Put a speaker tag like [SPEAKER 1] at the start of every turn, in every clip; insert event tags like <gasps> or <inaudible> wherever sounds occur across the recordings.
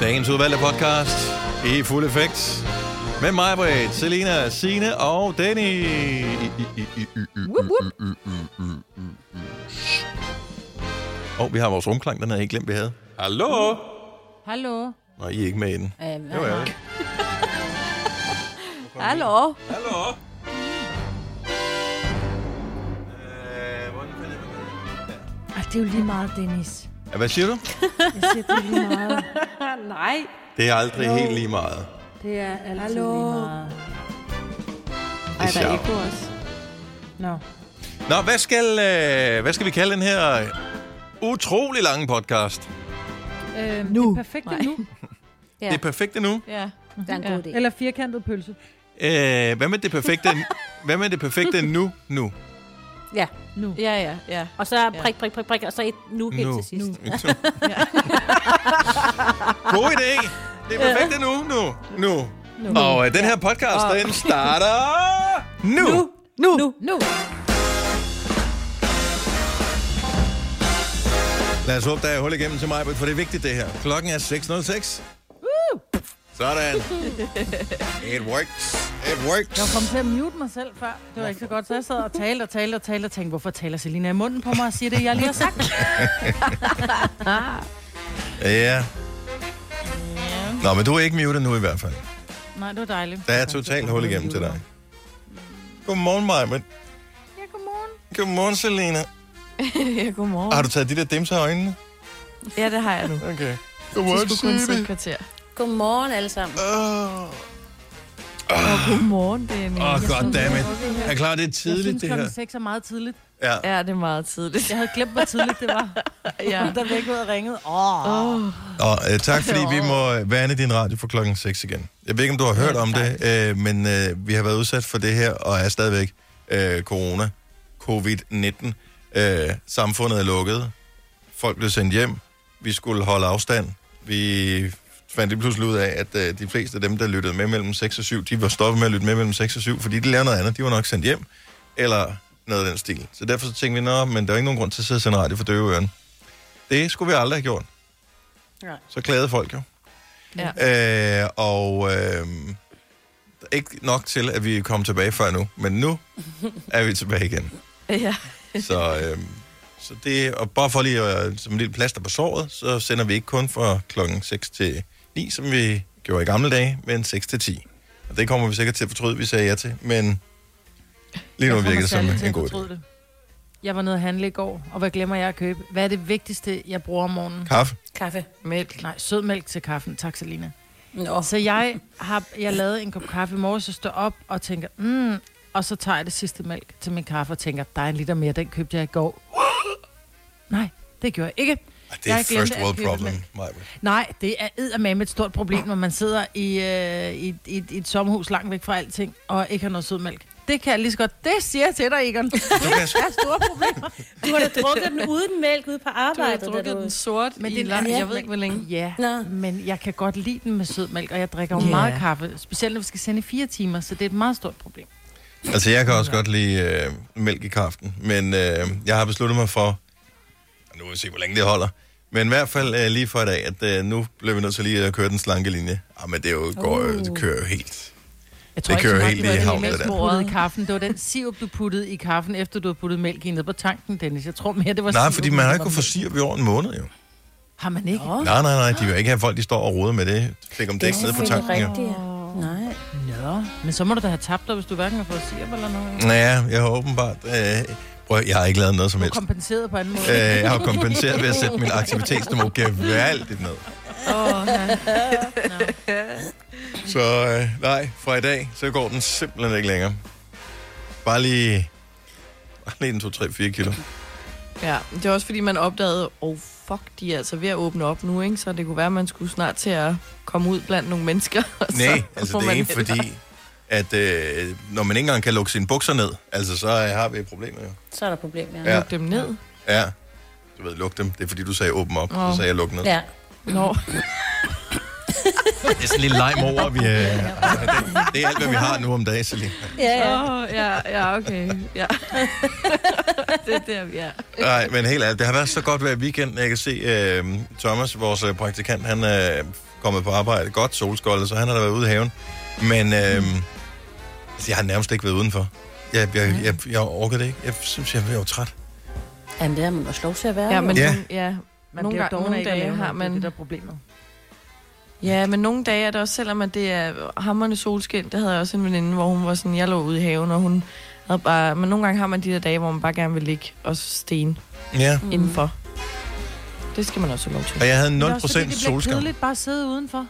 [SPEAKER 1] Dagens udvalgte podcast i fuld effekt. Med mig, Britt, Selina, Sine og Danny.
[SPEAKER 2] Wup, wup.
[SPEAKER 1] Og vi har vores rumklang, den havde jeg ikke glemt, vi havde. Hallo?
[SPEAKER 2] Hallo.
[SPEAKER 1] Nej, I er ikke med i den.
[SPEAKER 2] Øhm,
[SPEAKER 1] Det var ærgerligt.
[SPEAKER 2] Hallo.
[SPEAKER 1] Hallo?
[SPEAKER 2] Øh,
[SPEAKER 3] Ej, det er jo lige meget, Dennis.
[SPEAKER 1] Ja, Hvad siger du?
[SPEAKER 3] Jeg siger, det er lige meget.
[SPEAKER 2] <laughs> Nej.
[SPEAKER 1] Det er aldrig helt lige meget.
[SPEAKER 3] Det er altid
[SPEAKER 2] Hallo.
[SPEAKER 3] lige meget.
[SPEAKER 2] Ej, der er
[SPEAKER 1] sjovt.
[SPEAKER 2] ikke også.
[SPEAKER 3] Nå.
[SPEAKER 1] Nå, hvad skal, øh, hvad skal vi kalde den her utrolig lange podcast? Ja.
[SPEAKER 2] Øh,
[SPEAKER 4] Øhm,
[SPEAKER 3] Nu.
[SPEAKER 4] Det perfekte
[SPEAKER 2] Nej.
[SPEAKER 3] <laughs>
[SPEAKER 4] nu.
[SPEAKER 2] Ja.
[SPEAKER 1] Det er perfekt endnu.
[SPEAKER 2] Ja.
[SPEAKER 3] Det er en god idé.
[SPEAKER 4] Eller firkantet pølse.
[SPEAKER 1] Øh, hvad med det perfekte, hvad med det perfekte nu, nu?
[SPEAKER 4] Nu.
[SPEAKER 2] Ja, ja, ja.
[SPEAKER 5] Og så prik, prik, prik, prik, og så et nu helt
[SPEAKER 1] Nu.
[SPEAKER 5] til sidst. <laughs>
[SPEAKER 1] God idé. Det er perfekt endnu, nu, nu. nu. Og øh, den her podcast, den starter nu. nu.
[SPEAKER 3] Nu. Nu. nu.
[SPEAKER 1] Lad os håbe, der er hul igennem til mig, for det er vigtigt det her. Klokken er 6.06.
[SPEAKER 3] Uh!
[SPEAKER 2] <laughs>
[SPEAKER 1] <laughs> Sådan. It works. It works.
[SPEAKER 4] Jeg kom til at mute mig selv før. Det var ikke så godt, så jeg sad og talte og talte og talte og tænkte, hvorfor taler Selina i munden på mig og siger det, jeg lige har sagt?
[SPEAKER 1] <laughs> Ja. Nå, men du er ikke muted nu i hvert fald.
[SPEAKER 4] Nej, det var dejligt.
[SPEAKER 1] Der er totalt hul igennem til dig. Godmorgen, Maja. Ja, godmorgen. Godmorgen, Selena.
[SPEAKER 2] ja, <laughs> godmorgen.
[SPEAKER 1] Har du taget de der dimser af øjnene?
[SPEAKER 2] Ja, det har jeg nu. Vi
[SPEAKER 1] Okay. Ah. Godmorgen,
[SPEAKER 2] skulle kun sidde et
[SPEAKER 1] Sibi.
[SPEAKER 2] kvarter.
[SPEAKER 5] Godmorgen alle sammen.
[SPEAKER 1] Åh,
[SPEAKER 2] Og godmorgen, Dennis.
[SPEAKER 1] oh, goddammit. Er klar, det er tidligt, det
[SPEAKER 4] jeg
[SPEAKER 1] her?
[SPEAKER 4] synes, klokken 6 er meget tidligt.
[SPEAKER 1] Ja.
[SPEAKER 2] Ja, det er meget tidligt.
[SPEAKER 4] Jeg havde glemt, hvor tidligt det var.
[SPEAKER 2] ja.
[SPEAKER 4] Der blev ikke ud og ringet. Åh, oh.
[SPEAKER 1] Og øh, tak, fordi vi må øh, værne din radio for klokken 6 igen. Jeg ved ikke, om du har hørt om det, øh, men øh, vi har været udsat for det her, og er stadigvæk øh, corona, covid-19. Øh, samfundet er lukket. Folk blev sendt hjem. Vi skulle holde afstand. Vi fandt lige pludselig ud af, at øh, de fleste af dem, der lyttede med mellem 6 og 7, de var stoppet med at lytte med mellem 6 og 7, fordi de lavede noget andet. De var nok sendt hjem, eller noget af den stil. Så derfor så tænkte vi, nå, men der er ikke nogen grund til at sidde og sende radio for døve øren. Det skulle vi aldrig have gjort. Så klagede folk jo. Ja. Øh, og øh, ikke nok til, at vi kom tilbage før nu, men nu er vi tilbage igen.
[SPEAKER 2] ja.
[SPEAKER 1] Så, øh, så det, og bare for lige at, som en lille plaster på såret, så sender vi ikke kun fra klokken 6 til 9, som vi gjorde i gamle dage, men 6 til 10. Og det kommer vi sikkert til at fortryde, vi sagde ja til, men lige nu virker det som en god idé.
[SPEAKER 4] det. Jeg var nede at handle i går, og hvad glemmer jeg at købe? Hvad er det vigtigste, jeg bruger om morgenen?
[SPEAKER 1] Kaffe?
[SPEAKER 5] Kaffe.
[SPEAKER 4] Mælk. Nej, sød mælk til kaffen. Tak, Selina.
[SPEAKER 5] Nå.
[SPEAKER 4] Så jeg har jeg lavet en kop kaffe i morges, og står op og tænker, mm, og så tager jeg det sidste mælk til min kaffe og tænker, der er en liter mere, den købte jeg i går. <gasps> Nej, det gjorde jeg ikke.
[SPEAKER 1] Ej, Ah, Det
[SPEAKER 4] Jeg
[SPEAKER 1] er
[SPEAKER 4] har
[SPEAKER 1] et
[SPEAKER 4] glemt
[SPEAKER 1] first
[SPEAKER 4] at
[SPEAKER 1] world
[SPEAKER 4] købe
[SPEAKER 1] problem,
[SPEAKER 4] mælk.
[SPEAKER 1] Maja.
[SPEAKER 4] Nej, det er eddermame et stort problem, når man sidder i, øh, i, i, i et sommerhus langt væk fra alting, og ikke har noget sødmælk. Det kan jeg lige så godt. Det siger jeg til dig, Egon. Det
[SPEAKER 1] <laughs> Du kan,
[SPEAKER 4] er store problemer.
[SPEAKER 5] Du har da drukket den uden mælk ude på
[SPEAKER 2] Du har
[SPEAKER 5] arbejde.
[SPEAKER 2] drukket den sort
[SPEAKER 4] Men
[SPEAKER 2] men i
[SPEAKER 4] det er-
[SPEAKER 2] lang.
[SPEAKER 5] ja.
[SPEAKER 2] Jeg ved ikke, hvor længe.
[SPEAKER 4] Ja,
[SPEAKER 5] Nå.
[SPEAKER 4] men jeg kan godt lide den med sødmælk, og jeg drikker jo
[SPEAKER 2] Ja.
[SPEAKER 4] yeah. meget kaffe. Specielt når vi skal sende i fire timer, så det er et meget stort problem.
[SPEAKER 1] Altså, jeg kan også godt lide øh, mælk i kaften, men øh, jeg har besluttet mig for, nu vil vi se, hvor længe det holder, men i hvert fald øh, lige for i dag, at øh, nu bliver vi nødt til lige at køre den slanke linje. Ah, men det, er jo, går, uh. det kører jo helt.
[SPEAKER 4] Jeg
[SPEAKER 1] Det kører
[SPEAKER 4] så meget,
[SPEAKER 1] helt
[SPEAKER 4] du
[SPEAKER 1] i
[SPEAKER 4] havde
[SPEAKER 1] havnen,
[SPEAKER 4] mælk
[SPEAKER 1] det der.
[SPEAKER 4] puttet i kaffen. Det var den sirup, du puttede i kaffen, efter du havde puttet mælk i ned på tanken, Dennis. Jeg tror mere, det var
[SPEAKER 1] Nej,
[SPEAKER 4] sirup,
[SPEAKER 1] fordi
[SPEAKER 4] end
[SPEAKER 1] man har
[SPEAKER 4] det
[SPEAKER 1] ikke
[SPEAKER 4] var
[SPEAKER 1] kunnet få
[SPEAKER 4] mælk.
[SPEAKER 1] sirup i over en måned, jo.
[SPEAKER 4] Har man ikke?
[SPEAKER 1] Oh. Nej, nej, nej, de vil ikke have folk, de står og roder med det. Fik om dæk nede på tanken, jo.
[SPEAKER 5] rigtigt, ja. Nej.
[SPEAKER 4] Nå, men så må du da have tabt dig, hvis du hverken har fået sirup eller noget.
[SPEAKER 1] Ja, jeg har åbenbart... Øh, prøv, jeg har ikke lavet noget som helst.
[SPEAKER 4] Kompenseret på anden måde.
[SPEAKER 1] Øh, jeg har kompenseret ved at sætte min
[SPEAKER 2] <laughs>
[SPEAKER 1] aktivitetsniveau gevaldigt ned.
[SPEAKER 4] Åh, nej.
[SPEAKER 1] Så øh, nej, fra i dag, så går den simpelthen ikke længere. Bare lige, bare lige en 2-3-4
[SPEAKER 2] <laughs>
[SPEAKER 1] kilo.
[SPEAKER 2] Ja, det er også fordi, man opdagede, oh fuck, de er altså ved at åbne op nu, ikke? Så det kunne være, at man skulle snart til at komme ud blandt nogle mennesker. og så <laughs>
[SPEAKER 1] Nej, altså
[SPEAKER 2] må
[SPEAKER 1] det er
[SPEAKER 2] man
[SPEAKER 1] ikke
[SPEAKER 2] hellere-
[SPEAKER 1] fordi, at øh, når man ikke engang kan lukke sine bukser ned, altså så øh, har vi et problem jo.
[SPEAKER 5] <laughs> Så er der problemer. Ja.
[SPEAKER 1] Ja.
[SPEAKER 2] Lukke dem ned.
[SPEAKER 1] Ja, du ved, luk dem. Det er fordi, du sagde åben op, oh.
[SPEAKER 2] Åh.
[SPEAKER 1] så sagde jeg luk ned. Ja.
[SPEAKER 5] ja.
[SPEAKER 2] <laughs> Nå,
[SPEAKER 1] Det er sådan en lille lime over, vi øh, det, det er alt, hvad vi har nu om dagen, Selina.
[SPEAKER 5] <laughs> ja, ja.
[SPEAKER 2] oh, ja, ja, okay. Ja. <laughs> det er der, vi er.
[SPEAKER 1] Nej, men helt ærligt, det har været så godt hver weekend. Jeg kan se øh, Thomas, vores øh, praktikant, han øh, kommet på arbejde. Godt solskoldet, så han har da været ude i haven. Men øhm, altså, jeg har nærmest ikke været udenfor. Jeg, jeg, jeg, jeg orker det ikke. Jeg synes, jeg er jo træt.
[SPEAKER 5] Jamen, det har man også lov til at være.
[SPEAKER 2] Ja, men
[SPEAKER 1] Ja.
[SPEAKER 2] ja. Nogle, ja,
[SPEAKER 4] Man
[SPEAKER 2] nogle,
[SPEAKER 4] nogle bliver
[SPEAKER 2] gange, nogle dage har
[SPEAKER 4] man... Det er det,
[SPEAKER 2] man...
[SPEAKER 4] der er problemet.
[SPEAKER 2] Ja, men nogle dage er det også, selvom at det er hammerne solskin, der havde jeg også en veninde, hvor hun var sådan, jeg lå ude i haven, og hun havde bare... Men nogle gange har man de der dage, hvor man bare gerne vil ligge og sten
[SPEAKER 1] Ja,
[SPEAKER 2] mm. indenfor. Det skal man også have lov til.
[SPEAKER 1] og jeg havde
[SPEAKER 4] Men
[SPEAKER 1] 0%
[SPEAKER 4] også fordi det bliver
[SPEAKER 1] solskam.
[SPEAKER 4] kedeligt bare at sidde udenfor.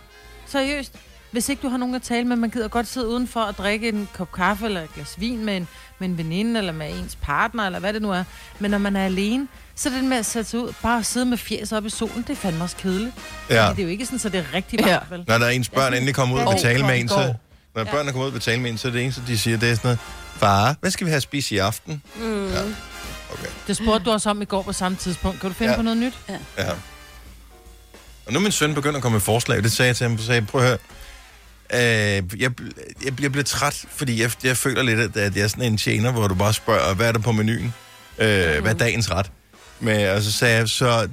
[SPEAKER 4] Seriøst. Hvis ikke du har nogen at tale med, man gider godt sidde udenfor og drikke en kop kaffe eller et glas vin med en, med en veninde eller med ens partner eller hvad det nu er. Men når man er alene, så er det med at sætte sig ud bare at sidde med fjes op i solen, det er fandme også kedeligt. Ja.
[SPEAKER 1] Ja.
[SPEAKER 4] Det er jo ikke sådan, så det er rigtig varmt,
[SPEAKER 2] Ja.
[SPEAKER 4] ja. vel?
[SPEAKER 1] Når der er ens børn endelig kommer ud og
[SPEAKER 4] Går,
[SPEAKER 1] betaler med
[SPEAKER 4] går,
[SPEAKER 1] en, så...
[SPEAKER 4] går.
[SPEAKER 1] Når børnene kommer ud og betaler med en, så er det eneste, de siger, det er sådan noget, far, hvad skal vi have at spise i aften? Mm. Ja. Okay.
[SPEAKER 4] Det spurgte du også om i går på samme tidspunkt. Kan du finde
[SPEAKER 1] Ja.
[SPEAKER 4] ja. på noget nyt?
[SPEAKER 1] Ja. Og nu er min søn begyndt at komme med forslag, det sagde jeg til ham, så sagde jeg, prøv at høre, øh, jeg, bl- jeg, bliver, bliver træt, fordi jeg, jeg føler lidt, at, at jeg er sådan en tjener, hvor du bare spørger, hvad er der på menuen? Øh, Hvad
[SPEAKER 5] Mhm.
[SPEAKER 1] er dagens ret? Men, og så sagde jeg, så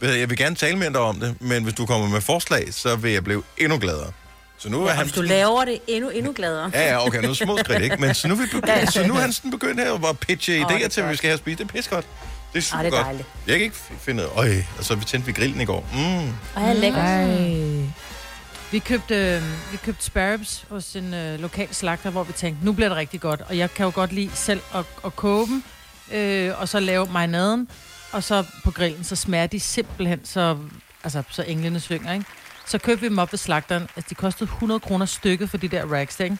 [SPEAKER 1] ved jeg, jeg vil gerne tale med dig om det, men hvis du kommer med forslag, så vil jeg blive endnu gladere. Så nu er
[SPEAKER 5] Ja,
[SPEAKER 1] han
[SPEAKER 5] hvis du laver det endnu, endnu gladere.
[SPEAKER 1] Ja, ja, okay, nu er det små skridt, ikke? Men så nu, er vi begyndt, så nu er han sådan begyndt her at bare pitche
[SPEAKER 5] Åh, det
[SPEAKER 1] idéer
[SPEAKER 5] er
[SPEAKER 1] til, hvad vi
[SPEAKER 5] godt.
[SPEAKER 1] skal have at spise. Det er pissegodt. Det er super
[SPEAKER 5] Ej,
[SPEAKER 1] det
[SPEAKER 5] det er
[SPEAKER 1] er godt.
[SPEAKER 5] dejligt.
[SPEAKER 1] Jeg kan ikke f- finde ud af, og så tændte vi grillen i går. Mm.
[SPEAKER 5] Ej, lækkert.
[SPEAKER 4] Vi købte, øh, vi købte sparrows hos en øh, lokal slagter, hvor vi tænkte, nu bliver det rigtig godt. Og jeg kan jo godt lide selv at, at koge dem, øh, og så lave marinaden, og så på grillen, så smager de simpelthen, så, altså, så englene synger, ikke? Så købte vi dem op ved slagteren. Altså, de kostede 100 kroner stykket for de der rags, der, ikke?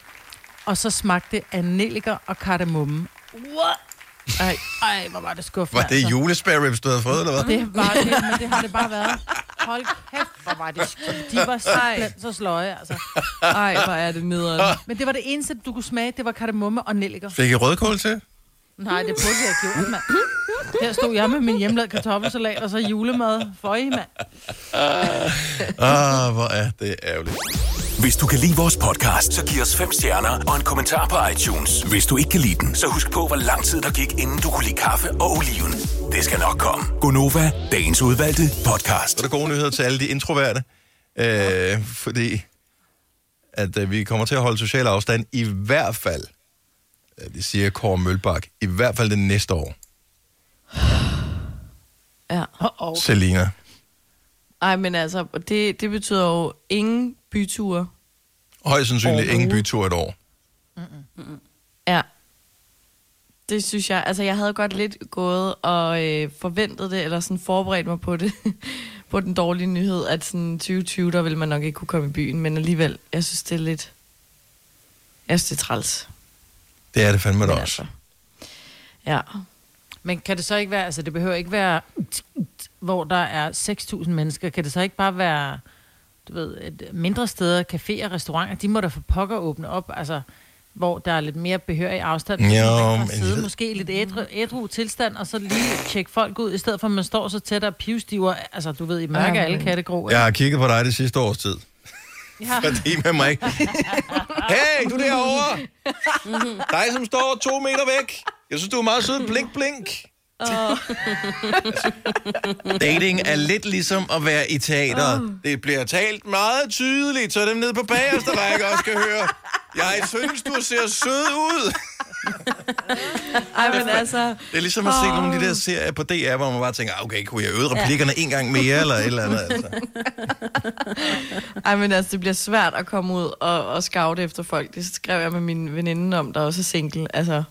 [SPEAKER 4] Og så smagte det af nelliker og kardemomme. What? Ej, ej, hvor var det skuffende. altså.
[SPEAKER 1] Var det julespare ribs, du havde fået, eller hvad?
[SPEAKER 4] Det var det, men det har det bare været. Hold kæft, hvor var det sk- De var simpelthen så sløje, altså.
[SPEAKER 2] Ej, hvor er det nederen.
[SPEAKER 4] Men det var det eneste, du kunne smage, det var kardemomme og nelliker.
[SPEAKER 1] <laughs> Fik I rødkål til?
[SPEAKER 4] Nej, det burde jeg have gjort, mand. Her stod jeg med min hjemlavede kartoffelsalat og så julemad. Føj, mand.
[SPEAKER 1] Ah, hvor er det ærgerligt.
[SPEAKER 6] Hvis du kan lide vores podcast, så giv os fem stjerner og en kommentar på iTunes. Hvis du ikke kan lide den, så husk på, hvor lang tid der gik, inden du kunne lide kaffe og oliven. Det skal nok komme. Gonova, dagens udvalgte podcast.
[SPEAKER 1] Så er der gode nyheder til alle de introverte, øh, fordi at øh, vi kommer til at holde social afstand i hvert fald, øh, det siger Kåre Mølbak, i hvert fald det næste år,
[SPEAKER 2] Ja.
[SPEAKER 4] Uh-oh.
[SPEAKER 1] Selina.
[SPEAKER 2] Ej, men altså, det, det betyder jo ingen byture.
[SPEAKER 1] Højst sandsynligt ingen
[SPEAKER 2] Overhovedet.
[SPEAKER 1] bytur et år.
[SPEAKER 2] Ja. Det synes jeg, altså jeg havde godt lidt gået og øh, forventet det, eller sådan forberedt mig på det, <laughs> på den dårlige nyhed, at sådan 2020, der ville man nok ikke kunne komme i byen, men alligevel, jeg synes det er lidt, jeg synes det er træls.
[SPEAKER 1] Det er det fandme da
[SPEAKER 2] Men
[SPEAKER 5] altså.
[SPEAKER 1] også.
[SPEAKER 2] Ja.
[SPEAKER 4] Men kan det så ikke være, altså det behøver ikke være, hvor der er 6.000 mennesker. Kan det så ikke bare være, du ved, et mindre steder, caféer, restauranter, de må da for pokker åbne op, altså hvor der er lidt mere behørig afstand.
[SPEAKER 1] Jo,
[SPEAKER 4] så man kan
[SPEAKER 1] men
[SPEAKER 4] sidde
[SPEAKER 1] jeg ved-
[SPEAKER 4] måske i lidt ædru, ædru tilstand, og så lige tjekke folk ud, i stedet for at man står så tæt og pivstiver, altså du ved, i mørke
[SPEAKER 2] Ja,
[SPEAKER 4] af alle
[SPEAKER 2] men-
[SPEAKER 4] kattegro.
[SPEAKER 1] Jeg har kigget på dig det sidste års tid.
[SPEAKER 4] Ja.
[SPEAKER 1] <laughs>
[SPEAKER 4] <laughs>
[SPEAKER 1] Fordi med mig. Hey, du derovre! Dig, som står to meter væk. Jeg synes, du er meget sød. Blink, blink. Altså, dating er lidt ligesom at være i teateret. Det bliver talt meget tydeligt, så dem nede på bagerste række også kan høre. Jeg synes, du ser sød ud.
[SPEAKER 2] <laughs> Ej, men altså,
[SPEAKER 1] Det er ligesom at se nogle af de der serier på DR, hvor man bare tænker, "Ah, okay, kunne jeg øve replikkerne en gang mere, eller et eller andet. Altså.
[SPEAKER 2] Ej, men altså, det bliver svært at komme ud og, og scoute efter folk. Det skrev jeg med min veninde om, der også er single. Altså,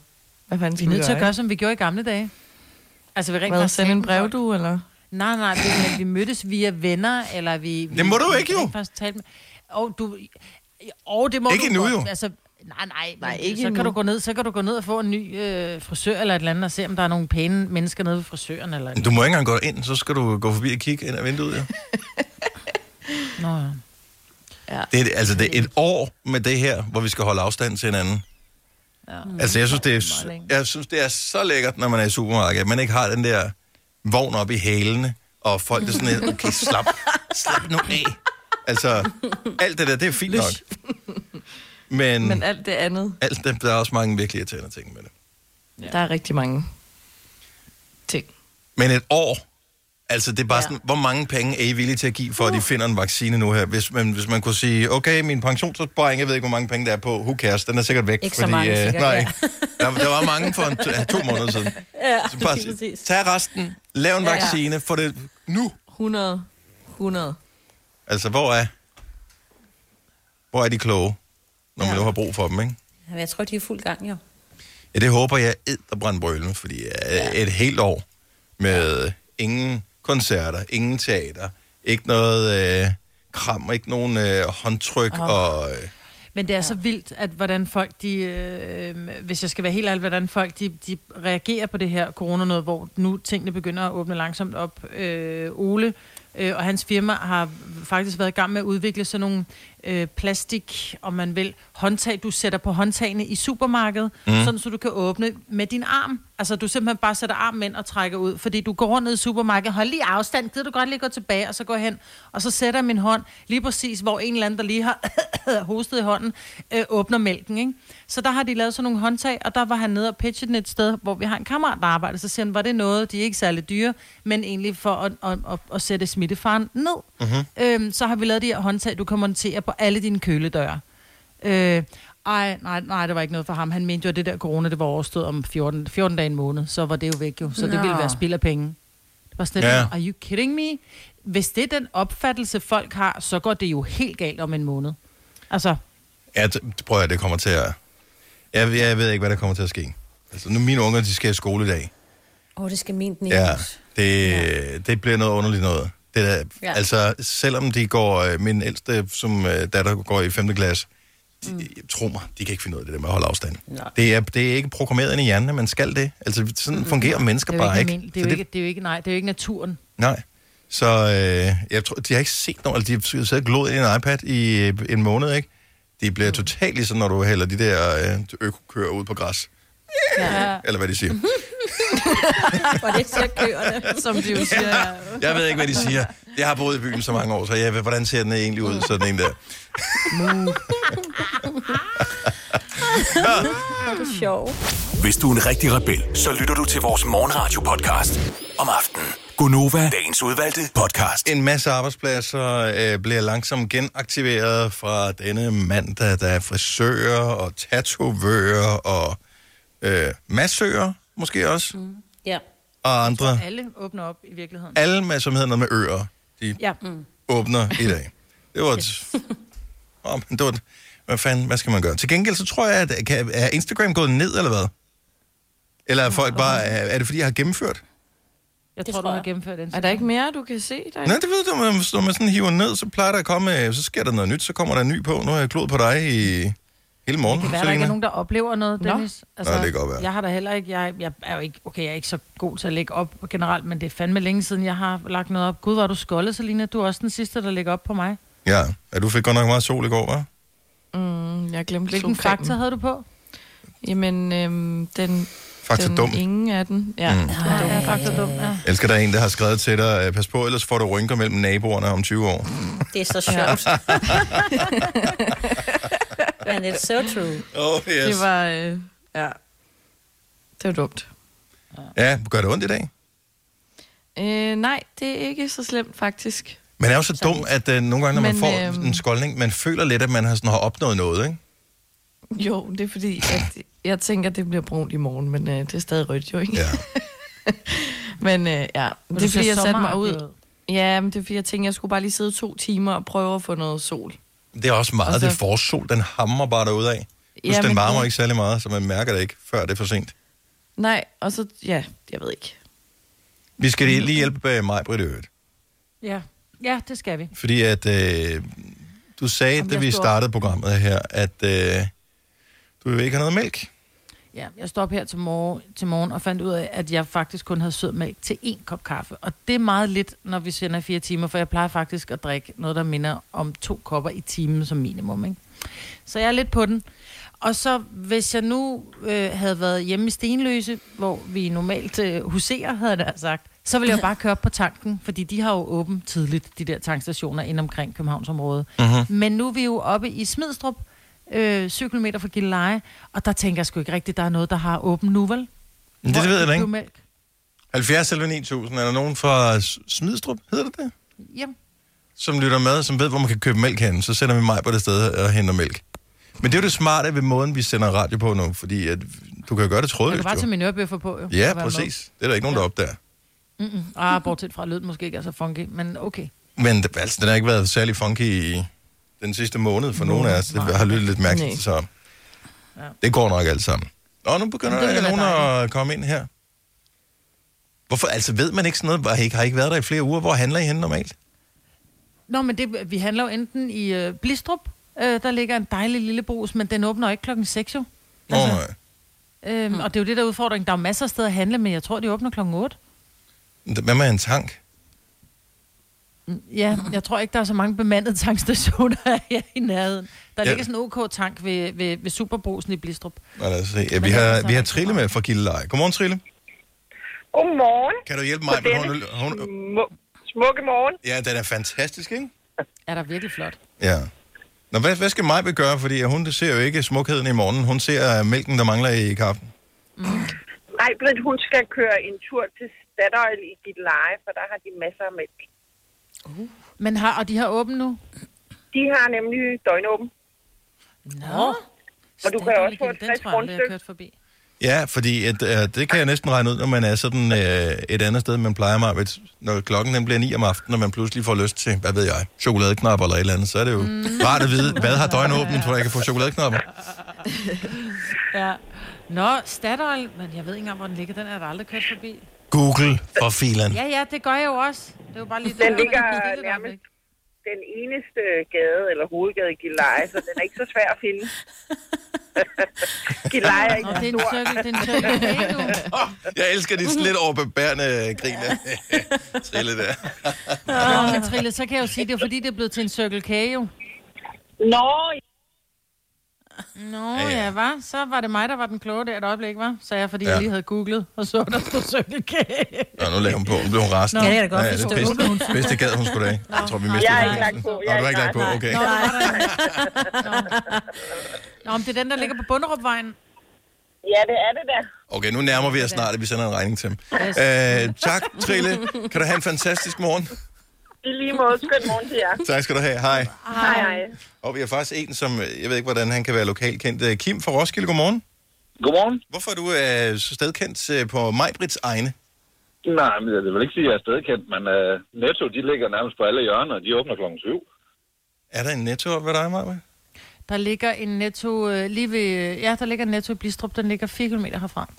[SPEAKER 2] hvad fanden
[SPEAKER 4] Vi
[SPEAKER 2] skal
[SPEAKER 4] er
[SPEAKER 2] vi,
[SPEAKER 4] nødt til at
[SPEAKER 2] gøre?
[SPEAKER 4] gøre, som vi gjorde i gamle dage. Altså, vi rent
[SPEAKER 2] Hvad,
[SPEAKER 4] faktisk
[SPEAKER 2] sende en
[SPEAKER 4] talte med
[SPEAKER 2] brev,
[SPEAKER 4] folk.
[SPEAKER 2] du, eller?
[SPEAKER 4] Nej, nej, vi, men vi mødtes via venner, eller vi... vi
[SPEAKER 1] Det må du
[SPEAKER 4] vi
[SPEAKER 1] ikke, jo.
[SPEAKER 4] rent faktisk talte med. Og du... Og det må
[SPEAKER 1] Ikke
[SPEAKER 4] du
[SPEAKER 1] endnu,
[SPEAKER 4] godt.
[SPEAKER 1] jo.
[SPEAKER 4] Altså, nej, nej,
[SPEAKER 2] Nej,
[SPEAKER 4] nej
[SPEAKER 2] ikke
[SPEAKER 4] ikke så,
[SPEAKER 2] endnu.
[SPEAKER 4] kan du gå ned, så kan du gå ned og få en ny øh, frisør eller et eller andet, og se, om der er nogle pæne mennesker nede ved frisøren. Eller...
[SPEAKER 1] Du må ikke engang gå ind, så skal du gå forbi og kigge ind ad vinduet, ja.
[SPEAKER 4] Nå, ja.
[SPEAKER 1] Det er, altså, det er et år med det her, hvor vi skal holde afstand til hinanden. Ja. Altså, jeg synes, det er, jeg synes, det er så lækkert, når man er i supermarkedet, at man ikke har den der vogn op i hælene, og folk er sådan lidt, okay, slap, slap nu af. Altså, alt det der, det er fint nok. Men,
[SPEAKER 2] <laughs> Men
[SPEAKER 1] Men
[SPEAKER 2] alt det andet,
[SPEAKER 1] alt det, der er også mange virkelig irriterende ting med det.
[SPEAKER 2] ja. der er rigtig mange ting.
[SPEAKER 1] Men et år Altså, det er bare ja. sådan, hvor mange penge er I villige til at give,
[SPEAKER 5] Uh.
[SPEAKER 1] for at de finder en vaccine nu her? Hvis man, hvis man kunne sige, okay, min pensionsopsparing, jeg ved ikke, hvor mange penge der er på, who cares, den er sikkert væk.
[SPEAKER 5] Ikke så mange,
[SPEAKER 1] øh,
[SPEAKER 5] sikkert,
[SPEAKER 1] nej,
[SPEAKER 5] ja.
[SPEAKER 1] der, der var mange for en, to, to
[SPEAKER 5] <laughs>
[SPEAKER 1] måneder siden.
[SPEAKER 5] Ja,
[SPEAKER 1] Så bare sig- tag resten, lav en
[SPEAKER 2] Ja.
[SPEAKER 1] vaccine, ja. få det nu.
[SPEAKER 2] 100. 100.
[SPEAKER 1] Altså, hvor er, hvor er de kloge, når man
[SPEAKER 5] Ja.
[SPEAKER 1] nu har brug for dem, ikke?
[SPEAKER 5] Men jeg tror, de er i fuld gang, jo.
[SPEAKER 1] Ja, det håber jeg æder brølen, fordi ja. et helt år med øh, ingen koncerter, ingen teater, ikke noget øh, kram, ikke nogen øh, håndtryk oh. og... Øh,
[SPEAKER 4] Men det er ja. så vildt, at hvordan folk, de, øh, hvis jeg skal være helt ærlig, hvordan folk de, de reagerer på det her corona noget, hvor nu tingene begynder at åbne langsomt op. Øh, Ole øh, og hans firma har faktisk været i gang med at udvikle sådan nogle øh, plastik, om man vil, håndtag, du sætter på håndtagene i supermarkedet,
[SPEAKER 7] Mm.
[SPEAKER 4] mm. sådan så du kan åbne med din arm. Altså du simpelthen bare sætter armen ind og trækker ud, fordi du går ned i supermarkedet, hold lige afstand, gider du godt lige gå tilbage, og så går jeg hen, og så sætter jeg min hånd lige præcis, hvor en eller anden, der lige har <coughs> hostet i hånden, øh, åbner mælken, ikke? Så der har de lavet sådan nogle håndtag, og der var han nede og pitchede den et sted, hvor vi har en kammerat, der arbejder, så siger han, var det noget, de er ikke særlig dyre, men egentlig for at, at, at, at sætte smittefaren ned.
[SPEAKER 7] Mhm.
[SPEAKER 4] Øhm, så har vi lavet de her håndtag, du kan montere på alle dine køledøre. Øh, ej, nej, nej, det var ikke noget for ham. Han mente jo, at det der corona, det var overstået om 14, 14 dage en måned, så var det jo væk jo. Så det
[SPEAKER 7] Nå.
[SPEAKER 4] ville være spild af penge. Det var sådan,
[SPEAKER 7] Ja.
[SPEAKER 4] ja. are you kidding me? Hvis det er den opfattelse, folk har, så går det jo helt galt om en måned. Altså,
[SPEAKER 1] ja, t- prøv at høre, det kommer til at... Jeg, jeg ved ikke, hvad der kommer til at ske. Altså, nu mine unger, de skal i skole i dag.
[SPEAKER 5] Åh, oh, det skal min den
[SPEAKER 1] Ja, det, ja. det bliver noget underligt noget. Det der, ja.
[SPEAKER 5] Ja.
[SPEAKER 1] Altså, selvom de går... Øh, min ældste, som øh, datter, går i 5. klasse, de, mm. tro mig, de kan ikke finde ud af det der med at holde afstand. Det er, det er ikke programmeret ind i hjernen, at man skal det. Altså, sådan fungerer mennesker
[SPEAKER 4] det er jo
[SPEAKER 1] bare
[SPEAKER 4] ikke,
[SPEAKER 1] ikke.
[SPEAKER 4] almindeligt. Det er
[SPEAKER 1] Så
[SPEAKER 4] jo ikke, det er jo ikke, nej, det er jo ikke naturen.
[SPEAKER 1] Nej. Så øh, jeg tror, de har ikke set nogen, altså de har siddet og glod i en iPad i øh, en måned, ikke? De
[SPEAKER 4] Mm.
[SPEAKER 1] bliver totalt ligesom, når du hælder de der øh, økokøer ud på græs.
[SPEAKER 5] <laughs> Ja.
[SPEAKER 1] Eller hvad de siger.
[SPEAKER 5] Og det er så køerne.
[SPEAKER 2] Som de jo siger, ja.
[SPEAKER 1] Jeg ved ikke, hvad de siger. Jeg har boet i byen så mange år, så jeg ved, hvordan ser den egentlig ud, sådan en der.
[SPEAKER 5] Det er sjovt.
[SPEAKER 6] Hvis du er en rigtig rebel, så lytter du til vores morgenradio-podcast om aftenen. Gunova, dagens udvalgte podcast.
[SPEAKER 1] En masse arbejdspladser øh, bliver langsomt genaktiveret fra denne mandag. Der er frisører og tatovører og øh, massører måske også, mm.
[SPEAKER 5] Ja.
[SPEAKER 1] og andre.
[SPEAKER 4] Alle åbner op i virkeligheden.
[SPEAKER 1] Alle med, som hedder noget med ører, de
[SPEAKER 4] Ja. Mm.
[SPEAKER 1] åbner i dag. Det var et... Oh, men det var et... Hvad fanden, hvad skal man gøre? Til gengæld, så tror jeg, at kan, er Instagram gået ned, eller hvad? Eller er folk bare... Er, er det, fordi jeg har gennemført?
[SPEAKER 4] Jeg tror, du har gennemført den.
[SPEAKER 2] Er der ikke mere, du kan se? Der
[SPEAKER 1] Nej, det ved du, når man, når man sådan hiver ned, så plejer der at komme, øh, så sker der noget nyt, så kommer der en ny på. Nu har jeg kloet på dig i hele morgen,
[SPEAKER 4] Det kan være, der ikke
[SPEAKER 1] Selina.
[SPEAKER 4] er nogen, der oplever noget,
[SPEAKER 1] Nå.
[SPEAKER 4] Dennis. Altså,
[SPEAKER 1] Nå, det kan godt være.
[SPEAKER 4] Jeg har da heller ikke, jeg, jeg er jo ikke, okay, jeg er ikke så god til at lægge op generelt, men det er fandme længe siden, jeg har lagt noget op. Gud, var du skoldet, Selina. Du er også den sidste, der lægger op på mig.
[SPEAKER 1] Ja, ja, du fik godt nok meget sol i går, hva'?
[SPEAKER 2] Mm, jeg glemte
[SPEAKER 4] Hvilken
[SPEAKER 2] solcremen.
[SPEAKER 4] faktor havde du på?
[SPEAKER 2] Jamen, øhm, den...
[SPEAKER 1] Faktor
[SPEAKER 2] den
[SPEAKER 1] dum.
[SPEAKER 2] Ingen af den. Ja,
[SPEAKER 1] Mm.
[SPEAKER 2] mm. den er
[SPEAKER 4] faktisk dum. Ja.
[SPEAKER 1] Jeg elsker, der er en, der har skrevet til dig, øh, pas på, ellers får du rynker mellem naboerne om 20 år.
[SPEAKER 2] Mm,
[SPEAKER 5] Det er så sjovt.
[SPEAKER 2] <laughs>
[SPEAKER 5] Men it's so true.
[SPEAKER 1] Oh, yes.
[SPEAKER 2] Det var... Øh, ja. Det var dumt.
[SPEAKER 1] <laughs> Ja, gør det ondt i dag?
[SPEAKER 2] Øh, nej, det er ikke så slemt, faktisk.
[SPEAKER 1] Man er jo så dum, at øh, nogle gange, når man
[SPEAKER 2] Men,
[SPEAKER 1] får
[SPEAKER 2] øhm,
[SPEAKER 1] en skoldning, man føler lidt, at man har, sådan, har opnået noget, ikke?
[SPEAKER 2] Jo, det er fordi, at jeg tænker, det bliver brunt i morgen, men øh, det er stadig rødt jo, ikke?
[SPEAKER 1] Ja.
[SPEAKER 2] <laughs> men øh, ja,
[SPEAKER 4] Men du
[SPEAKER 2] det er
[SPEAKER 4] ser
[SPEAKER 2] fordi, jeg satte mig
[SPEAKER 4] sommeragtig
[SPEAKER 2] ud. Ja, men det er fordi, jeg tænkte, jeg skulle bare lige sidde to timer og prøve at få noget sol.
[SPEAKER 1] Det er også meget,
[SPEAKER 2] Og så-
[SPEAKER 1] det forårssol, den hammer bare derudad. af. Ja,
[SPEAKER 2] Ja,
[SPEAKER 1] den
[SPEAKER 2] men-
[SPEAKER 1] varmer ikke særlig meget, så man mærker det ikke, før det er for sent.
[SPEAKER 2] Nej, og så, ja, jeg ved ikke.
[SPEAKER 1] Vi skal lige lige hjælpe øh, mig, Britt Øvrigt.
[SPEAKER 4] Ja. ja, det skal vi.
[SPEAKER 1] Fordi at øh, du sagde, Jamen, da
[SPEAKER 4] jeg
[SPEAKER 1] vi
[SPEAKER 4] står-
[SPEAKER 1] startede programmet her, at øh, du jo ikke har noget mælk.
[SPEAKER 4] Ja, jeg stod op her til morgen, til morgen og fandt ud af, at jeg faktisk kun havde sød mælk til én kop kaffe. Og det er meget lidt, når vi sender fire timer, for jeg plejer faktisk at drikke noget, der minder om to kopper i timen som minimum. Ikke? Så jeg er lidt på den. Og så hvis jeg nu øh, havde været hjemme i Stenløse, hvor vi normalt øh, huserer, havde jeg da sagt, så ville jeg bare køre op på tanken, fordi de har jo åbent tidligt, de der tankstationer ind omkring Københavnsområdet.
[SPEAKER 1] Hm.
[SPEAKER 7] Mhm.
[SPEAKER 4] Men nu er vi jo oppe i Smidstrup, øh, 7 km fra Gilleleje, og der tænker jeg sgu ikke rigtigt, der er noget, der har åbent nu, vel?
[SPEAKER 1] Men det,
[SPEAKER 4] Hvor
[SPEAKER 1] det ved
[SPEAKER 4] er
[SPEAKER 1] jeg da
[SPEAKER 4] det
[SPEAKER 1] ikke.
[SPEAKER 4] blå mælk?
[SPEAKER 1] 70 11 9000. Er der nogen fra S- Smidstrup, hedder det det?
[SPEAKER 4] Ja.
[SPEAKER 1] Som lytter med, som ved, hvor man kan købe mælk henne. Så sender vi mig på det sted og henter mælk. Men det er jo det smarte ved måden, vi sender radio på nu, fordi at, du kan jo gøre det
[SPEAKER 4] Jeg kan
[SPEAKER 1] trådløst,
[SPEAKER 4] bare tage
[SPEAKER 1] jo.
[SPEAKER 4] min ørebøffer på, jo.
[SPEAKER 1] Ja,
[SPEAKER 4] og være
[SPEAKER 1] præcis. Det er der ikke nogen, der opdager.
[SPEAKER 4] med. Mm-mm. Ah, bortset fra, at lyden måske ikke er så funky, men okay.
[SPEAKER 1] Men det, altså, den har ikke været særlig funky i den sidste måned for nogen af os. Det har lyttet lidt mærkeligt, så det går nok alt sammen. Nå, nu begynder
[SPEAKER 7] Det
[SPEAKER 1] der
[SPEAKER 7] ville
[SPEAKER 1] nogen
[SPEAKER 7] være
[SPEAKER 1] at komme ind her. Hvorfor? Altså, ved man ikke sådan noget? Har I ikke, har I ikke været der i flere uger? Hvor handler I henne normalt?
[SPEAKER 4] Nå, men det, vi handler jo enten i øh, Blistrup, øh, der ligger en dejlig lille brus, men den åbner ikke klokken 6 jo. Altså,
[SPEAKER 1] Åh, oh, nej.
[SPEAKER 4] Øhm, Og det er jo det, der er udfordringen. Der er jo masser af steder at handle, men jeg tror, de åbner klokken 8.
[SPEAKER 1] Hvad med en tank?
[SPEAKER 4] Ja, jeg tror ikke, der er så mange bemandede tankstationer <laughs> her i nærheden. Der
[SPEAKER 1] Ja.
[SPEAKER 4] ligger sådan en OK-tank ved, ved, ved Superbrusen i Blistrup.
[SPEAKER 1] Nå, lad os se. Ja, vi, har, vi har Trille med fra Gilleleje. Godmorgen, Trille.
[SPEAKER 8] Godmorgen.
[SPEAKER 1] Kan du hjælpe mig?
[SPEAKER 8] På
[SPEAKER 1] Med, hun,
[SPEAKER 8] denne
[SPEAKER 1] hun,
[SPEAKER 8] smu- smukke morgen.
[SPEAKER 1] ja, den er fantastisk, ikke?
[SPEAKER 4] Er der virkelig flot?
[SPEAKER 1] Ja. Nå, hvad, hvad skal Majbe gøre? Fordi hun ser jo ikke smukheden i morgenen. Hun ser øh, mælken, der mangler i kaffen.
[SPEAKER 8] Nej, Britt, hun skal køre en tur til Statoil i dit leje, for der har de masser af mælk.
[SPEAKER 4] Men har, og de har åbent nu?
[SPEAKER 8] De har nemlig døgnåben.
[SPEAKER 4] Nå.
[SPEAKER 8] Og du kan
[SPEAKER 4] Statoil
[SPEAKER 8] også få
[SPEAKER 4] igen,
[SPEAKER 8] et
[SPEAKER 4] den
[SPEAKER 8] 60
[SPEAKER 4] tror jeg aldrig, jeg har
[SPEAKER 8] rundstykke.
[SPEAKER 4] kørt forbi.
[SPEAKER 1] Ja, fordi at, øh, det kan jeg næsten regne ud, når man er sådan øh, et andet sted, man plejer mig. Ved, når klokken den bliver 9 om aftenen, og man pludselig får lyst til, hvad ved jeg, chokoladeknapper eller et eller andet, så er det jo
[SPEAKER 8] Mm.
[SPEAKER 1] rart at vide, hvad har døgnåbent, for jeg kan få chokoladeknapper.
[SPEAKER 4] <laughs> Ja. Nå, Statoil, men jeg ved ikke engang, hvor den ligger. Den er der aldrig kørt forbi.
[SPEAKER 1] Google for filen.
[SPEAKER 4] Ja, ja, det gør jeg jo også. Det er jo bare lige
[SPEAKER 8] Den
[SPEAKER 4] der,
[SPEAKER 8] ligger
[SPEAKER 4] man kan kigge lidt
[SPEAKER 8] nærmest den eneste gade, eller hovedgade i Gilleleje, så den er ikke så svær at
[SPEAKER 4] <laughs>
[SPEAKER 8] finde. Gilleleje er
[SPEAKER 4] Nå,
[SPEAKER 8] ikke
[SPEAKER 4] det er en
[SPEAKER 8] stor.
[SPEAKER 4] cirkel, det er en cirkel.
[SPEAKER 1] Jeg elsker dit lidt overbebærende grin af <laughs> Trille der.
[SPEAKER 4] Nå, men Trille, så kan jeg jo sige, det er jo fordi, det er blevet til en Circle K, jo.
[SPEAKER 8] Nå,
[SPEAKER 4] Nå,
[SPEAKER 1] Ja,
[SPEAKER 4] ja,
[SPEAKER 1] ja.
[SPEAKER 4] ja var. Så var det mig, der var den kloge der et øjeblik, var? Så jeg, fordi
[SPEAKER 1] Ja.
[SPEAKER 4] ja. jeg lige havde googlet, og så der stod Circle K.
[SPEAKER 1] Nå, nu laver hun på. Nu blev hun rasende.
[SPEAKER 4] Nå, det kan jeg da godt
[SPEAKER 1] ja, det er
[SPEAKER 4] forstå.
[SPEAKER 1] bedste, bedste gad, hun skulle da. Jeg tror, vi mistede
[SPEAKER 8] jeg er
[SPEAKER 1] den.
[SPEAKER 8] ikke lagt på.
[SPEAKER 1] Nå, du har ikke lagt på,
[SPEAKER 8] nej, nej.
[SPEAKER 1] okay.
[SPEAKER 4] Nå, der var der. Nå. Nå, men det er den, der ligger på Bunderupvejen.
[SPEAKER 8] Ja, det er det der.
[SPEAKER 1] Okay, nu nærmer vi os snart, at vi sender en regning til ham.
[SPEAKER 4] Yes.
[SPEAKER 1] Øh, tak, Trille. Kan du have en fantastisk morgen?
[SPEAKER 8] I lige måde, skøn morgen til jer.
[SPEAKER 1] Tak skal du have. Hej.
[SPEAKER 8] Hej, hej.
[SPEAKER 1] Og vi har faktisk en, som, øh, jeg ved ikke, hvordan han kan være lokalt kendt. Øh, Kim fra Roskilde, godmorgen.
[SPEAKER 9] Godmorgen.
[SPEAKER 1] Hvorfor er du øh, så stedkendt øh, på Majbrits egne?
[SPEAKER 9] Nej, men jeg vil ikke sige, at jeg er stedkendt, men uh, Netto, de ligger nærmest på alle hjørner, og de åbner klokken 7.
[SPEAKER 1] Er der en netto op ved dig, Majbrit?
[SPEAKER 4] Der ligger en netto øh, lige ved... Ja, der ligger en netto i Blistrup. Den ligger 4 km herfra.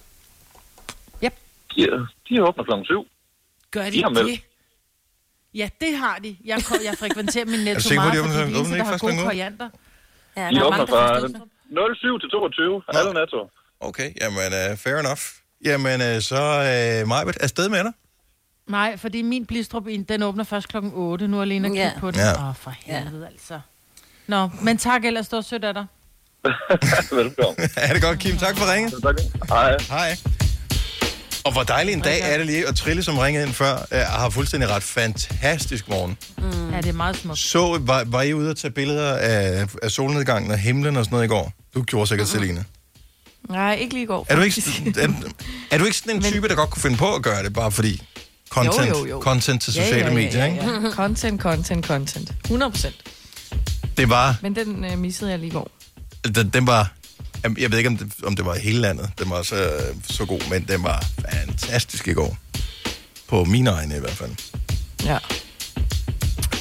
[SPEAKER 9] De, de åbner klokken 7.
[SPEAKER 4] Gør de
[SPEAKER 9] De har
[SPEAKER 4] det?
[SPEAKER 9] meldt.
[SPEAKER 4] Ja, det har de. Jeg, ko- jeg frekventerer min netto
[SPEAKER 1] sikker på,
[SPEAKER 4] meget,
[SPEAKER 1] de åbner-
[SPEAKER 4] fordi de er de
[SPEAKER 1] åbner
[SPEAKER 4] eneste,
[SPEAKER 1] ikke
[SPEAKER 4] der har
[SPEAKER 1] først
[SPEAKER 4] gode
[SPEAKER 1] klokken otte?
[SPEAKER 4] koriander.
[SPEAKER 5] Ja,
[SPEAKER 9] De
[SPEAKER 5] der er
[SPEAKER 9] åbner
[SPEAKER 5] mange, der
[SPEAKER 9] fra
[SPEAKER 5] har forstået.
[SPEAKER 9] 07 altså, til 22, alle Netto.
[SPEAKER 1] Okay, jamen øh, fair enough. Jamen øh, så øh, Majbrit er sted med dig.
[SPEAKER 4] Nej, fordi min blistrup i- den åbner først klokken 8. Nu er alene at
[SPEAKER 5] Ja.
[SPEAKER 4] kigge på den. Åh,
[SPEAKER 1] Ja.
[SPEAKER 4] ja. oh, for helvede ja. altså. Nå, men tak ellers, du sødt af dig.
[SPEAKER 9] <laughs>
[SPEAKER 1] <laughs>
[SPEAKER 9] Velkommen.
[SPEAKER 1] er det godt, Kim? Tak for ringet.
[SPEAKER 9] Tak. Hej.
[SPEAKER 1] Hej. Og hvor dejlig en dag er det lige, og Trille, som ringede ind før, øh, har fuldstændig ret fantastisk morgen.
[SPEAKER 4] Mm. Ja, det er meget smukt.
[SPEAKER 1] Så, var, var I ude at tage billeder af, af solnedgangen og himlen og sådan noget i går? Du gjorde sikkert, Selina.
[SPEAKER 2] Nej, ikke lige i går.
[SPEAKER 1] Er du ikke,
[SPEAKER 2] Mm-hmm. faktisk.
[SPEAKER 1] er, er du ikke sådan en type, der godt kunne finde på at gøre det, bare fordi content,
[SPEAKER 2] Jo, jo, jo.
[SPEAKER 1] content til sociale medier, ikke?
[SPEAKER 2] ja. Content, content, content. 100 procent.
[SPEAKER 1] Det var, altså,
[SPEAKER 2] Men den øh, missede jeg lige i går.
[SPEAKER 1] den, den var, jamen, jeg ved ikke, om det, om det var i hele landet, den var så, så god, men den var fantastisk i går. På mine egne i hvert fald.
[SPEAKER 2] Ja.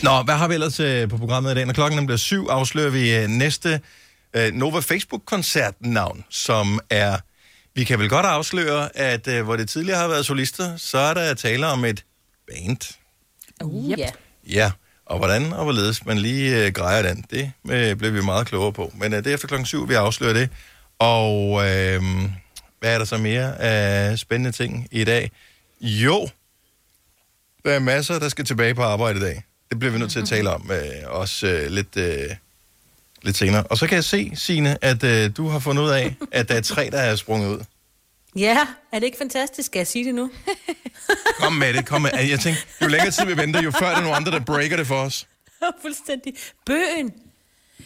[SPEAKER 1] Nå, hvad har vi ellers øh, på programmet i dag? Når klokken den bliver syv, afslører vi øh, næste øh, Nova Facebook-koncertnavn, som er... Vi kan vel godt afsløre, at øh, hvor det tidligere har været solister, så er der tale om et band.
[SPEAKER 5] Uh, ja.
[SPEAKER 1] Ja, og hvordan og hvorledes man lige øh, grejer den, det øh, blev vi meget klogere på. Men øh, det er efter klokken syv, vi afslører det. Og øh, hvad er der så mere af spændende ting i dag? Jo, der er masser, der skal tilbage på arbejde i dag. Det bliver vi nødt til at tale om, øh, også øh, lidt, øh, lidt senere. Og så kan jeg se, Signe, at øh, du har fundet ud af, at der er tre, der er sprunget ud.
[SPEAKER 5] ja, er det ikke fantastisk? Skal jeg sige det nu? <laughs>
[SPEAKER 1] Kom med det, kom med det. Jeg tænkte, jo længere tid vi venter, jo før der er nogen andre, der breaker det for os.
[SPEAKER 5] Fuldstændig. Bøen.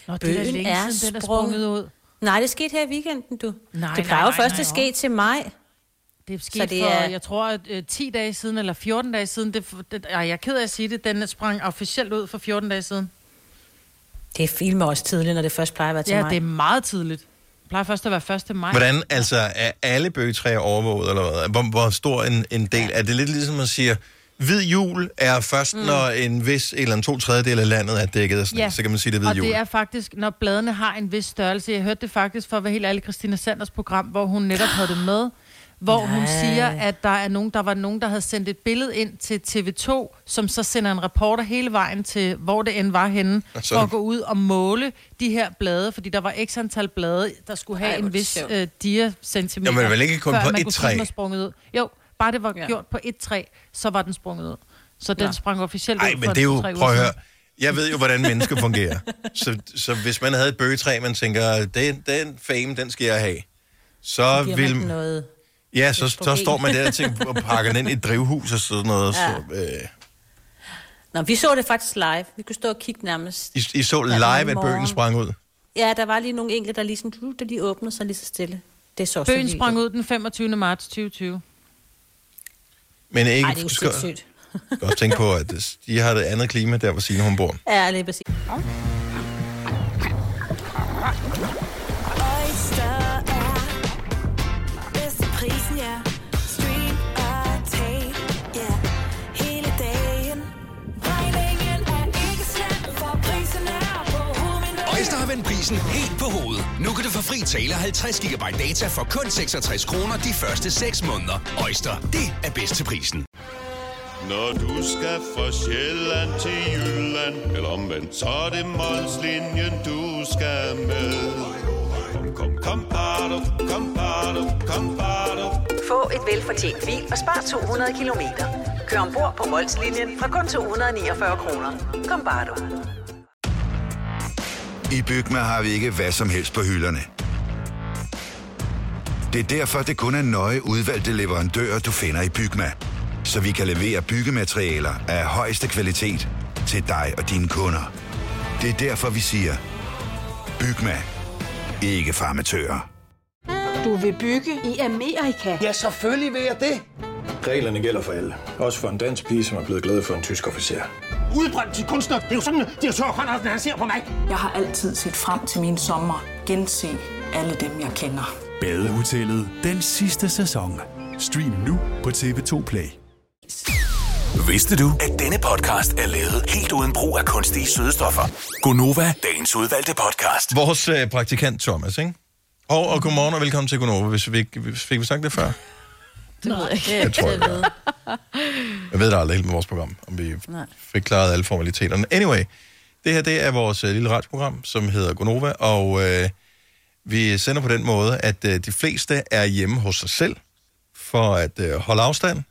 [SPEAKER 4] Nå, det er da
[SPEAKER 5] Bøgen
[SPEAKER 4] længe
[SPEAKER 5] er
[SPEAKER 4] siden, den er
[SPEAKER 5] sprunget.
[SPEAKER 4] sprunget ud.
[SPEAKER 5] Nej, det skete her i weekenden, du.
[SPEAKER 4] Nej,
[SPEAKER 5] det
[SPEAKER 4] nej,
[SPEAKER 5] plejer jo
[SPEAKER 4] nej,
[SPEAKER 5] først
[SPEAKER 4] nej,
[SPEAKER 5] at ske til maj.
[SPEAKER 4] Det er skidt det for, er... jeg tror, at, øh, 10 dage siden, eller 14 dage siden, det, det, ej, jeg er ked af at sige det, den sprang officielt ud for 14 dage siden.
[SPEAKER 5] Det er filmer også tidligt, når det først plejer at være til
[SPEAKER 4] ja,
[SPEAKER 5] maj.
[SPEAKER 4] det er meget tidligt. Det plejer først at være 1. maj.
[SPEAKER 1] Hvordan, altså, er alle bøgetræer overvåget, eller hvad? Hvor, hvor stor en, en del? Er det lidt ligesom, man siger, hvid jul er først, mm. når en vis eller en to tredjedel af landet er dækket af sne, ja. så kan man sige, det er hvid
[SPEAKER 4] og
[SPEAKER 1] jul.
[SPEAKER 4] det er faktisk, når bladene har en vis størrelse. Jeg hørte det faktisk for at være helt ærlig, Christina Sanders program, hvor hun netop havde det med, hvor Nej. hun siger, at der, er nogen, der var nogen, der havde sendt et billede ind til TV2, som så sender en reporter hele vejen til, hvor det end var
[SPEAKER 1] <laughs>
[SPEAKER 4] henne,
[SPEAKER 1] Altså.
[SPEAKER 4] altså. for at gå ud og måle de her blade, fordi der var x antal blade, der skulle have
[SPEAKER 5] Ej,
[SPEAKER 4] Ej,
[SPEAKER 5] hvor er
[SPEAKER 4] en
[SPEAKER 5] det
[SPEAKER 4] vis
[SPEAKER 5] sjovt.
[SPEAKER 4] øh, diacentimeter,
[SPEAKER 1] Jo, men vel ikke kun
[SPEAKER 4] før
[SPEAKER 1] på
[SPEAKER 4] man
[SPEAKER 1] et
[SPEAKER 4] kunne sige,
[SPEAKER 1] træ?
[SPEAKER 4] den var sprunget ud. Jo, bare det var
[SPEAKER 2] Ja.
[SPEAKER 4] ja. gjort på et træ, så var den sprunget ud. Så den
[SPEAKER 2] Nå.
[SPEAKER 4] sprang officielt
[SPEAKER 1] Nej,
[SPEAKER 4] ud
[SPEAKER 1] men
[SPEAKER 4] for
[SPEAKER 1] det er jo,
[SPEAKER 4] to-tre uger
[SPEAKER 1] prøv at
[SPEAKER 4] siden.
[SPEAKER 1] høre, jeg ved jo, hvordan mennesker fungerer. Så, så hvis man havde et bøgetræ, man tænker, den, den fame, den skal jeg have. Så
[SPEAKER 5] Giver man
[SPEAKER 1] vil...
[SPEAKER 5] den noget...
[SPEAKER 1] Ja, så, så
[SPEAKER 5] problem.
[SPEAKER 1] står man der og, tænker, og pakker den ind i et drivhus og sådan noget. Ja. Så, øh,
[SPEAKER 5] Nå, vi så det faktisk live. Vi kunne stå og kigge nærmest.
[SPEAKER 1] I, I så
[SPEAKER 5] var i
[SPEAKER 1] live, at
[SPEAKER 5] morgen.
[SPEAKER 1] bøgen sprang ud.
[SPEAKER 5] Ja, der var lige nogle enkelte, der ligesom, du, der lige åbnede sig lige så stille. Det så også
[SPEAKER 4] Bøgen sprang ud den 25. marts 2020.
[SPEAKER 1] Men ikke,
[SPEAKER 5] Nej, det er jo
[SPEAKER 1] skal-
[SPEAKER 5] sindssygt.
[SPEAKER 1] <laughs> skal også tænke på, at det- de har det andet klima der, hvor Signe hun bor.
[SPEAKER 5] Ja, lige præcis.
[SPEAKER 10] Oyster er bedst til prisen, ja. Stream og tag, ja. Hele dagen. Regningen er ikke slem, for prisen er på hovedet.
[SPEAKER 6] Øjster har vendt prisen helt på hovedet. Nu kan du få fri tale 50 GB data for kun 66 kroner de første 6 måneder. Øjster, det er bedst til prisen.
[SPEAKER 7] Når du skal fra Sjælland til Jylland, eller omvendt, så er det Molslinjen, du skal med. Kom, kom, kom, bado, kom, bado, kom, bado.
[SPEAKER 11] Få et velfortjent bil og spar 200 kilometer. Kør ombord på Molslinjen fra kun 249 kroner. Kom bare du.
[SPEAKER 4] Mm-hmm.
[SPEAKER 12] I Bygma har vi ikke hvad som helst på hylderne. Det er derfor, det kun er nøje udvalgte leverandører, du finder i Bygma. Så vi kan levere byggematerialer af højeste kvalitet til dig og dine kunder. Det er derfor, vi siger, Bygma. Ikke farmatører.
[SPEAKER 13] Du vil bygge i Amerika? Ja, selvfølgelig vil jeg det.
[SPEAKER 14] Reglerne gælder for alle. Også for en dansk pige, som er blevet glad for en tysk officer.
[SPEAKER 13] Udbrøndt til kunstner. Det er jo sådan, at de har han ser på mig. Jeg har altid set frem til min sommer. Gense alle dem, jeg kender.
[SPEAKER 15] Badehotellet den sidste sæson. Stream nu på TV2 Play.
[SPEAKER 16] Vidste du, at denne podcast er lavet helt uden brug af kunstige sødestoffer?
[SPEAKER 1] Gonova,
[SPEAKER 16] Dagens udvalgte podcast.
[SPEAKER 1] Vores øh, praktikant Thomas, ikke? Og, og godmorgen og velkommen til Gonova, hvis vi ikke fik vi sagt det før.
[SPEAKER 2] Det ved jeg ikke.
[SPEAKER 1] Jeg tror ikke. Jeg ved det aldrig helt med vores program, om vi
[SPEAKER 2] Nej.
[SPEAKER 1] fik klaret alle formaliteterne. Anyway, det her det er vores øh, lille radioprogram, som hedder Gonova, og øh, vi sender på den måde, at øh, de fleste er hjemme hos sig selv for at øh, holde afstand.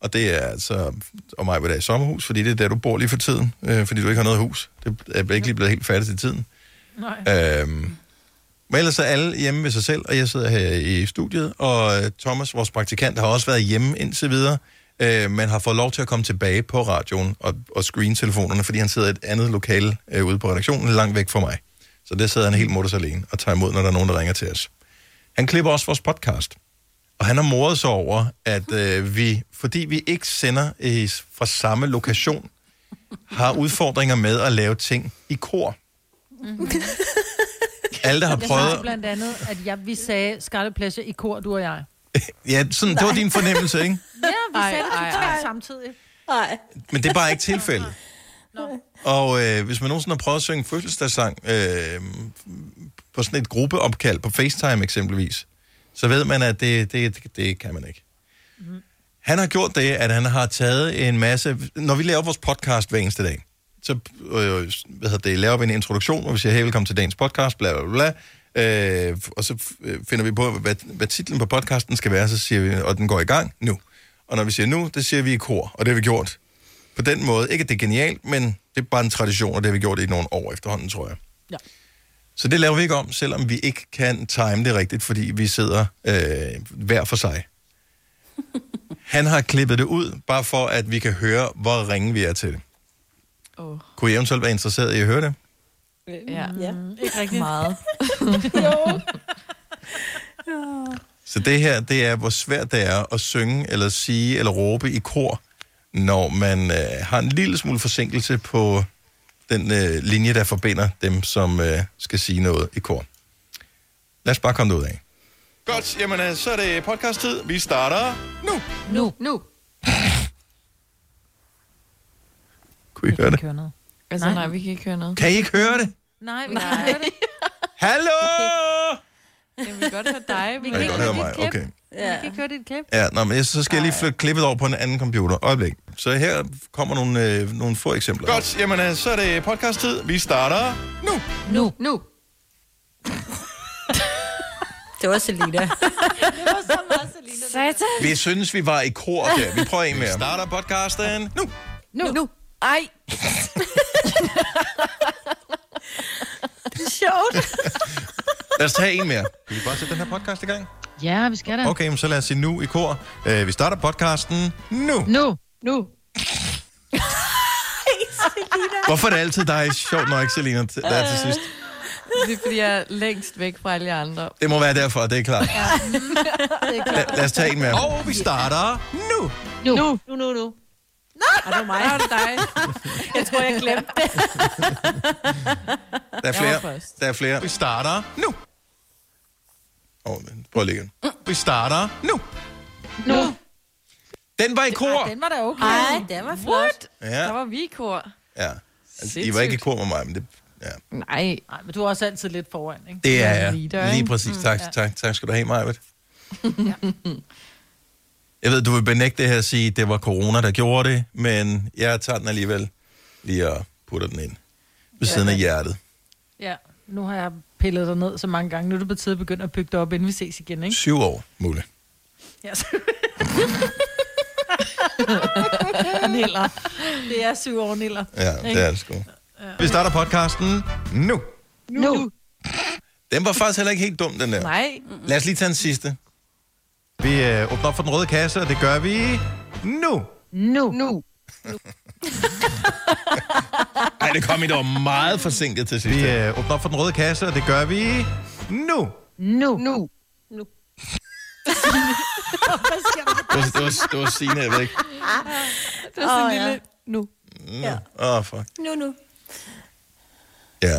[SPEAKER 1] Og det er altså, og mig vil i sommerhus, fordi det er der, du bor lige for tiden, øh, fordi du ikke har noget hus. Det er ikke lige blevet helt færdigt til tiden.
[SPEAKER 4] Nej.
[SPEAKER 1] Øhm, men ellers er alle hjemme ved sig selv, og jeg sidder her i studiet, og øh, Thomas, vores praktikant, har også været hjemme indtil videre, øh, men har fået lov til at komme tilbage på radioen og, og screentelefonerne, fordi han sidder i et andet lokale øh, ude på redaktionen, langt væk fra mig. Så der sidder han helt mutters alene og tager imod, når der er nogen, der ringer til os. Han klipper også vores podcast, og han har moret sig over, at øh, vi, fordi vi ikke sender øh, fra samme lokation, har udfordringer med at lave ting i kor. Alle, der har
[SPEAKER 4] Jeg
[SPEAKER 1] prøvet...
[SPEAKER 4] sagde blandt andet, at jeg, vi sagde Scarlet Pleasure i kor, du og jeg.
[SPEAKER 1] Ja, sådan, det var din fornemmelse, ikke?
[SPEAKER 4] Ja, vi
[SPEAKER 5] Ej,
[SPEAKER 4] ej, sagde det
[SPEAKER 5] ej,
[SPEAKER 4] totalt
[SPEAKER 5] ej.
[SPEAKER 4] samtidig.
[SPEAKER 5] Nej.
[SPEAKER 1] Men det er bare ikke tilfældet. Og øh, hvis man nogensinde har prøvet at synge fødselsdagssang øh, på sådan et gruppeopkald på FaceTime eksempelvis, så ved man, at det, det, det, det kan man ikke. Han har gjort det, at han har taget en masse... Når vi laver vores podcast hver eneste dag, så øh, hvad hedder det, laver vi en introduktion, hvor vi siger, hey, velkommen til dagens podcast, bla bla bla. Øh, og så øh, finder vi på, hvad, hvad titlen på podcasten skal være, så siger vi, og den går i gang nu. Og når vi siger nu, det siger vi i kor, og det har vi gjort på den måde. Ikke, at det er genialt, men det er bare en tradition, og det har vi gjort i nogle år efterhånden, tror jeg.
[SPEAKER 4] Ja.
[SPEAKER 1] Så det laver vi ikke om, selvom vi ikke kan time det rigtigt, fordi vi sidder øh, hver for sig. Han har klippet det ud, bare for at vi kan høre, hvor ringe vi er til det.
[SPEAKER 2] Oh.
[SPEAKER 1] Kunne I eventuelt være interesseret i at høre det?
[SPEAKER 2] <laughs> Ja. ja. Ikke rigtig meget.
[SPEAKER 5] jo.
[SPEAKER 1] Så det her, det er, hvor svært det er at synge, eller sige, eller råbe i kor, når man øh, har en lille smule forsinkelse på den øh, linje, der forbinder dem, som øh, skal sige noget i kor. Lad os bare komme derud af. Godt, jamen øh, så er det podcast-tid. Vi starter nu.
[SPEAKER 4] Nu. Nu.
[SPEAKER 1] <laughs> Kunne I høre det?
[SPEAKER 2] Altså, nej. nej, vi kan ikke høre noget.
[SPEAKER 1] Kan I ikke høre det?
[SPEAKER 4] Nej, vi kan høre det.
[SPEAKER 1] Hallo!
[SPEAKER 4] <laughs>
[SPEAKER 2] Jeg vil godt høre dig. Vi
[SPEAKER 1] kan ikke høre mig. Okay.
[SPEAKER 4] Ja. Vi kan ikke høre dit klip.
[SPEAKER 1] Ja, nå, men jeg- så skal jeg lige flytte klippet over på en anden computer. Øjeblik. Så her kommer nogle, øh, nogle få eksempler. Godt, jamen øh, så er det podcast-tid. Vi starter nu.
[SPEAKER 4] Nu. Nu.
[SPEAKER 5] <laughs> Det var Selina.
[SPEAKER 7] Det var så meget Selina. Satan.
[SPEAKER 1] Vi synes, vi var i kor. Okay, vi prøver en mere. Vi starter podcasten nu.
[SPEAKER 4] Nu. nu.
[SPEAKER 2] <laughs> Ej.
[SPEAKER 5] det er sjovt.
[SPEAKER 1] Lad os tage en mere. Kan vi bare sætte den her podcast i gang?
[SPEAKER 4] Ja, vi skal da.
[SPEAKER 1] Okay, men så lad os sige nu i kor. Øh, vi starter podcasten nu.
[SPEAKER 4] Nu. Nu.
[SPEAKER 1] Hvorfor er det altid dig? Sjovt nok, Selina, t- der er til sidst.
[SPEAKER 2] Det er, fordi jeg er længst væk fra alle jer andre.
[SPEAKER 1] Det må være derfor, det er
[SPEAKER 2] <laughs>
[SPEAKER 1] klart.
[SPEAKER 2] det er
[SPEAKER 1] Lad, lad os tage en mere. Og vi starter nu.
[SPEAKER 4] Nu. Nu.
[SPEAKER 5] Nu, nu, nu. Ej, det var mig.
[SPEAKER 2] Nå, det dig.
[SPEAKER 5] Jeg tror, jeg glemte <laughs> det.
[SPEAKER 1] Der er
[SPEAKER 5] Jeg var
[SPEAKER 1] flere. Der er flere. Vi starter nu. Åh, oh, prøv at lægge den. Vi starter nu.
[SPEAKER 4] Nu.
[SPEAKER 1] Den var i kor.
[SPEAKER 4] Den var da okay.
[SPEAKER 5] Ej, den var flot.
[SPEAKER 4] What?
[SPEAKER 1] Ja.
[SPEAKER 4] var vi i kor.
[SPEAKER 1] Ja. Altså, I var ikke i kor med mig, men det... Ja.
[SPEAKER 2] Nej.
[SPEAKER 4] Nej, men du er også altid lidt foran, ikke?
[SPEAKER 1] Det er jeg.
[SPEAKER 4] leader,
[SPEAKER 1] Lige
[SPEAKER 4] ikke?
[SPEAKER 1] præcis.
[SPEAKER 4] Mm,
[SPEAKER 1] Tak,
[SPEAKER 4] ja.
[SPEAKER 1] tak, tak skal du have, Majbet.
[SPEAKER 4] Ja.
[SPEAKER 1] Jeg ved, du vil benægte det her og sige, at det var corona, der gjorde det, men jeg tager den alligevel lige og putter den ind ved siden af hjertet.
[SPEAKER 4] ja. Nu har jeg pillet dig ned så mange gange. Nu er det på tide at begynde at bygge dig op, inden vi ses igen, ikke?
[SPEAKER 1] Syv år, Mulle.
[SPEAKER 4] Yes. <laughs> Niller. Det er syv år, Niller.
[SPEAKER 1] Ja, det er det sgu. Vi starter podcasten nu.
[SPEAKER 4] Nu.
[SPEAKER 1] Den var faktisk heller ikke helt dum, den der.
[SPEAKER 2] Nej.
[SPEAKER 1] Lad os lige tage den sidste. Vi øh, åbner op for den røde kasse, og det gør vi nu.
[SPEAKER 4] Nu. Nu.
[SPEAKER 1] Nej, det kom i dog meget forsinket til sidst. Vi øh, åbner op for den røde kasse, og det gør vi nu.
[SPEAKER 4] Nu. Nu. <laughs>
[SPEAKER 5] Nu.
[SPEAKER 4] Hvad sker der?
[SPEAKER 1] Det var, det var, det var Signe, jeg ved ikke.
[SPEAKER 4] Det var sådan
[SPEAKER 5] Åh,
[SPEAKER 4] en lille... Nu.
[SPEAKER 1] Åh, ja. oh, fuck.
[SPEAKER 5] Nu, nu.
[SPEAKER 1] Ja.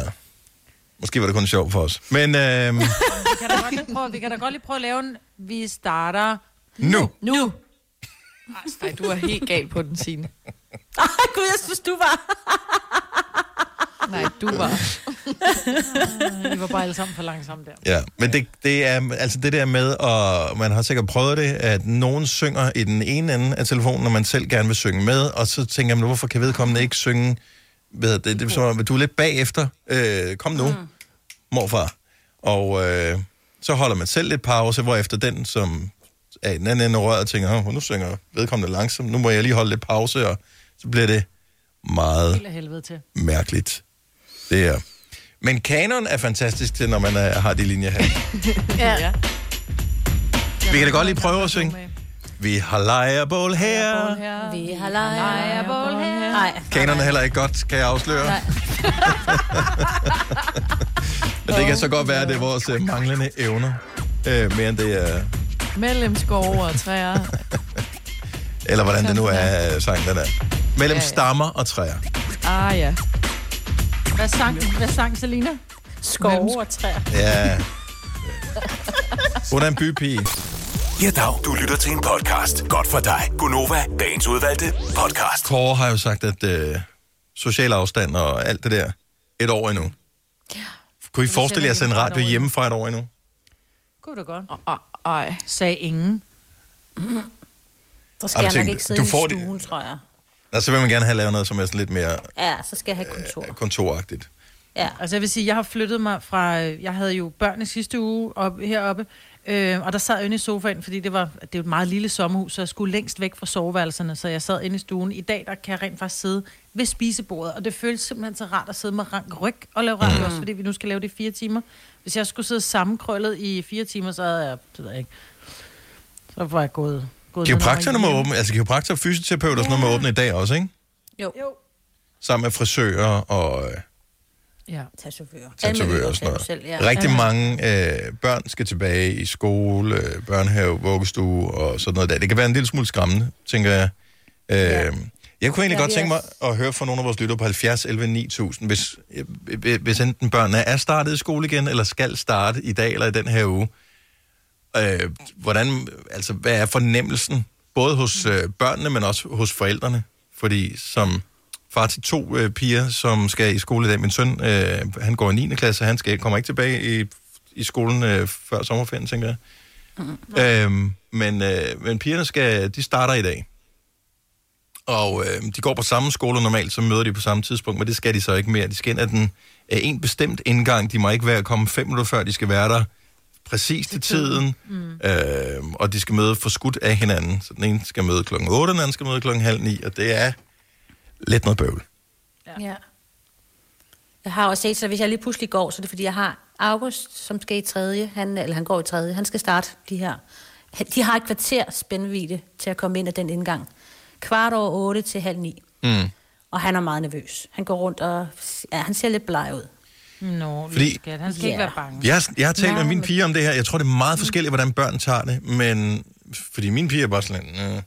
[SPEAKER 1] Måske var det kun sjovt for os. Men øh,
[SPEAKER 4] Vi kan da godt lige prøve, vi kan da godt lige prøve at lave en... Vi starter...
[SPEAKER 1] nu.
[SPEAKER 4] Nu.
[SPEAKER 2] Nej, du er helt gal på den, Signe.
[SPEAKER 5] Ej, gud, jeg synes, du var...
[SPEAKER 2] Nej, du var...
[SPEAKER 4] Vi var bare alle sammen for langsomme der.
[SPEAKER 1] Ja, men det, det er altså det der med, og man har sikkert prøvet det, at nogen synger i den ene ende af telefonen, når man selv gerne vil synge med, og så tænker man, hvorfor kan vedkommende ikke synge? Ved, det, det, det er som om, du er lidt bagefter. Øh, kom nu, mm. morfar. Og øh, så holder man selv lidt pause, hvorefter den, som er i den anden ende af røret, tænker, "Åh, nu synger vedkommende langsomt, nu må jeg lige holde lidt pause, og så bliver det meget
[SPEAKER 4] Helt af helvede til.
[SPEAKER 1] mærkeligt. Det er. Men kanon er fantastisk til, når man er, har de linjer her.
[SPEAKER 4] Ja. ja.
[SPEAKER 1] Vi kan da godt lige prøve at synge. Vi har lejrebål her.
[SPEAKER 5] Vi har lejrebål her. Nej.
[SPEAKER 1] Kanon er heller ikke godt, kan jeg afsløre.
[SPEAKER 5] Nej.
[SPEAKER 1] Men det kan så godt være, at det er vores øh, manglende evner. Øh, mere end det er...
[SPEAKER 2] Mellem skove og træer.
[SPEAKER 1] Eller hvordan det nu er, øh, sangen den er. Mellem
[SPEAKER 4] Ja, ja.
[SPEAKER 1] stammer og træer.
[SPEAKER 2] Ah, ja.
[SPEAKER 4] Hvad sang, hvad sang Selina?
[SPEAKER 5] Skove og træer.
[SPEAKER 1] Ja. Hun er en bypige.
[SPEAKER 6] Ja, dag. Du lytter til en podcast. Godt for dig. Gunova, dagens udvalgte podcast.
[SPEAKER 1] Kåre har jo sagt, at øh, social afstand og alt det der, et år endnu. Kunne I forestille jer at sende radio hjemmefra et år endnu?
[SPEAKER 4] Kunne du godt.
[SPEAKER 2] Ej.
[SPEAKER 4] Sagde ingen.
[SPEAKER 5] Så
[SPEAKER 1] Ej,
[SPEAKER 5] skal jeg
[SPEAKER 1] tænk,
[SPEAKER 5] nok ikke sidde
[SPEAKER 1] du
[SPEAKER 5] i
[SPEAKER 1] får det-
[SPEAKER 5] stuen, tror jeg.
[SPEAKER 1] Der så vil man gerne have lavet noget, som er sådan lidt mere
[SPEAKER 5] Ja, så skal jeg have kontor.
[SPEAKER 1] kontoragtigt.
[SPEAKER 5] Ja.
[SPEAKER 4] Altså jeg vil sige, jeg har flyttet mig fra... øh, Jeg havde jo børn i sidste uge op, heroppe, øh, og der sad jeg inde i sofaen, fordi det var det er jo et meget lille sommerhus, så jeg skulle længst væk fra soveværelserne, så jeg sad inde i stuen. I dag, der kan jeg rent faktisk sidde ved spisebordet, og det føles simpelthen så rart at sidde med rank ryg og lave rank
[SPEAKER 2] Mm.
[SPEAKER 4] mm. også, fordi vi nu skal lave det i fire timer. Hvis jeg skulle sidde sammenkrøllet i fire timer, så havde jeg... Det ved jeg ikke. Så var jeg gået... gået
[SPEAKER 1] Kiropraktorerne må
[SPEAKER 4] ned og-
[SPEAKER 1] åbne, altså kiropraktor, fysioterapeuter og sådan noget må åbne i dag også, ikke?
[SPEAKER 5] Jo.
[SPEAKER 1] Sammen med frisører og øh,
[SPEAKER 4] Ja.
[SPEAKER 5] Tatovører.
[SPEAKER 1] tatovører og sådan noget. Selv, ja. Rigtig mange øh, børn skal tilbage i skole, øh, børnehave, vuggestue og sådan noget der. Det kan være en lille smule skræmmende, tænker jeg. Øh, ja. Jeg kunne
[SPEAKER 17] Ja,
[SPEAKER 1] egentlig ja, godt
[SPEAKER 17] vi
[SPEAKER 1] tænke mig
[SPEAKER 17] er-
[SPEAKER 1] at høre fra nogle af vores lyttere på 70 11 9000, hvis, øh, øh, hvis enten børnene er startet i skole igen, eller skal starte i dag eller i den her uge. Øh, hvordan, altså, hvad er fornemmelsen, både hos øh, børnene, men også hos forældrene? Fordi som far til to øh, piger, som skal i skole i dag, min søn, øh, han går i 9. klasse, han skal, kommer ikke tilbage i, i skolen øh, før sommerferien, tænker jeg. Øhm, men, øh, men pigerne skal, de starter i dag. Og øh, de går på samme skole og normalt, så møder de på samme tidspunkt, men det skal de så ikke mere. De skal ind af den øh, en bestemt indgang. De må ikke være komme fem minutter før, de skal være der præcis til tiden. Mm. Øh, og de skal møde forskudt af hinanden. Så den ene skal møde klokken 8, den anden skal møde klokken halv 9, og det er lidt noget bøvl.
[SPEAKER 5] Ja. ja. Jeg har også set, så hvis jeg lige pludselig går, så er det fordi, jeg har August, som skal i tredje, han, eller han går i tredje, han skal starte de her. Han- De har et kvarter spændvidde til at komme ind ad den indgang. Kvart over otte til halv ni.
[SPEAKER 1] Mm.
[SPEAKER 5] Og han er meget nervøs. Han går rundt og... Ja, han ser lidt bleg ud.
[SPEAKER 4] Nå,
[SPEAKER 1] Fordi-
[SPEAKER 4] Fordi... skat. Han skal
[SPEAKER 5] Ja.
[SPEAKER 4] ikke være bange. Mm.
[SPEAKER 1] Jeg, har- jeg har talt med
[SPEAKER 4] Nej,
[SPEAKER 1] mine
[SPEAKER 4] men-
[SPEAKER 1] piger om det her. Jeg tror, det er meget forskelligt, hvordan børn tager det, men fordi mine piger er bare sådan, øh,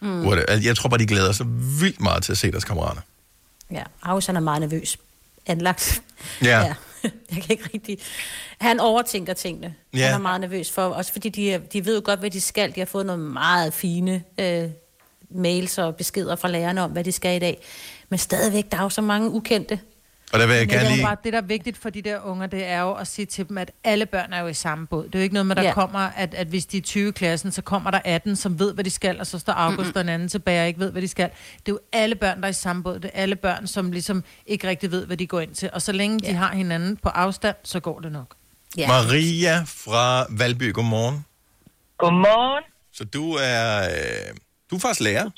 [SPEAKER 5] Mm.
[SPEAKER 1] hvor er det- altså, jeg tror bare, de glæder sig vildt meget til at se deres kammerater.
[SPEAKER 5] Ja, August han er meget nervøs. Anlagt.
[SPEAKER 1] Ja.
[SPEAKER 5] ja. <laughs> Jeg kan ikke rigtig... Han overtænker tingene. Ja.
[SPEAKER 1] Ja.
[SPEAKER 5] Han er meget nervøs for, også fordi de, er- de ved jo godt, hvad de skal. De har fået nogle meget fine øh, mails og beskeder fra lærerne om, hvad de skal i dag. Men stadigvæk, der er jo så mange ukendte.
[SPEAKER 1] Og der vil jeg
[SPEAKER 4] Men det,
[SPEAKER 1] gerne
[SPEAKER 4] er jo
[SPEAKER 1] lige...
[SPEAKER 4] bare, det, der er vigtigt for de der unger, det er jo at sige til dem, at alle børn er jo i samme båd. Det er jo ikke noget med, der
[SPEAKER 5] Ja.
[SPEAKER 4] ja. kommer, at, at hvis de er 20 i klassen, så kommer der 18, som ved, hvad de skal, og så står August og den anden tilbage og ikke ved, hvad de skal. Det er jo alle børn, der er i samme båd. Det er alle børn, som ligesom ikke rigtig ved, hvad de går ind til. Og så længe ja. de har hinanden på afstand, så går det nok.
[SPEAKER 1] Ja. Maria fra Valby, godmorgen.
[SPEAKER 18] Godmorgen.
[SPEAKER 1] Så du er, øh, du er faktisk lærer.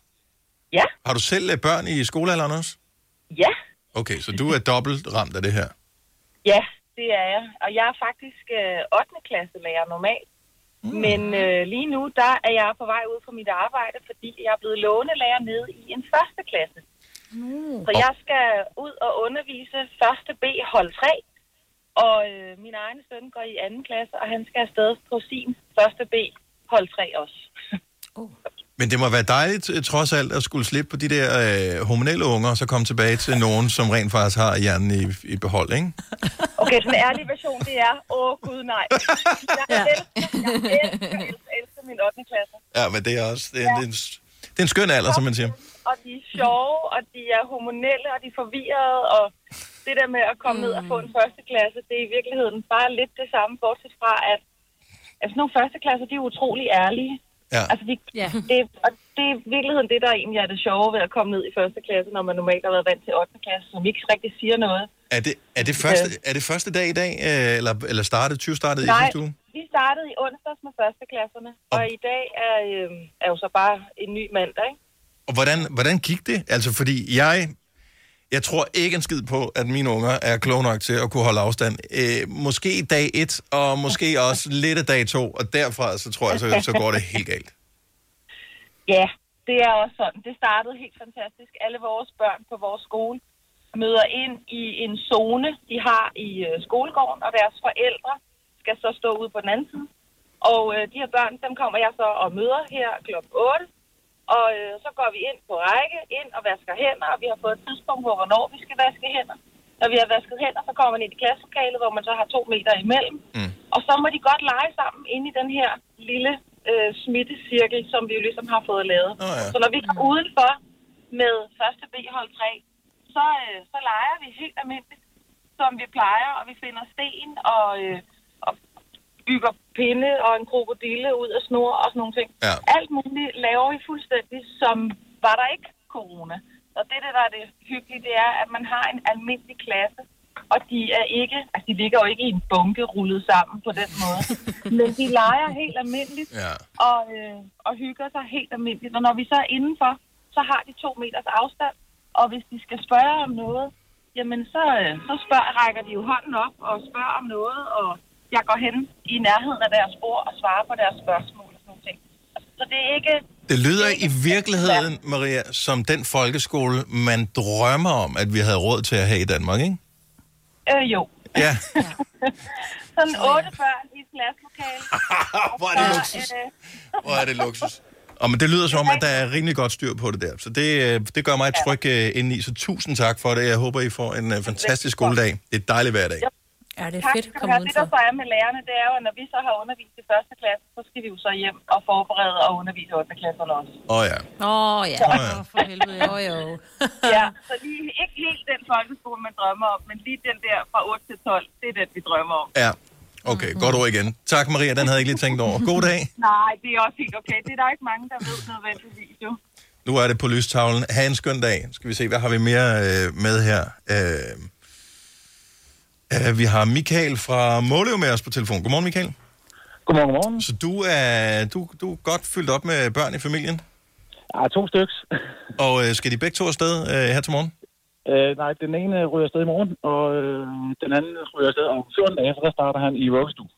[SPEAKER 18] Ja.
[SPEAKER 1] Har du selv øh, børn i skolealderen også?
[SPEAKER 18] Ja,
[SPEAKER 1] Okay, så du er dobbelt ramt af det her.
[SPEAKER 18] ja, det er jeg. Og jeg er faktisk øh, 8. klasselærer normalt. Mm. Men øh, lige nu, der er jeg på vej ud fra mit arbejde, fordi jeg er blevet lånelærer nede i en første klasse. Mm. Så jeg skal ud og undervise første B hold 3. Og øh, min egen søn går i anden klasse, og han skal afsted på sin første B hold 3 også.
[SPEAKER 1] Men det må være dejligt, øh, trods alt, at skulle slippe på de der øh, hormonelle unger, og så komme tilbage til nogen, som rent faktisk har hjernen i, i behold, ikke?
[SPEAKER 18] Okay, den ærlige version, det er, åh gud nej. Jeg elsker, jeg elsker, elsker, elsker min 8. klasse.
[SPEAKER 1] Ja, men det er også... Det er, ja. det er, en, det er en skøn alder, som man siger.
[SPEAKER 18] og de er sjove, og de er hormonelle, og de er forvirrede, og det der med at komme mm. ned og få en første klasse, det er i virkeligheden bare lidt det samme, bortset fra, at altså, nogle første klasser, de er utrolig ærlige.
[SPEAKER 1] Ja.
[SPEAKER 18] Altså, de, ja. det, og det er i virkeligheden det, der egentlig er det sjove ved at komme ned i første klasse, når man normalt har været vant til 8. klasse, som ikke rigtig siger noget.
[SPEAKER 1] Er det, er det, første, er det første dag i dag, øh, eller, eller startede, 20 startede i
[SPEAKER 18] Nej,
[SPEAKER 1] sidste uge?
[SPEAKER 18] vi startede i onsdags med førsteklasserne, og i dag er, øh, er jo så bare en ny mandag, ikke?
[SPEAKER 1] Og hvordan, hvordan gik det? Altså, fordi jeg... Jeg tror ikke en skid på, at mine unger er kloge nok til at kunne holde afstand. Øh, måske dag 1, og måske også lidt af dag 2, og derfra, så tror jeg, så, så går det helt galt.
[SPEAKER 18] Ja, det er også sådan. Det startede helt fantastisk. Alle vores børn på vores skole møder ind i en zone, de har i øh, skolegården, og deres forældre skal så stå ude på den anden side. Og øh, de her børn, dem kommer jeg så og møder her kl. 8. Og øh, så går vi ind på række, ind og vasker hænder, og vi har fået et tidspunkt, hvor hvornår vi skal vaske hænder. Når vi har vasket hænder, så kommer man ind i klasselokalet, hvor man så har to meter imellem. Mm. Og så må de godt lege sammen inde i den her lille øh, smittecirkel, som vi jo ligesom har fået lavet.
[SPEAKER 1] Oh, ja.
[SPEAKER 18] Så når vi går udenfor med første B-hold 3, så, øh, så leger vi helt almindeligt, som vi plejer, og vi finder sten og, øh, og bygger pinde og en krokodille ud af snor og sådan nogle ting.
[SPEAKER 1] Ja.
[SPEAKER 18] Alt muligt laver vi fuldstændig, som var der ikke corona. Og det, der er det hyggelige, det er, at man har en almindelig klasse, og de er ikke, altså de ligger jo ikke i en bunke rullet sammen på den måde. Men de leger helt almindeligt
[SPEAKER 1] Ja.
[SPEAKER 18] og, øh, og hygger sig helt almindeligt. Og når vi så er indenfor, så har de to meters afstand, og hvis de skal spørge om noget, jamen så, øh, så spørger, rækker de jo hånden op og spørger om noget, og jeg går hen i nærheden af deres bord og svarer på deres spørgsmål og sådan nogle ting. Så det er ikke...
[SPEAKER 1] Det lyder i virkeligheden, Maria, som den folkeskole, man drømmer om, at vi havde råd til at have i Danmark, ikke?
[SPEAKER 18] Øh, jo.
[SPEAKER 1] Ja.
[SPEAKER 18] <laughs> Sådan otte børn i et glaslokale.
[SPEAKER 1] <laughs> Hvor er det
[SPEAKER 18] Og,
[SPEAKER 1] luksus.
[SPEAKER 18] øh,
[SPEAKER 1] Hvor er det luksus. Og men det lyder som om, at der er rimelig godt styr på det der. Så det, øh, det gør mig et tryk øh, indeni. Så tusind tak for det. Jeg håber, I får en øh, fantastisk skoledag. Det er et dejligt hverdag.
[SPEAKER 5] Ja, det
[SPEAKER 18] er tak, fedt at komme Det, der så er med lærerne, det er jo, at når vi så har undervist i første klasse, så skal vi jo så hjem og forberede og undervise 8. klasserne også.
[SPEAKER 1] Åh oh, ja.
[SPEAKER 5] Åh, oh, ja.
[SPEAKER 1] Åh, ja.
[SPEAKER 5] For helvede, <laughs> jo,
[SPEAKER 18] <laughs>
[SPEAKER 5] jo.
[SPEAKER 18] ja, så lige, ikke helt den folkeskole, man drømmer om, men lige den der fra 8 til 12, det er den, vi drømmer om.
[SPEAKER 1] Ja. Okay, godt ord igen. Tak, Maria. Den havde jeg ikke lige tænkt over. God dag.
[SPEAKER 18] Nej, det er også helt okay. Det er der ikke mange, der ved nødvendigvis jo.
[SPEAKER 1] Nu er det på lystavlen. Ha' en skøn dag. Skal vi se, hvad har vi mere øh, med her? Øh, øh, vi har Michael fra Måløv med os på telefon. Godmorgen, Michael.
[SPEAKER 17] Godmorgen, godmorgen.
[SPEAKER 1] Så du er, du, du er godt fyldt op med børn i familien?
[SPEAKER 17] Ja, to styks.
[SPEAKER 1] Og øh, skal de begge to afsted øh, her til morgen?
[SPEAKER 17] Øh, nej, den ene ryger afsted i morgen, og øh, den anden ryger afsted om 14 dage, for der starter han i vuggestue.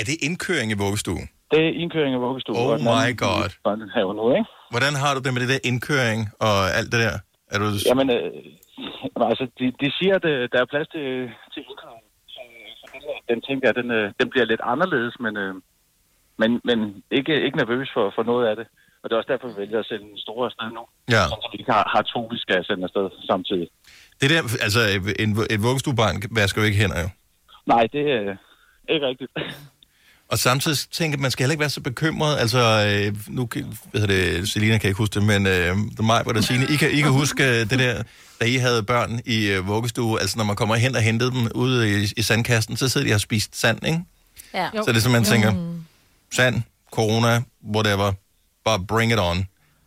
[SPEAKER 1] Er det indkøring i vuggestue?
[SPEAKER 17] Det er indkøring af vuggestue.
[SPEAKER 1] Oh
[SPEAKER 17] og den anden
[SPEAKER 1] my god.
[SPEAKER 17] i Børnehaven nu, ikke?
[SPEAKER 1] Hvordan har du det med det der indkøring og alt det der? Er du...
[SPEAKER 17] Jamen, øh, jamen, altså, de, de siger, at øh, der er plads til, til indkøring. Så, så den, der- den tænker jeg, den, øh, den bliver lidt anderledes, men, øh, men, men ikke, ikke nervøs for, for noget af det. Og det er også derfor, vi vælger at sende den store afsted nu.
[SPEAKER 1] Ja.
[SPEAKER 17] Så vi ikke har, har to, vi skal sende afsted samtidig.
[SPEAKER 1] Det der, altså en, et vuggestuebarn vasker jo ikke hænder jo.
[SPEAKER 17] Nej, det er øh, ikke rigtigt.
[SPEAKER 1] Og samtidig tænker jeg, at man skal heller ikke være så bekymret. Altså, øh, nu kan- hvad hedder det, Selina kan ikke huske det, men øh, det mig, hvor der Signe. I kan, I kan huske øh, det der, da I havde børn i øh, vuggestue. Altså, når man kommer hen og hentede dem ude i, i sandkasten, så sidder de og har spist sand, ikke?
[SPEAKER 5] Ja.
[SPEAKER 1] Jo. Så det er sådan, man tænker, sand, corona, whatever, bare bring it on.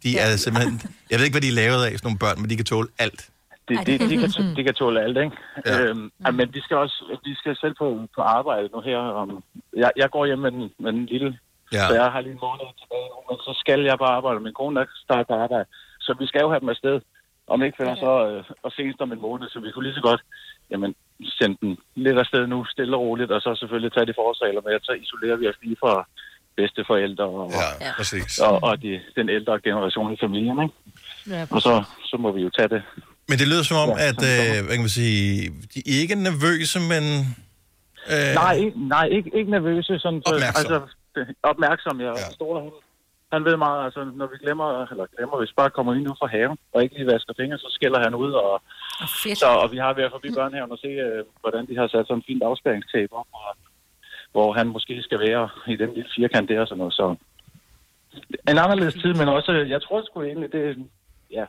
[SPEAKER 1] De er simpelthen, jeg ved ikke, hvad de er lavet af, sådan nogle børn, men de kan tåle alt.
[SPEAKER 17] det, det, det, kan, tå- det kan tåle alt, ikke? Ja. Øhm, ej, men vi skal også vi skal selv på, på arbejde nu her. Om, jeg, jeg går hjem med den, med den lille,
[SPEAKER 1] Ja.
[SPEAKER 17] ja. så jeg har lige en måned tilbage nu, men så skal jeg bare arbejde, og min kone er starte på arbejde. Så vi skal jo have dem afsted, om ikke finder så, øh, og senest om en måned, så vi kunne lige så godt jamen, sende den lidt afsted nu, stille og roligt, og så selvfølgelig tage de forholdsregler med, at så isolerer vi os lige fra bedsteforældre og,
[SPEAKER 1] ja,
[SPEAKER 17] og, og de, den ældre generation i familien, ikke?
[SPEAKER 4] Ja,
[SPEAKER 17] Og så, så må vi jo tage det
[SPEAKER 1] Men det lyder som om, ja, at, øh, hvad kan man sige, de er ikke nervøse, men... Øh,
[SPEAKER 17] Nej, ikke, nej, ikke, ikke nervøse. Sådan, så-
[SPEAKER 1] Opmærksom.
[SPEAKER 17] Altså, det- opmærksom, jeg ja. stoler hende. Han ved meget, altså når vi glemmer, eller glemmer, hvis vi bare kommer ind ud fra haven, og ikke lige vasker fingre, så skælder han ud, og, så, og vi har været forbi børnehaven og se, øh, hvordan de har sat sådan en fint afspæringstape op, og, hvor han måske skal være i den lille firkant der og sådan noget. Så en anderledes tid, men også, jeg tror sgu egentlig, det, ja,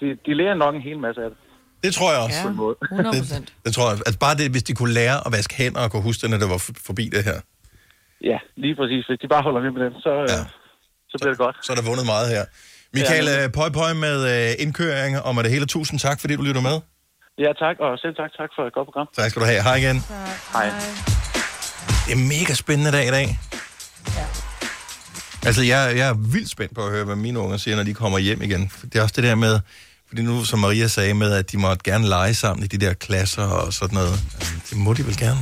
[SPEAKER 17] de, de lærer nok en hel masse af det.
[SPEAKER 1] Det tror jeg også.
[SPEAKER 17] På en måde.
[SPEAKER 1] Det, det tror jeg. Altså bare det, hvis de kunne lære at vaske hænder og kunne huske det, når det var f- forbi det her.
[SPEAKER 17] <laughs> Ja, lige præcis. Hvis de bare holder ved med dem, så, ja. så bliver det godt.
[SPEAKER 1] Så er der vundet meget her. Michael, ja, pøj pøj med øh, indkøring og med det hele. Tusind tak, fordi du lytter med.
[SPEAKER 17] Ja, tak, og selv tak, tak for et godt program.
[SPEAKER 1] Tak skal du have. Hej igen.
[SPEAKER 17] Hej.
[SPEAKER 1] Det er en mega spændende dag i dag. Ja. Altså, jeg, jeg er vildt spændt på at høre, hvad mine unger siger, når de kommer hjem igen. Det er også det der med, fordi nu, som Maria sagde med, at de måtte gerne lege sammen i de der klasser og sådan noget. Altså, det må de vel gerne.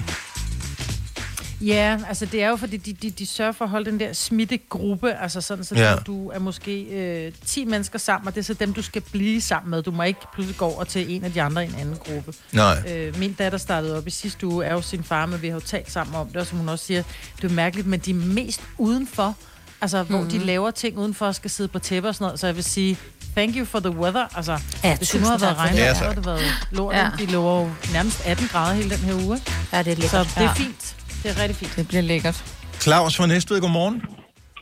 [SPEAKER 4] Ja, altså det er jo, fordi de, de, de sørger for at holde den der smittegruppe, altså sådan, så
[SPEAKER 1] Ja.
[SPEAKER 4] ja. du er måske øh, 10 mennesker sammen, og det er så dem, du skal blive sammen med. Du må ikke pludselig gå over til en af de andre i en anden gruppe.
[SPEAKER 1] Nej.
[SPEAKER 4] Øh, min datter startede op i sidste uge, er jo sin far, men vi har jo talt sammen om det, og som hun også siger, det er mærkeligt, men de er mest udenfor, altså hvor
[SPEAKER 5] Mhm.
[SPEAKER 4] mm-hmm. de laver ting udenfor og skal sidde på tæpper og sådan noget, så jeg vil sige, thank you for the weather, altså
[SPEAKER 5] Ja,
[SPEAKER 4] hvis det nu havde
[SPEAKER 5] tusind
[SPEAKER 4] været
[SPEAKER 5] tak for
[SPEAKER 4] regnet,
[SPEAKER 5] det. Ja,
[SPEAKER 4] så
[SPEAKER 5] tak.
[SPEAKER 4] havde det været lort, ja. de lover jo nærmest 18 grader hele den her uge. ikke?
[SPEAKER 5] Ja, det
[SPEAKER 4] Så
[SPEAKER 5] er lækkert.
[SPEAKER 4] det er
[SPEAKER 5] Ja.
[SPEAKER 4] fint. Det er rigtig fint.
[SPEAKER 2] Det bliver lækkert.
[SPEAKER 1] Claus fra Næstved, godmorgen.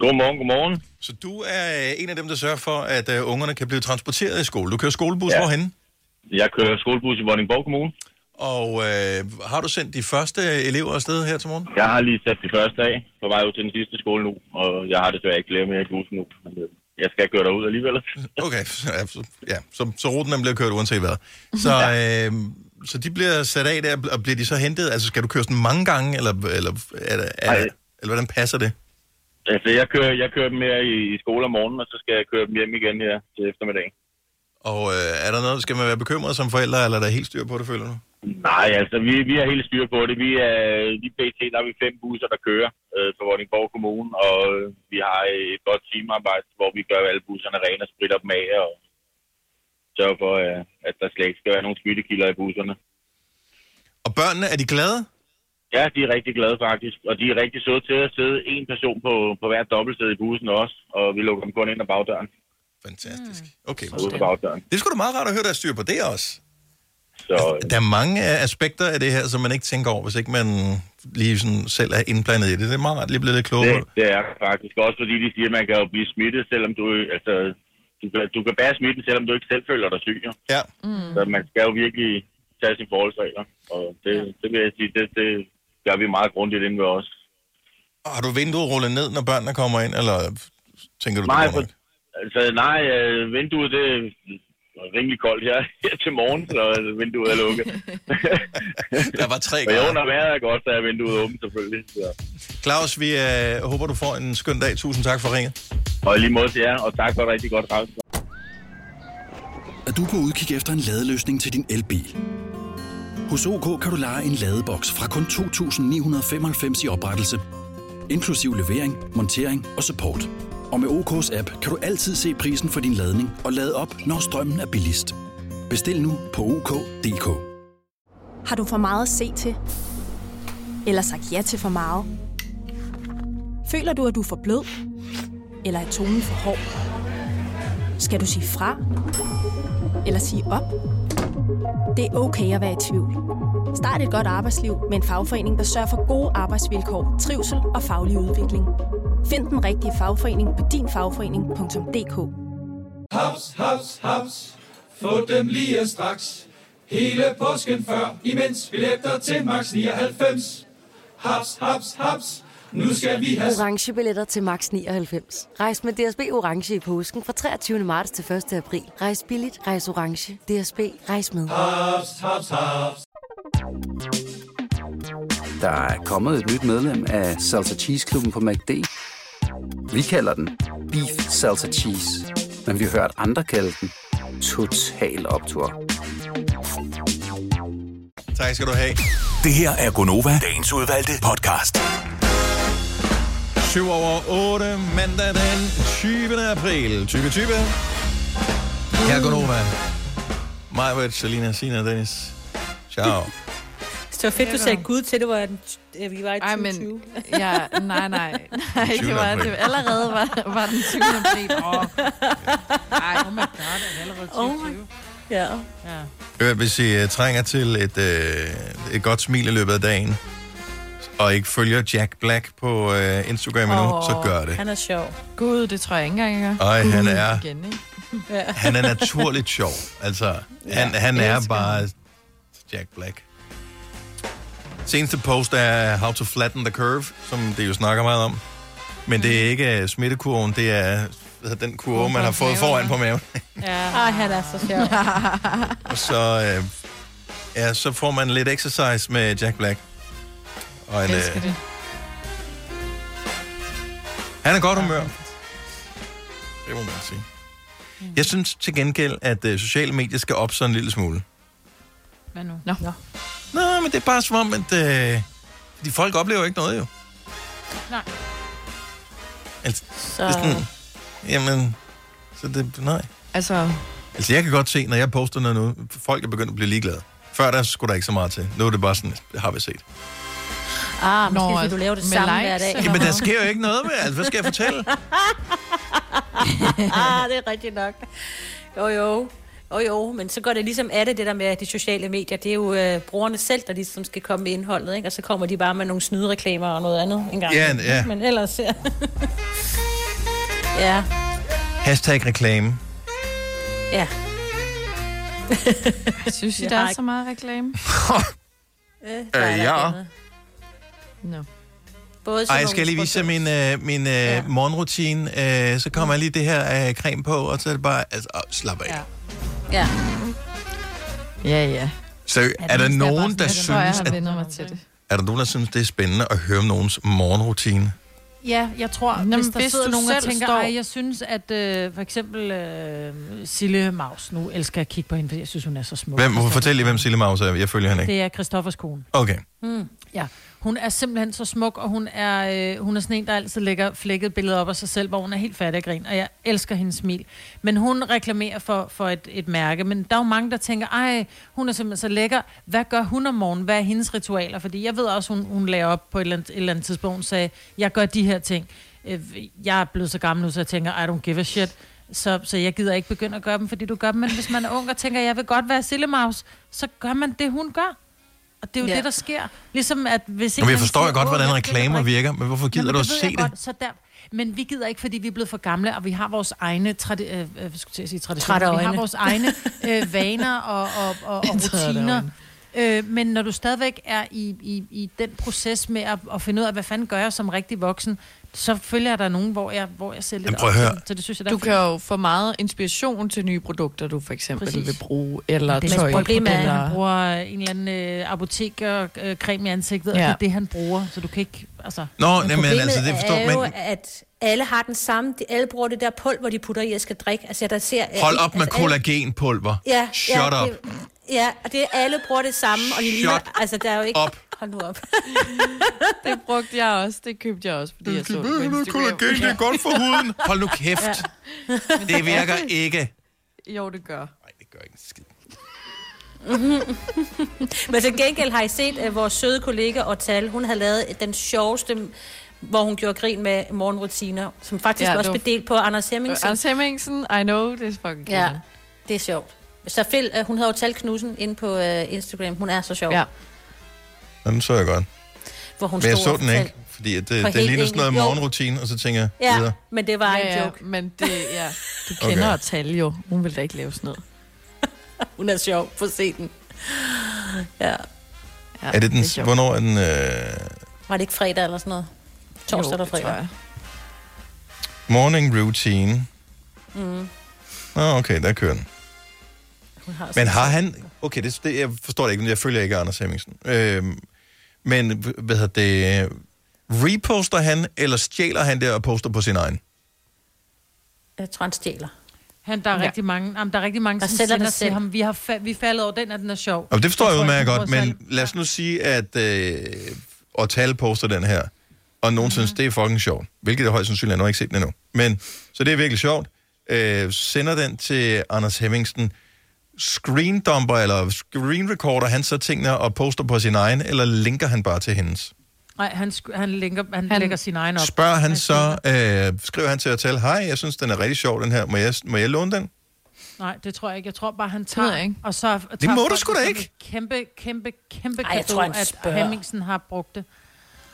[SPEAKER 9] Godmorgen, godmorgen.
[SPEAKER 1] Så du er øh, en af dem, der sørger for, at øh, ungerne kan blive transporteret i skole. Du kører skolebus ja. hvorhen?
[SPEAKER 9] Jeg kører skolebus i Vordingborg Kommune.
[SPEAKER 1] Og øh, har du sendt de første elever afsted her til morgen?
[SPEAKER 9] Jeg har lige sat det første af på vej ud til den sidste skole nu, og jeg har desværre ikke flere mere i bussen nu. Men, øh, Jeg skal køre derud alligevel.
[SPEAKER 1] Okay, ja, så, ja, så, så ruten den bliver kørt uanset hvad. Så, øh, så de bliver sat af der, og bliver de så hentet? Altså, skal du køre sådan mange gange, eller, eller, er, der- er, er, eller hvordan passer det?
[SPEAKER 9] Altså, jeg kører, jeg kører dem her i, i skole om morgenen, og så skal jeg køre dem hjem igen her til eftermiddag.
[SPEAKER 1] Og øh, er der noget, skal man være bekymret som forældre, eller er der helt styr på det, føler du?
[SPEAKER 9] Nej, altså, vi, vi har helt styr på det. Vi er, lige pt. der er vi fem busser, der kører øh, for Vordingborg Kommune, og øh, vi har et godt teamarbejde, hvor vi gør alle busserne rene og spritter dem af, og sørger for, øh, at der slet ikke skal være nogen smittekilder i busserne.
[SPEAKER 1] Og børnene, er de glade?
[SPEAKER 9] Ja, de er rigtig glade faktisk, og de er rigtig søde til at sidde en person på, på hver dobbeltsæde i bussen også, og vi lukker dem kun ind ad bagdøren.
[SPEAKER 1] Fantastisk. Okay.
[SPEAKER 9] Og ud ad bagdøren.
[SPEAKER 1] Det er sgu da meget rart at høre, der er styr på det også.
[SPEAKER 9] Så,
[SPEAKER 1] Der er mange øh, aspekter af det her, som man ikke tænker over, hvis ikke man lige sådan selv er indblandet i det. Det er meget rart lige at blive lidt klogere.
[SPEAKER 9] Det, det er faktisk også, fordi de siger, at man kan jo blive smittet, selvom du... Altså, du kan, du kan bære smitten, selvom du ikke selv føler dig syg. jo.
[SPEAKER 1] Ja.
[SPEAKER 9] Mm. Så man skal jo virkelig tage sine forholdsregler. Og det, ja. det vil jeg sige, det, det gør vi meget grundigt inden ved os.
[SPEAKER 1] Og Har du vinduet rullet ned, når børnene kommer ind, eller tænker du
[SPEAKER 9] Nej,
[SPEAKER 1] det? går
[SPEAKER 9] for,
[SPEAKER 1] nok?
[SPEAKER 9] altså, nej, øh, vinduet det er rimelig koldt her, <laughs> her til morgen, så vinduet er lukket.
[SPEAKER 1] <laughs> der var tre
[SPEAKER 9] grader.
[SPEAKER 1] grader.
[SPEAKER 9] Og jo, når vejret er godt, så er vinduet åbent selvfølgelig. Så.
[SPEAKER 1] Claus, vi øh, håber, du får en skøn dag. Tusind tak for ringet.
[SPEAKER 9] Og i lige måde til jer, og tak for et rigtig godt radio.
[SPEAKER 15] Er du på udkig efter en ladeløsning til din elbil? Hos OK kan du lege en ladeboks fra kun 2.995 i oprettelse, inklusiv levering, montering og support. Og med OK's app kan du altid se prisen for din ladning og lade op, når strømmen er billigst. Bestil nu på OK.dk.
[SPEAKER 10] Har du for meget at se til? Eller sagt ja til for meget? Føler du, at du er for blød? Eller er tonen for hård? Skal du sige fra? Eller sige op? Det er okay at være i tvivl. Start et godt arbejdsliv med en fagforening, der sørger for gode arbejdsvilkår, trivsel og faglig udvikling. Find den rigtige fagforening på dinfagforening.dk.
[SPEAKER 19] Haps, haps, haps. Få dem lige straks. Hele påsken før, imens billetter til max 99. Haps, haps, haps. Nu skal vi have...
[SPEAKER 20] orange billetter til max 99. Rejs med DSB orange i påsken fra 23. marts til 1. april. Rejs billigt, rejs orange. DSB rejs med.
[SPEAKER 19] Haps, haps, haps.
[SPEAKER 21] Der er kommet et nyt medlem af Salsa Cheese Klubben på MACD. Vi kalder den Beef Salsa Cheese, men vi har hørt andre kalde den Total Optor.
[SPEAKER 1] Tak skal du have.
[SPEAKER 6] Det her er Gonova, dagens udvalgte podcast.
[SPEAKER 1] 7 over 8, mandag den 20. april 2020. Her er Gunova. Majbert, Selina, Sina og Dennis. Ciao.
[SPEAKER 5] Så det var fedt, du sagde Gud til, det var den, øh, vi var i 2020. Ej,
[SPEAKER 2] men, ja,
[SPEAKER 5] <laughs>
[SPEAKER 2] nej, <laughs> nej. Nej, det var, det allerede var, var den 20. <laughs> april. Åh,
[SPEAKER 4] Ej, oh my god, er det allerede 20? Oh
[SPEAKER 5] ja.
[SPEAKER 4] ja.
[SPEAKER 1] Øh, Hvis I uh, trænger til et, uh, et godt smil i løbet af dagen, og ikke følger Jack Black på uh, Instagram endnu, oh, så gør det.
[SPEAKER 5] Han er sjov.
[SPEAKER 2] Gud, det tror jeg ikke engang, jeg gør.
[SPEAKER 1] Ej, han
[SPEAKER 2] Gud,
[SPEAKER 1] er-
[SPEAKER 2] Igen,
[SPEAKER 1] <laughs>
[SPEAKER 2] ikke? <laughs>
[SPEAKER 5] Ja.
[SPEAKER 1] Han er naturligt sjov. Altså, han, ja, han
[SPEAKER 2] jeg
[SPEAKER 1] er
[SPEAKER 2] elsker
[SPEAKER 1] bare Jack Black. Seneste post er How to Flatten the Curve, som det jo snakker meget om. Men det er ikke øh, smittekurven, det er hvad hedder den kurve, man har fået foran på maven.
[SPEAKER 5] Ja. Ej, han er så sjov. <laughs>
[SPEAKER 1] Og så, øh, ja, så får man lidt exercise med Jack Black. Og en, øh,
[SPEAKER 2] Elsker det.
[SPEAKER 1] han er godt humør. Det må man sige.
[SPEAKER 2] Mm.
[SPEAKER 1] Jeg synes til gengæld, at øh, sociale medier skal op så en lille smule.
[SPEAKER 4] Hvad nu? Nå. Nå.
[SPEAKER 1] Nej, men det er bare som om, at øh, de folk oplever ikke noget jo.
[SPEAKER 4] Nej.
[SPEAKER 1] Altså, så... det er sådan, jamen, så det, nej.
[SPEAKER 2] Altså,
[SPEAKER 1] Altså, jeg kan godt se, når jeg poster noget nu, folk er begyndt at blive ligeglade. Før der skulle der ikke så meget til. Nu er det bare sådan, det har vi set.
[SPEAKER 5] Ah, måske
[SPEAKER 2] Nå,
[SPEAKER 5] fordi du laver det
[SPEAKER 2] med
[SPEAKER 5] samme
[SPEAKER 2] likes,
[SPEAKER 5] hver dag.
[SPEAKER 2] eller
[SPEAKER 1] Jamen, der sker jo ikke noget med, altså, hvad skal jeg fortælle? <laughs>
[SPEAKER 5] ah, det er rigtigt nok. Jo, jo. Jo, jo, men så går det ligesom af det, det der med de sociale medier. Det er jo øh, brugerne selv, der ligesom skal komme med indholdet, ikke? Og så kommer de bare med nogle snydereklamer og noget andet en gang.
[SPEAKER 1] Ja,
[SPEAKER 5] imellem,
[SPEAKER 1] ja.
[SPEAKER 5] ikke? Men ellers... Ja. ja,
[SPEAKER 1] <laughs> Hashtag reklame.
[SPEAKER 5] ja.
[SPEAKER 2] synes I,
[SPEAKER 5] Jeg
[SPEAKER 2] der
[SPEAKER 5] har
[SPEAKER 2] er
[SPEAKER 5] ikke-
[SPEAKER 2] så meget
[SPEAKER 1] <laughs>
[SPEAKER 2] reklame?
[SPEAKER 5] Øh,
[SPEAKER 1] Øh, ja.
[SPEAKER 2] Nå.
[SPEAKER 5] Både
[SPEAKER 1] Ej, jeg skal lige vise jer min, øh, min øh, ja. morgenrutine. Øh, så kommer jeg lige det her øh, creme på, og så er det bare, altså, åh, slap af. Ja.
[SPEAKER 5] Ja.
[SPEAKER 2] Ja, ja.
[SPEAKER 1] Så er der nogen, der
[SPEAKER 2] Jeg tror, jeg
[SPEAKER 1] synes,
[SPEAKER 2] har
[SPEAKER 1] at,
[SPEAKER 2] vendt mig til det.
[SPEAKER 1] er der nogen, der synes, det er spændende at høre om nogens morgenrutine?
[SPEAKER 4] Ja, jeg tror,
[SPEAKER 2] Nå,
[SPEAKER 4] hvis
[SPEAKER 2] men
[SPEAKER 4] der
[SPEAKER 2] hvis
[SPEAKER 4] sidder
[SPEAKER 2] du
[SPEAKER 4] nogen og
[SPEAKER 2] selv
[SPEAKER 4] tænker,
[SPEAKER 2] står-
[SPEAKER 4] står... jeg synes, at øh, for eksempel øh, Sille Maus, nu elsker jeg at kigge på hende, fordi jeg synes, hun er så smuk. Altså,
[SPEAKER 1] Hvem, fortæl lige, hvem Sille Maus er. Jeg følger hende ikke.
[SPEAKER 4] Det er Christoffers kone.
[SPEAKER 1] Okay.
[SPEAKER 4] Mm. Ja, Hun er simpelthen så smuk, og hun er, øh, hun er sådan en, der altid lægger flækket billeder op af sig selv, hvor hun er helt fattig af grin, og jeg elsker hendes smil. Men hun reklamerer for, for et, et mærke, men der er jo mange, der tænker, ej, hun er simpelthen så lækker. Hvad gør hun om morgenen? Hvad er hendes ritualer? Fordi jeg ved også, hun, hun lagde op på et eller, andet, et eller andet tidspunkt, hun sagde, jeg gør de her ting. Øh, Jeg er blevet så gammel nu, så jeg tænker, I don't give a shit. Så, så jeg gider ikke begynde at gøre dem, fordi du gør dem. Men hvis man er ung og tænker, jeg vil godt være sillemaus, så gør man det, hun gør. Og det er jo ja.
[SPEAKER 2] Ja.
[SPEAKER 4] det, der sker. Ligesom at hvis ikke
[SPEAKER 1] Men jeg
[SPEAKER 4] man
[SPEAKER 1] forstår jo
[SPEAKER 4] siger,
[SPEAKER 1] godt,
[SPEAKER 4] "Åh,
[SPEAKER 1] hvordan
[SPEAKER 4] jeg
[SPEAKER 1] reklamer virker, men hvorfor gider
[SPEAKER 4] Nå, men
[SPEAKER 1] du at
[SPEAKER 4] det ved
[SPEAKER 1] se
[SPEAKER 4] jeg
[SPEAKER 1] det?
[SPEAKER 4] Godt, så der, men vi gider ikke, fordi vi er blevet for gamle, og vi har vores egne tradi- øh, øh, hvad skulle jeg til at sige, traditioner.
[SPEAKER 5] Trætte
[SPEAKER 4] Vi har
[SPEAKER 5] øjne.
[SPEAKER 4] vores egne øh, vaner og, og, og, og
[SPEAKER 5] Trætte
[SPEAKER 4] rutiner.
[SPEAKER 5] øjne.
[SPEAKER 4] Øh, men når du stadigvæk er i, i, i den proces med at, at finde ud af, hvad fanden gør jeg som rigtig voksen, så følger der nogen, hvor jeg, hvor jeg ser lidt
[SPEAKER 2] Jamen, prøv at
[SPEAKER 4] op til.
[SPEAKER 2] høre.
[SPEAKER 4] Så det synes jeg, der er
[SPEAKER 2] Du
[SPEAKER 4] fint.
[SPEAKER 2] kan jo få meget inspiration til nye produkter, du for eksempel
[SPEAKER 4] Præcis.
[SPEAKER 2] Præcis. vil bruge, eller
[SPEAKER 4] Men
[SPEAKER 2] tøj.
[SPEAKER 4] Problemet er, at han
[SPEAKER 2] Eller...
[SPEAKER 4] bruger øh, en eller anden øh, apotekercreme i ansigtet, ja. og
[SPEAKER 2] Ja.
[SPEAKER 4] det er det, han bruger, så du kan ikke... Altså,
[SPEAKER 1] Nå,
[SPEAKER 4] Men
[SPEAKER 1] jamen,
[SPEAKER 4] problemet
[SPEAKER 1] altså, det
[SPEAKER 4] er
[SPEAKER 1] forstår
[SPEAKER 5] er jo,
[SPEAKER 1] man.
[SPEAKER 5] at alle har den samme, de, alle bruger det der pulver, de putter i, jeg skal drikke. Altså, jeg der ser,
[SPEAKER 1] Hold op
[SPEAKER 5] altså,
[SPEAKER 1] med
[SPEAKER 5] alle-
[SPEAKER 1] kollagenpulver.
[SPEAKER 5] Ja,
[SPEAKER 1] Shut
[SPEAKER 5] ja,
[SPEAKER 1] up.
[SPEAKER 5] Det, ja, og det er alle bruger det samme, og de ligner,
[SPEAKER 1] Shut
[SPEAKER 5] altså der er jo ikke...
[SPEAKER 1] up.
[SPEAKER 5] Hold nu op. <laughs>
[SPEAKER 2] Det brugte jeg også, det købte jeg også, fordi jeg så det på Instagram.
[SPEAKER 1] Kollagen, det er godt for huden. <laughs> Hold nu kæft.
[SPEAKER 2] Ja. <laughs>
[SPEAKER 1] Det virker <laughs> ikke.
[SPEAKER 2] Jo, det gør.
[SPEAKER 5] Men til gengæld har I set uh, vores søde kollega Otal, hun havde lavet den sjoveste, hvor hun gjorde grin med morgenrutiner, som faktisk
[SPEAKER 2] Ja,
[SPEAKER 5] ja,
[SPEAKER 2] det
[SPEAKER 5] også
[SPEAKER 2] var-
[SPEAKER 5] blev delt på Anders Hemmingsen.
[SPEAKER 2] Anders Hemmingsen, I know, det er fucking
[SPEAKER 5] Ja,
[SPEAKER 2] grineren.
[SPEAKER 5] det er sjovt. Så Phil, uh, hun hedder Otal Knudsen inde på uh, Instagram, hun er så sjov.
[SPEAKER 2] Ja.
[SPEAKER 1] Nå, den så jeg godt.
[SPEAKER 5] Hvor hun
[SPEAKER 1] Men jeg
[SPEAKER 5] stod
[SPEAKER 1] så
[SPEAKER 5] og
[SPEAKER 1] den
[SPEAKER 5] fortalte-
[SPEAKER 1] ikke, fordi at det,
[SPEAKER 5] For
[SPEAKER 1] det
[SPEAKER 5] helt
[SPEAKER 1] ligner sådan noget
[SPEAKER 5] enkelt. Jo.
[SPEAKER 1] morgenrutine, og så tænker jeg
[SPEAKER 5] Ja,
[SPEAKER 1] videre.
[SPEAKER 5] men det var
[SPEAKER 2] ja,
[SPEAKER 5] en joke.
[SPEAKER 2] Ja, men det,
[SPEAKER 5] <laughs>
[SPEAKER 2] ja. Du
[SPEAKER 1] Okay.
[SPEAKER 2] kender okay. at tale jo. Hun vil da ikke lave sådan noget.
[SPEAKER 5] Hun er sjov, få se den. Ja.
[SPEAKER 2] ja
[SPEAKER 1] Er det den,
[SPEAKER 5] er sjovt.
[SPEAKER 1] hvornår er den, øh,
[SPEAKER 5] Var det ikke fredag eller sådan noget? Torsdag
[SPEAKER 2] Jo,
[SPEAKER 5] eller
[SPEAKER 2] det tror
[SPEAKER 5] fredag?
[SPEAKER 2] jeg.
[SPEAKER 1] morning routine?
[SPEAKER 5] Mm.
[SPEAKER 1] Nå, okay, der kører den.
[SPEAKER 5] Hun har
[SPEAKER 1] Men
[SPEAKER 5] sådan-
[SPEAKER 1] har han... Okay, det, det, jeg forstår det ikke, men jeg følger ikke Anders Hemmingsen. Øhm, men, h- hvad hedder det... øh, Reposter han, eller stjæler han det og poster på sin egen?
[SPEAKER 5] Jeg tror, han øh, stjæler.
[SPEAKER 4] Han, der, er
[SPEAKER 5] Ja.
[SPEAKER 4] ja. rigtig mange, jamen, der er rigtig mange,
[SPEAKER 5] Der
[SPEAKER 4] der som
[SPEAKER 5] sælger
[SPEAKER 4] sender
[SPEAKER 5] det
[SPEAKER 4] til
[SPEAKER 5] selv.
[SPEAKER 4] ham, vi har fa- vi er faldet over den, og den er sjov.
[SPEAKER 1] Og det forstår jeg
[SPEAKER 4] tror
[SPEAKER 1] udmærket
[SPEAKER 4] ikke,
[SPEAKER 1] godt,
[SPEAKER 4] han
[SPEAKER 1] men lad os nu sige, at øh, Otal poster den her, og nogen
[SPEAKER 4] Mhm.
[SPEAKER 1] synes, det er fucking sjovt, hvilket er højst sandsynligt, jeg har ikke set den endnu. Men, så det er virkelig sjovt. Øh, sender den til Anders Hemmingsen, screendumper eller screen recorder han så tingene og poster på sin egen, eller linker han bare til hendes?
[SPEAKER 4] Nej, han, sk- han, linker, han, han lægger sin egen op.
[SPEAKER 1] Spørger han så, øh, skriver han til at tale, hej, jeg synes, den er rigtig sjov, den her, må jeg, må jeg låne den?
[SPEAKER 4] Nej, det tror jeg ikke. Jeg tror bare, han tager... Ikke. Og så tager
[SPEAKER 1] Det må du
[SPEAKER 4] folk
[SPEAKER 1] sgu da
[SPEAKER 4] som
[SPEAKER 1] ikke.
[SPEAKER 4] et Kæmpe, kæmpe, kæmpe
[SPEAKER 5] Ej, jeg
[SPEAKER 4] cadeau,
[SPEAKER 5] tror, han
[SPEAKER 4] at
[SPEAKER 5] spørger.
[SPEAKER 4] Hemmingsen har brugt det.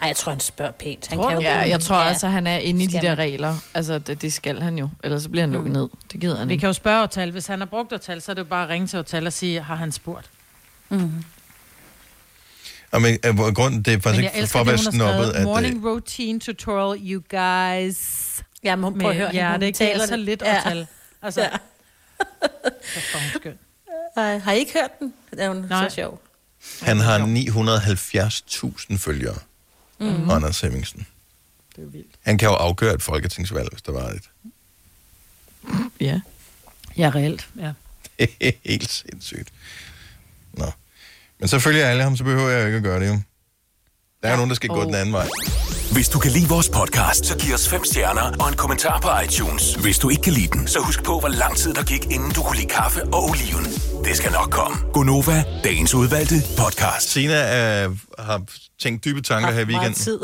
[SPEAKER 5] Ej, jeg tror, han spørger pænt. Han
[SPEAKER 4] Tror
[SPEAKER 5] kan
[SPEAKER 4] du?
[SPEAKER 5] jo
[SPEAKER 2] Ja, jeg tror
[SPEAKER 5] Ja.
[SPEAKER 2] også, at han er inde i de
[SPEAKER 5] Skal
[SPEAKER 2] der
[SPEAKER 5] man. Mm.
[SPEAKER 2] regler. Altså, det, det skal han jo. Ellers så bliver han lukket ned. Det gider han
[SPEAKER 4] Vi
[SPEAKER 2] ikke.
[SPEAKER 4] kan jo spørge Otal. Hvis han har brugt Otal, så er det jo bare at ringe til Otal og sige, har han spurgt? Mm.
[SPEAKER 1] Og men, øh, hvor- grunden, det er faktisk
[SPEAKER 4] Men jeg
[SPEAKER 1] ikke for
[SPEAKER 4] elsker
[SPEAKER 1] at
[SPEAKER 4] det,
[SPEAKER 1] være
[SPEAKER 4] hun har
[SPEAKER 1] snobbet,
[SPEAKER 4] skrevet.
[SPEAKER 1] at... øh,
[SPEAKER 4] Morning routine tutorial, you guys.
[SPEAKER 5] Ja, men hun prøver at høre,
[SPEAKER 4] Ja,
[SPEAKER 5] hun
[SPEAKER 4] det
[SPEAKER 5] taler
[SPEAKER 4] taler så
[SPEAKER 5] det.
[SPEAKER 4] lidt
[SPEAKER 5] Ja.
[SPEAKER 4] Otal. Altså,
[SPEAKER 5] Ja. Ej, har I ikke hørt den? Den er hun så sjov.
[SPEAKER 1] Han har 970.000 følgere,
[SPEAKER 5] Mhm.
[SPEAKER 1] mm-hmm. Anders Hemmingsen. Det er vildt. Han kan jo afgøre et folketingsvalg, hvis der var et. <laughs>
[SPEAKER 2] <laughs> Ja.
[SPEAKER 4] Ja, reelt.
[SPEAKER 2] <laughs>
[SPEAKER 4] Ja.
[SPEAKER 1] Helt sindssygt. Nå. Men så følger jeg alle ham, så behøver jeg jo ikke at gøre det. jo. Der er ja. nogen, der skal oh. gå den anden vej.
[SPEAKER 6] Hvis du kan lide vores podcast, så giv os fem stjerner og en kommentar på iTunes. Hvis du ikke kan lide den, så husk på, hvor lang tid der gik, inden du kunne lide kaffe og oliven. Det skal nok komme.
[SPEAKER 1] Gonova, dagens udvalgte podcast. Sina øh, har tænkt dybe tanker her i
[SPEAKER 5] Meget
[SPEAKER 1] weekenden.
[SPEAKER 5] tid.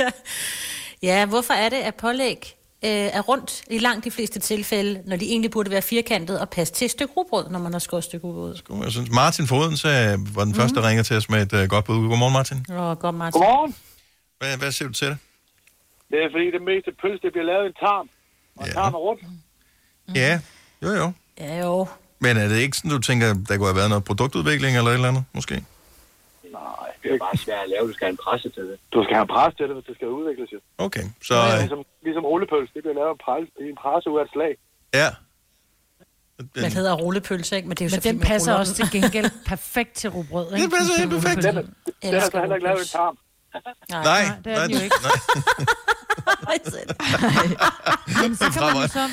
[SPEAKER 5] Ja. <laughs> ja, hvorfor er det, at pålæg øh, er rundt i langt de fleste tilfælde, når de egentlig burde være firkantet og passe til et stykke rugbrød, når man har skåret et stykke rugbrød?
[SPEAKER 1] Godmorgen, Jeg synes, Martin Foden så, var den første, der ringer til os med et øh, godt bud. Godmorgen, Martin.
[SPEAKER 5] Åh, godt, Martin.
[SPEAKER 3] Godmorgen.
[SPEAKER 1] Hvad, hvad siger du til det?
[SPEAKER 3] Det er fordi, det meste pølse, det bliver lavet i en tarm. Og ja. tarm er rundt.
[SPEAKER 1] Ja, jo jo.
[SPEAKER 5] Ja, jo.
[SPEAKER 1] Men er det ikke sådan, du tænker, der kunne have været noget produktudvikling eller et eller andet, måske?
[SPEAKER 3] Nej, det er bare svært at lave. Du skal have en presse til det. Du skal have en presse til det, hvis det skal udvikles. Jo.
[SPEAKER 1] Okay, så...
[SPEAKER 3] Det er
[SPEAKER 1] Øh,
[SPEAKER 3] ligesom, ligesom rullepølse, det bliver lavet af en presse, i en presse ud af et slag.
[SPEAKER 1] ja.
[SPEAKER 5] Man hedder rullepølse, ikke? Men, det er jo
[SPEAKER 4] Men
[SPEAKER 5] så fint
[SPEAKER 4] den
[SPEAKER 5] med
[SPEAKER 4] passer
[SPEAKER 5] ruller.
[SPEAKER 4] også til gengæld perfekt til rugbrød.
[SPEAKER 5] Den passer helt perfekt.
[SPEAKER 3] Den, er- den er så heller ikke lavet i en tarm.
[SPEAKER 1] Nej,
[SPEAKER 4] det er den jo
[SPEAKER 1] nej,
[SPEAKER 5] <laughs>
[SPEAKER 4] ikke. Men så, kan man jo
[SPEAKER 1] Fremad.
[SPEAKER 4] så,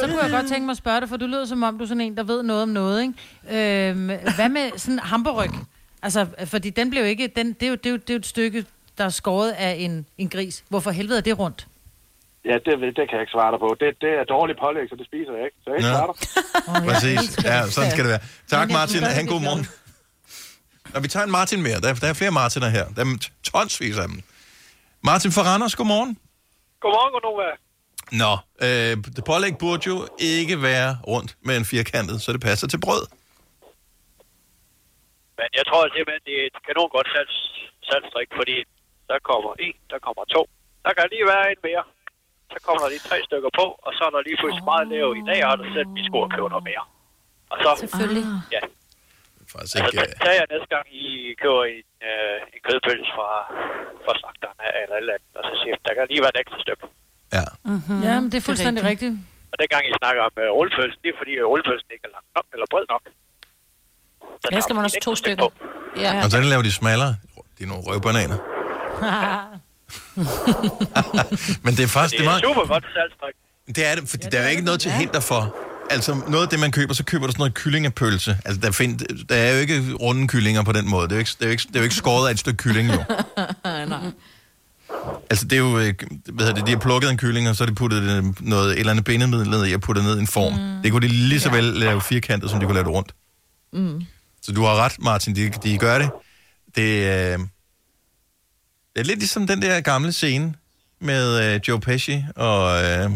[SPEAKER 4] så kunne jeg godt tænke mig at spørge dig, for du lyder som om, du er sådan en, der ved noget om noget, ikke? Øhm, hvad med sådan hamburg? Altså, fordi den blev ikke... Den, det, er jo, det, er jo, det er jo et stykke, der er skåret af en, en gris. Hvorfor helvede er det rundt?
[SPEAKER 3] Ja, det, ved- det kan jeg ikke svare dig på. Det, det er dårligt pålæg, så det spiser jeg ikke. Så jeg
[SPEAKER 1] Ja.
[SPEAKER 3] starter.
[SPEAKER 1] Præcis. Ja, sådan skal det være. Tak,
[SPEAKER 3] Men jeg
[SPEAKER 1] Martin.
[SPEAKER 3] synes også,
[SPEAKER 1] Han
[SPEAKER 3] det
[SPEAKER 1] god
[SPEAKER 3] er
[SPEAKER 1] morgen. Når vi tager en Martin mere, der, der er flere Martiner her. Der er tonsvis af dem. Martin fra Randers, godmorgen.
[SPEAKER 8] Godmorgen, Gunova.
[SPEAKER 1] Nå, øh, det pålæg burde jo ikke være rundt med en firkantet, så det passer til brød.
[SPEAKER 8] Men jeg tror simpelthen, det er et kanon godt salgs, salgstrik, fordi der kommer en, der kommer to. Der kan lige være en mere. Så kommer der lige tre stykker på, og så er der lige pludselig meget lav. I dag har der selv, vi skulle have købt noget mere. Og så, Selvfølgelig. Ja.
[SPEAKER 1] Faktisk
[SPEAKER 8] ikke, altså, så tager jeg næste gang, I køber en, øh, en kødpølse fra, fra slagterne eller et eller andet, og så siger jeg, der kan lige være et ekstra stykke.
[SPEAKER 5] Mhm.
[SPEAKER 4] Mm-hmm. Ja, men det er fuldstændig rigtigt.
[SPEAKER 8] Og dengang I snakker om øh, rullepølsen, det er fordi, at rullepølsen ikke er lang nok, eller bred nok.
[SPEAKER 22] Her skal man også to stykker. Ja.
[SPEAKER 1] Og sådan laver de smallere. Det er nogle røvbananer.
[SPEAKER 4] <laughs>
[SPEAKER 5] <laughs>
[SPEAKER 1] Men det er faktisk...
[SPEAKER 8] Det er
[SPEAKER 1] meget-
[SPEAKER 8] et super godt salgstrik.
[SPEAKER 1] Det er det, fordi der er jo ikke noget til hinder for. Altså, noget af det, man køber, så køber du sådan noget kyllingepølse. Altså, der, find, der er jo ikke runde kyllinger på den måde. Det er jo ikke, det er jo ikke, det er jo ikke skåret af et stykke kylling, jo.
[SPEAKER 22] Nej.
[SPEAKER 1] Altså, det er jo... øh, Hvad hedder det? De har plukket en kylling, og så har de puttet øh, noget, et eller andet bindemiddel ned i og puttet ned i en form. Mm. Det kunne de lige så vel lave firkantet, som de kunne lave det rundt.
[SPEAKER 22] Mm.
[SPEAKER 1] Så du har ret, Martin. De, de gør det. Det, øh, det er lidt ligesom den der gamle scene med øh, Joe Pesci og... Øh,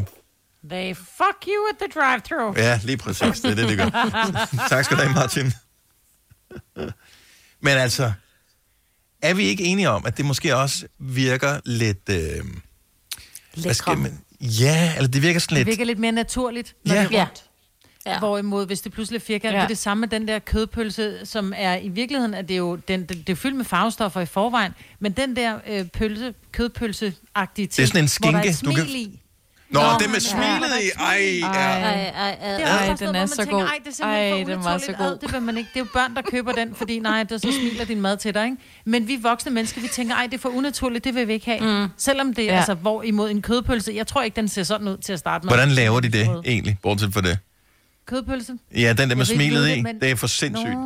[SPEAKER 4] They fuck you at the drive-thru.
[SPEAKER 1] Ja, lige præcis. Det er det,
[SPEAKER 4] <laughs>
[SPEAKER 1] det gør. tak skal du have, Martin. <laughs> Men altså, er vi ikke enige om, at det måske også virker lidt... Øh, hvad skal man, ja, eller det virker sådan
[SPEAKER 4] Det
[SPEAKER 1] lidt...
[SPEAKER 4] virker lidt mere naturligt, når
[SPEAKER 1] Ja.
[SPEAKER 4] det er rundt. Ja. Hvorimod, hvis det pludselig er firkantet, ja.
[SPEAKER 22] Ja.
[SPEAKER 4] det er det samme med den der kødpølse, som er i virkeligheden, at det er jo den, den, det er fyldt med farvestoffer i forvejen, men den der øh, pølse, kødpølse-agtige ting,
[SPEAKER 1] Det er sådan en
[SPEAKER 4] hvor der er
[SPEAKER 1] skinke,
[SPEAKER 4] et
[SPEAKER 1] du
[SPEAKER 4] smil
[SPEAKER 1] kan-
[SPEAKER 4] i.
[SPEAKER 1] Nå,
[SPEAKER 4] Nå,
[SPEAKER 1] det med
[SPEAKER 4] ja.
[SPEAKER 1] smilet i... Ej,
[SPEAKER 4] Ej,
[SPEAKER 1] ja.
[SPEAKER 5] ej, ej.
[SPEAKER 4] Det er også
[SPEAKER 2] Ej,
[SPEAKER 4] bare sådan
[SPEAKER 2] den er
[SPEAKER 4] noget, hvor man
[SPEAKER 2] så
[SPEAKER 4] tænker,
[SPEAKER 2] god.
[SPEAKER 4] Ej, det er simpelthen
[SPEAKER 2] Ej,
[SPEAKER 4] for
[SPEAKER 2] den var så
[SPEAKER 4] unaturligt. Ad,
[SPEAKER 2] god.
[SPEAKER 4] Det vil man ikke. Det er jo børn, der køber den, fordi nej, det er så smiler din mad til dig, ikke? Men vi voksne mennesker, vi tænker, ej, det er for unaturligt, det vil vi ikke have. Mm. Selvom det er
[SPEAKER 2] Ja.
[SPEAKER 4] ja. altså, hvorimod en kødpølse, jeg tror ikke, den ser sådan ud til at starte med.
[SPEAKER 1] Hvordan laver de det egentlig, bortset fra det?
[SPEAKER 4] Kødpølse?
[SPEAKER 1] Ja, den der
[SPEAKER 4] Jeg
[SPEAKER 1] med
[SPEAKER 4] ved ikke,
[SPEAKER 1] smilet
[SPEAKER 4] ved
[SPEAKER 1] i,
[SPEAKER 4] men-
[SPEAKER 1] det er for sindssygt.
[SPEAKER 4] Nå,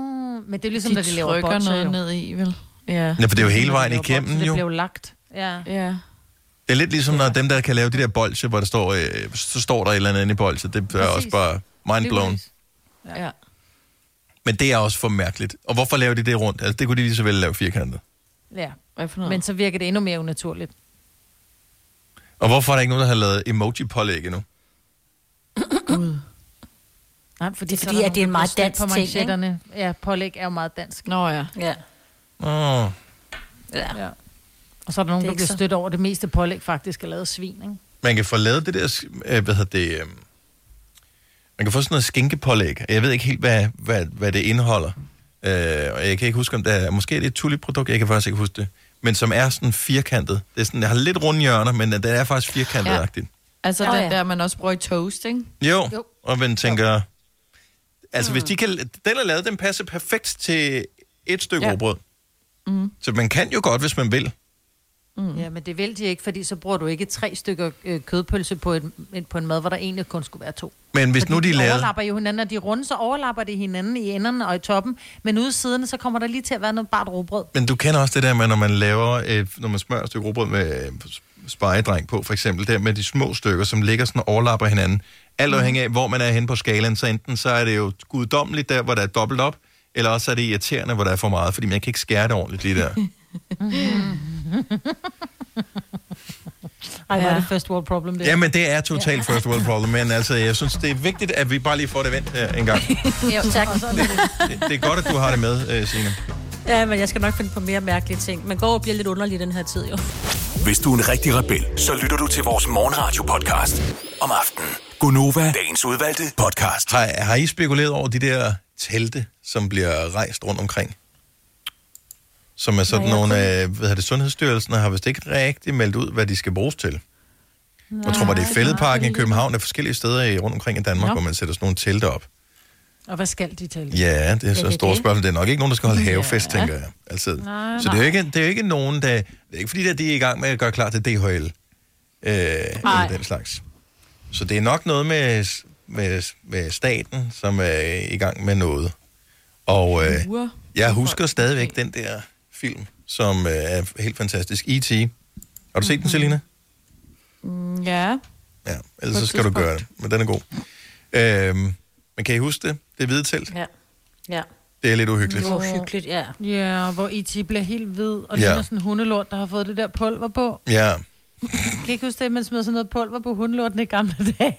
[SPEAKER 4] men det er ligesom,
[SPEAKER 2] De
[SPEAKER 4] når de laver
[SPEAKER 2] trykker
[SPEAKER 4] bokser,
[SPEAKER 2] noget
[SPEAKER 4] jo.
[SPEAKER 2] ned i, vel? Ja.
[SPEAKER 1] Ja, for det er jo hele
[SPEAKER 4] Når de
[SPEAKER 1] vejen
[SPEAKER 4] laver
[SPEAKER 1] igennem,
[SPEAKER 4] bokser,
[SPEAKER 1] jo.
[SPEAKER 4] Det bliver jo lagt. Ja.
[SPEAKER 2] ja.
[SPEAKER 1] Det er lidt ligesom, når dem, der kan lave de der bolcher, hvor der står, øh, så står der et eller andet inde i bolcher. Det er
[SPEAKER 2] Præcis.
[SPEAKER 1] også bare mind blown.
[SPEAKER 2] ja.
[SPEAKER 1] Men det er også for mærkeligt. Og hvorfor laver de det rundt? Altså, det kunne de lige så vel lave firkantet.
[SPEAKER 4] ja. Men så virker det endnu mere unaturligt.
[SPEAKER 1] Og hvorfor er der ikke nogen, der har lavet emoji-pålæg endnu?
[SPEAKER 4] Nej, fordi
[SPEAKER 5] Det er
[SPEAKER 4] så
[SPEAKER 5] fordi,
[SPEAKER 4] der
[SPEAKER 5] at det er en
[SPEAKER 4] nogen, der
[SPEAKER 5] meget
[SPEAKER 4] bliver stødt på
[SPEAKER 5] dansk ting, ikke?
[SPEAKER 4] manchetterne. Ja, pålæg er jo meget dansk.
[SPEAKER 2] Nå ja.
[SPEAKER 5] Ja.
[SPEAKER 1] Oh.
[SPEAKER 5] Ja.
[SPEAKER 4] ja. Og så er der nogen,
[SPEAKER 5] Det er
[SPEAKER 4] der
[SPEAKER 5] ikke
[SPEAKER 4] bliver
[SPEAKER 5] så-
[SPEAKER 4] stødt over, at det meste pålæg faktisk er lavet af svin, ikke?
[SPEAKER 1] Man kan få lavet det der, sk- øh, hvad hedder det, øh, man kan få sådan noget skinkepålæg. Jeg ved ikke helt, hvad, hvad, hvad det indeholder. Øh, og jeg kan ikke huske, om der er, måske er det et tulip-produkt, jeg kan faktisk ikke huske det. Men som er sådan firkantet. Det er sådan, jeg har lidt runde hjørner, men den er faktisk firkantet-agtigt.
[SPEAKER 2] Altså
[SPEAKER 5] Nå,
[SPEAKER 2] oh, den
[SPEAKER 5] ja.
[SPEAKER 2] der, man også bruger i toast, ikke?
[SPEAKER 1] Jo, jo. og man tænker... Altså, hvis de kan, den er lavet, den passer perfekt til et stykke ja.
[SPEAKER 4] Ja.
[SPEAKER 1] råbrød.
[SPEAKER 4] Mm.
[SPEAKER 1] Så man kan jo godt, hvis man vil.
[SPEAKER 4] Mm. Ja, men det vil de ikke, fordi så bruger du ikke tre stykker øh, kødpølse på, et, et- på en mad, hvor der egentlig kun skulle være to.
[SPEAKER 1] Men hvis
[SPEAKER 4] fordi
[SPEAKER 1] nu de
[SPEAKER 4] de
[SPEAKER 1] lavede-
[SPEAKER 4] overlapper jo hinanden, og de er runde, så overlapper de hinanden i enderne og i toppen, men ude i siderne, så kommer der lige til at være noget bart
[SPEAKER 5] <laughs>
[SPEAKER 4] robrød.
[SPEAKER 1] Men du kender også det der med, når man laver, et, når man smører et stykke råbrød med øh, spejedreng på, for eksempel, der med de små stykker, som ligger sådan og overlapper hinanden. Alt afhængig af, hvor man er henne på skalaen, så enten så er det jo guddommeligt der, hvor der er dobbelt op, eller også er det irriterende, hvor der er for meget, fordi man kan ikke skære det ordentligt lige der.
[SPEAKER 5] Mm.
[SPEAKER 4] Ej, ja. hvor er
[SPEAKER 1] Ja.
[SPEAKER 4] det first world problem, det
[SPEAKER 1] <laughs> Ja, men det er totalt first world problem, men altså, jeg synes, det er vigtigt, at vi bare lige får det vendt her en <laughs> gang.
[SPEAKER 5] Jo, <laughs> tak.
[SPEAKER 1] Det, det er godt, at du har det med, øh, Signe.
[SPEAKER 5] Ja, men jeg skal nok finde på mere mærkelige ting. Man går og bliver lidt underlig i den her tid, jo.
[SPEAKER 6] Hvis du er en rigtig rebel, så lytter du til vores morgenradio-podcast om aftenen.
[SPEAKER 1] Gunova,
[SPEAKER 6] Dagens udvalgte
[SPEAKER 1] podcast. Altså, Har, har I spekuleret over de der telte, som bliver rejst rundt omkring? Som er sådan
[SPEAKER 6] Nej, jeg
[SPEAKER 1] nogle af, hvad hedder det, Sundhedsstyrelsen har vist ikke rigtig meldt ud, hvad de skal bruges til. Jeg tror bare, det er fældeparken i København og forskellige steder i- rundt omkring i Danmark,
[SPEAKER 4] Nå.
[SPEAKER 1] hvor man sætter sådan nogle telte op.
[SPEAKER 4] Og hvad skal de tale?
[SPEAKER 1] Ja, det er så et stort spørgsmål. Det er nok ikke nogen, der skal holde havefest,
[SPEAKER 4] Ja.
[SPEAKER 1] tænker jeg. Altså,
[SPEAKER 4] Nej,
[SPEAKER 1] så det er, jo ikke, det er jo ikke nogen, der... Det er ikke fordi, at de er i gang med at gøre klar til DHL. Øh, eller den slags. Så det er nok noget med, med, med staten, som er i gang med noget. Og øh,
[SPEAKER 2] Ure.
[SPEAKER 1] jeg husker stadigvæk den der film, som øh, er helt fantastisk. E.T. Har du set den, Selina?
[SPEAKER 2] Mm, ja.
[SPEAKER 1] Ja, ellers så skal du gøre det. Men den er god. Øhm, men kan I huske det? Det hvide telt?
[SPEAKER 5] Ja. Ja.
[SPEAKER 1] Det er lidt uhyggeligt.
[SPEAKER 5] Det var hyggeligt, ja.
[SPEAKER 4] Ja, og hvor IT bliver helt hvid, og det
[SPEAKER 1] Ja.
[SPEAKER 4] er sådan en hundelort, der har fået det der pulver på.
[SPEAKER 1] Ja,
[SPEAKER 4] Jeg kan ikke huske det, at man smed sådan noget pulver på hundelorten i gamle dage.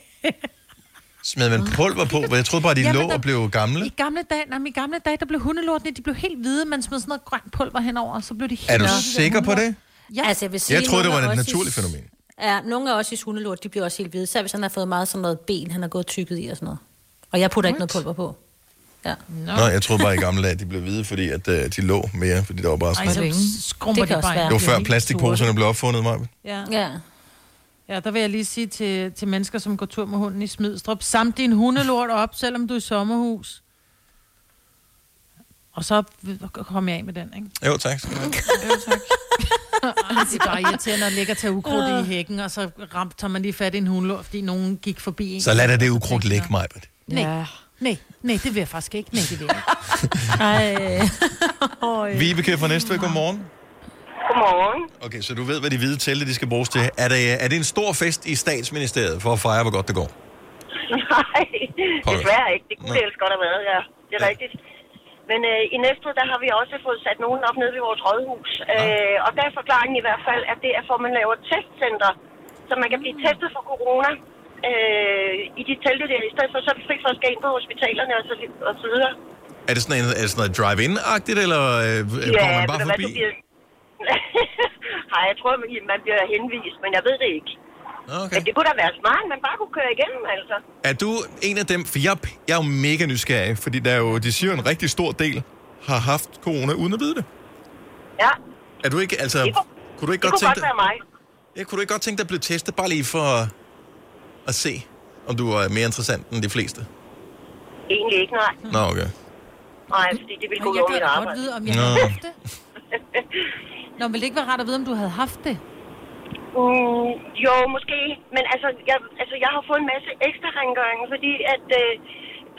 [SPEAKER 1] smed man pulver på? For Jeg troede bare, de
[SPEAKER 4] Jamen,
[SPEAKER 1] lå
[SPEAKER 4] der-
[SPEAKER 1] og blev
[SPEAKER 4] I
[SPEAKER 1] gamle.
[SPEAKER 4] gamle dage, nej, men i gamle dage, der blev hundelortene, de blev helt hvide, man smed sådan noget grønt pulver henover, og så blev de helt
[SPEAKER 1] Er du
[SPEAKER 4] hvide, de der
[SPEAKER 1] sikker på
[SPEAKER 4] hundelort.
[SPEAKER 1] det?
[SPEAKER 4] Ja.
[SPEAKER 5] Altså, jeg vil sige,
[SPEAKER 1] Jeg troede, det
[SPEAKER 5] nogle
[SPEAKER 1] var
[SPEAKER 5] af
[SPEAKER 1] et
[SPEAKER 5] os i-
[SPEAKER 1] naturligt fænomen.
[SPEAKER 5] Ja, nogle af os i hundelort, de bliver også helt hvide. Især hvis han har fået meget sådan noget ben, han har gået tykket i og sådan noget. Og jeg putter ikke noget pulver på. Ja.
[SPEAKER 1] Nå, jeg troede bare i gamle dage, de blev hvide, fordi at, øh, de lå mere, fordi det var bare sådan.
[SPEAKER 4] Ej, så skrumper
[SPEAKER 5] Det kan
[SPEAKER 4] de
[SPEAKER 5] også
[SPEAKER 4] bare.
[SPEAKER 5] være.
[SPEAKER 1] Det var før plastikposerne blev opfundet, Maja.
[SPEAKER 4] Ja. ja. Ja, der vil jeg lige sige til, til mennesker, som går tur med hunden i Smidstrup, sam din hundelort op, selvom du er i sommerhus. Og så kom jeg af med den, ikke?
[SPEAKER 1] Jo, tak. skal du have.
[SPEAKER 4] <laughs> det er bare irriterende at ligge og tage ukrudt i hækken, og så ramte, tager man lige fat i en hundelort, fordi nogen gik forbi en.
[SPEAKER 1] Så lad da det ukrudt ligge, Maja.
[SPEAKER 4] Nej, ja. nej, nej, det vil jeg faktisk ikke. Nej, det vil jeg
[SPEAKER 14] <laughs>
[SPEAKER 4] <laughs> ikke. Ej.
[SPEAKER 1] Vibeke fra Næstved, godmorgen.
[SPEAKER 23] Godmorgen.
[SPEAKER 1] Okay, så du ved, hvad de hvide telte, de skal bruges til. Er det, er det en stor fest i statsministeriet for at fejre, hvor godt det går?
[SPEAKER 23] Nej,
[SPEAKER 1] Hold.
[SPEAKER 23] desværre ikke. Det kunne
[SPEAKER 1] Nå.
[SPEAKER 23] det ellers godt have været, ja. Det er ja. rigtigt. Men øh, i næste uge, der har vi også fået sat nogen op nede ved vores rådhus. Øh, og der er forklaringen i hvert fald, at det er for, at man laver testcenter, så man kan blive testet for corona øh, i de telte der. I stedet for, så er vi fri for at skal ind på hospitalerne og så, og så videre.
[SPEAKER 1] Er det sådan, en, er det sådan noget drive-in-agtigt, eller øh, kommer man bare
[SPEAKER 23] ved du
[SPEAKER 1] forbi?
[SPEAKER 23] du bliver... <laughs> Nej, jeg tror, man- man bliver henvist, men jeg ved det ikke.
[SPEAKER 1] Okay.
[SPEAKER 23] Men det kunne da være smart, man bare kunne køre igennem, altså.
[SPEAKER 1] Er du en af dem, for jeg, jeg er jo mega nysgerrig, fordi der er jo, de siger jo, en rigtig stor del har haft corona uden at vide det.
[SPEAKER 23] Ja,
[SPEAKER 1] Er du ikke, altså,
[SPEAKER 23] Det
[SPEAKER 1] kunne du ikke
[SPEAKER 23] det
[SPEAKER 1] godt
[SPEAKER 23] kunne
[SPEAKER 1] tænke
[SPEAKER 23] godt
[SPEAKER 1] dig,
[SPEAKER 23] være mig.
[SPEAKER 1] ja, kunne du ikke godt tænke dig at blive testet, bare lige for at se, om du er mere interessant end de fleste?
[SPEAKER 23] Mm. Egentlig ikke, nej.
[SPEAKER 1] Nå, okay.
[SPEAKER 23] Nej, fordi det ville gå
[SPEAKER 4] Men jeg
[SPEAKER 23] ud
[SPEAKER 4] kan
[SPEAKER 23] mit
[SPEAKER 4] da godt
[SPEAKER 23] arbejde.
[SPEAKER 4] vide, om jeg
[SPEAKER 1] Nå.
[SPEAKER 4] havde haft det. Nå, ville det ikke være rart at vide, om du havde haft det?
[SPEAKER 23] Mm, jo, måske. Men altså jeg, altså, jeg har fået en masse ekstra rengøring, fordi at øh,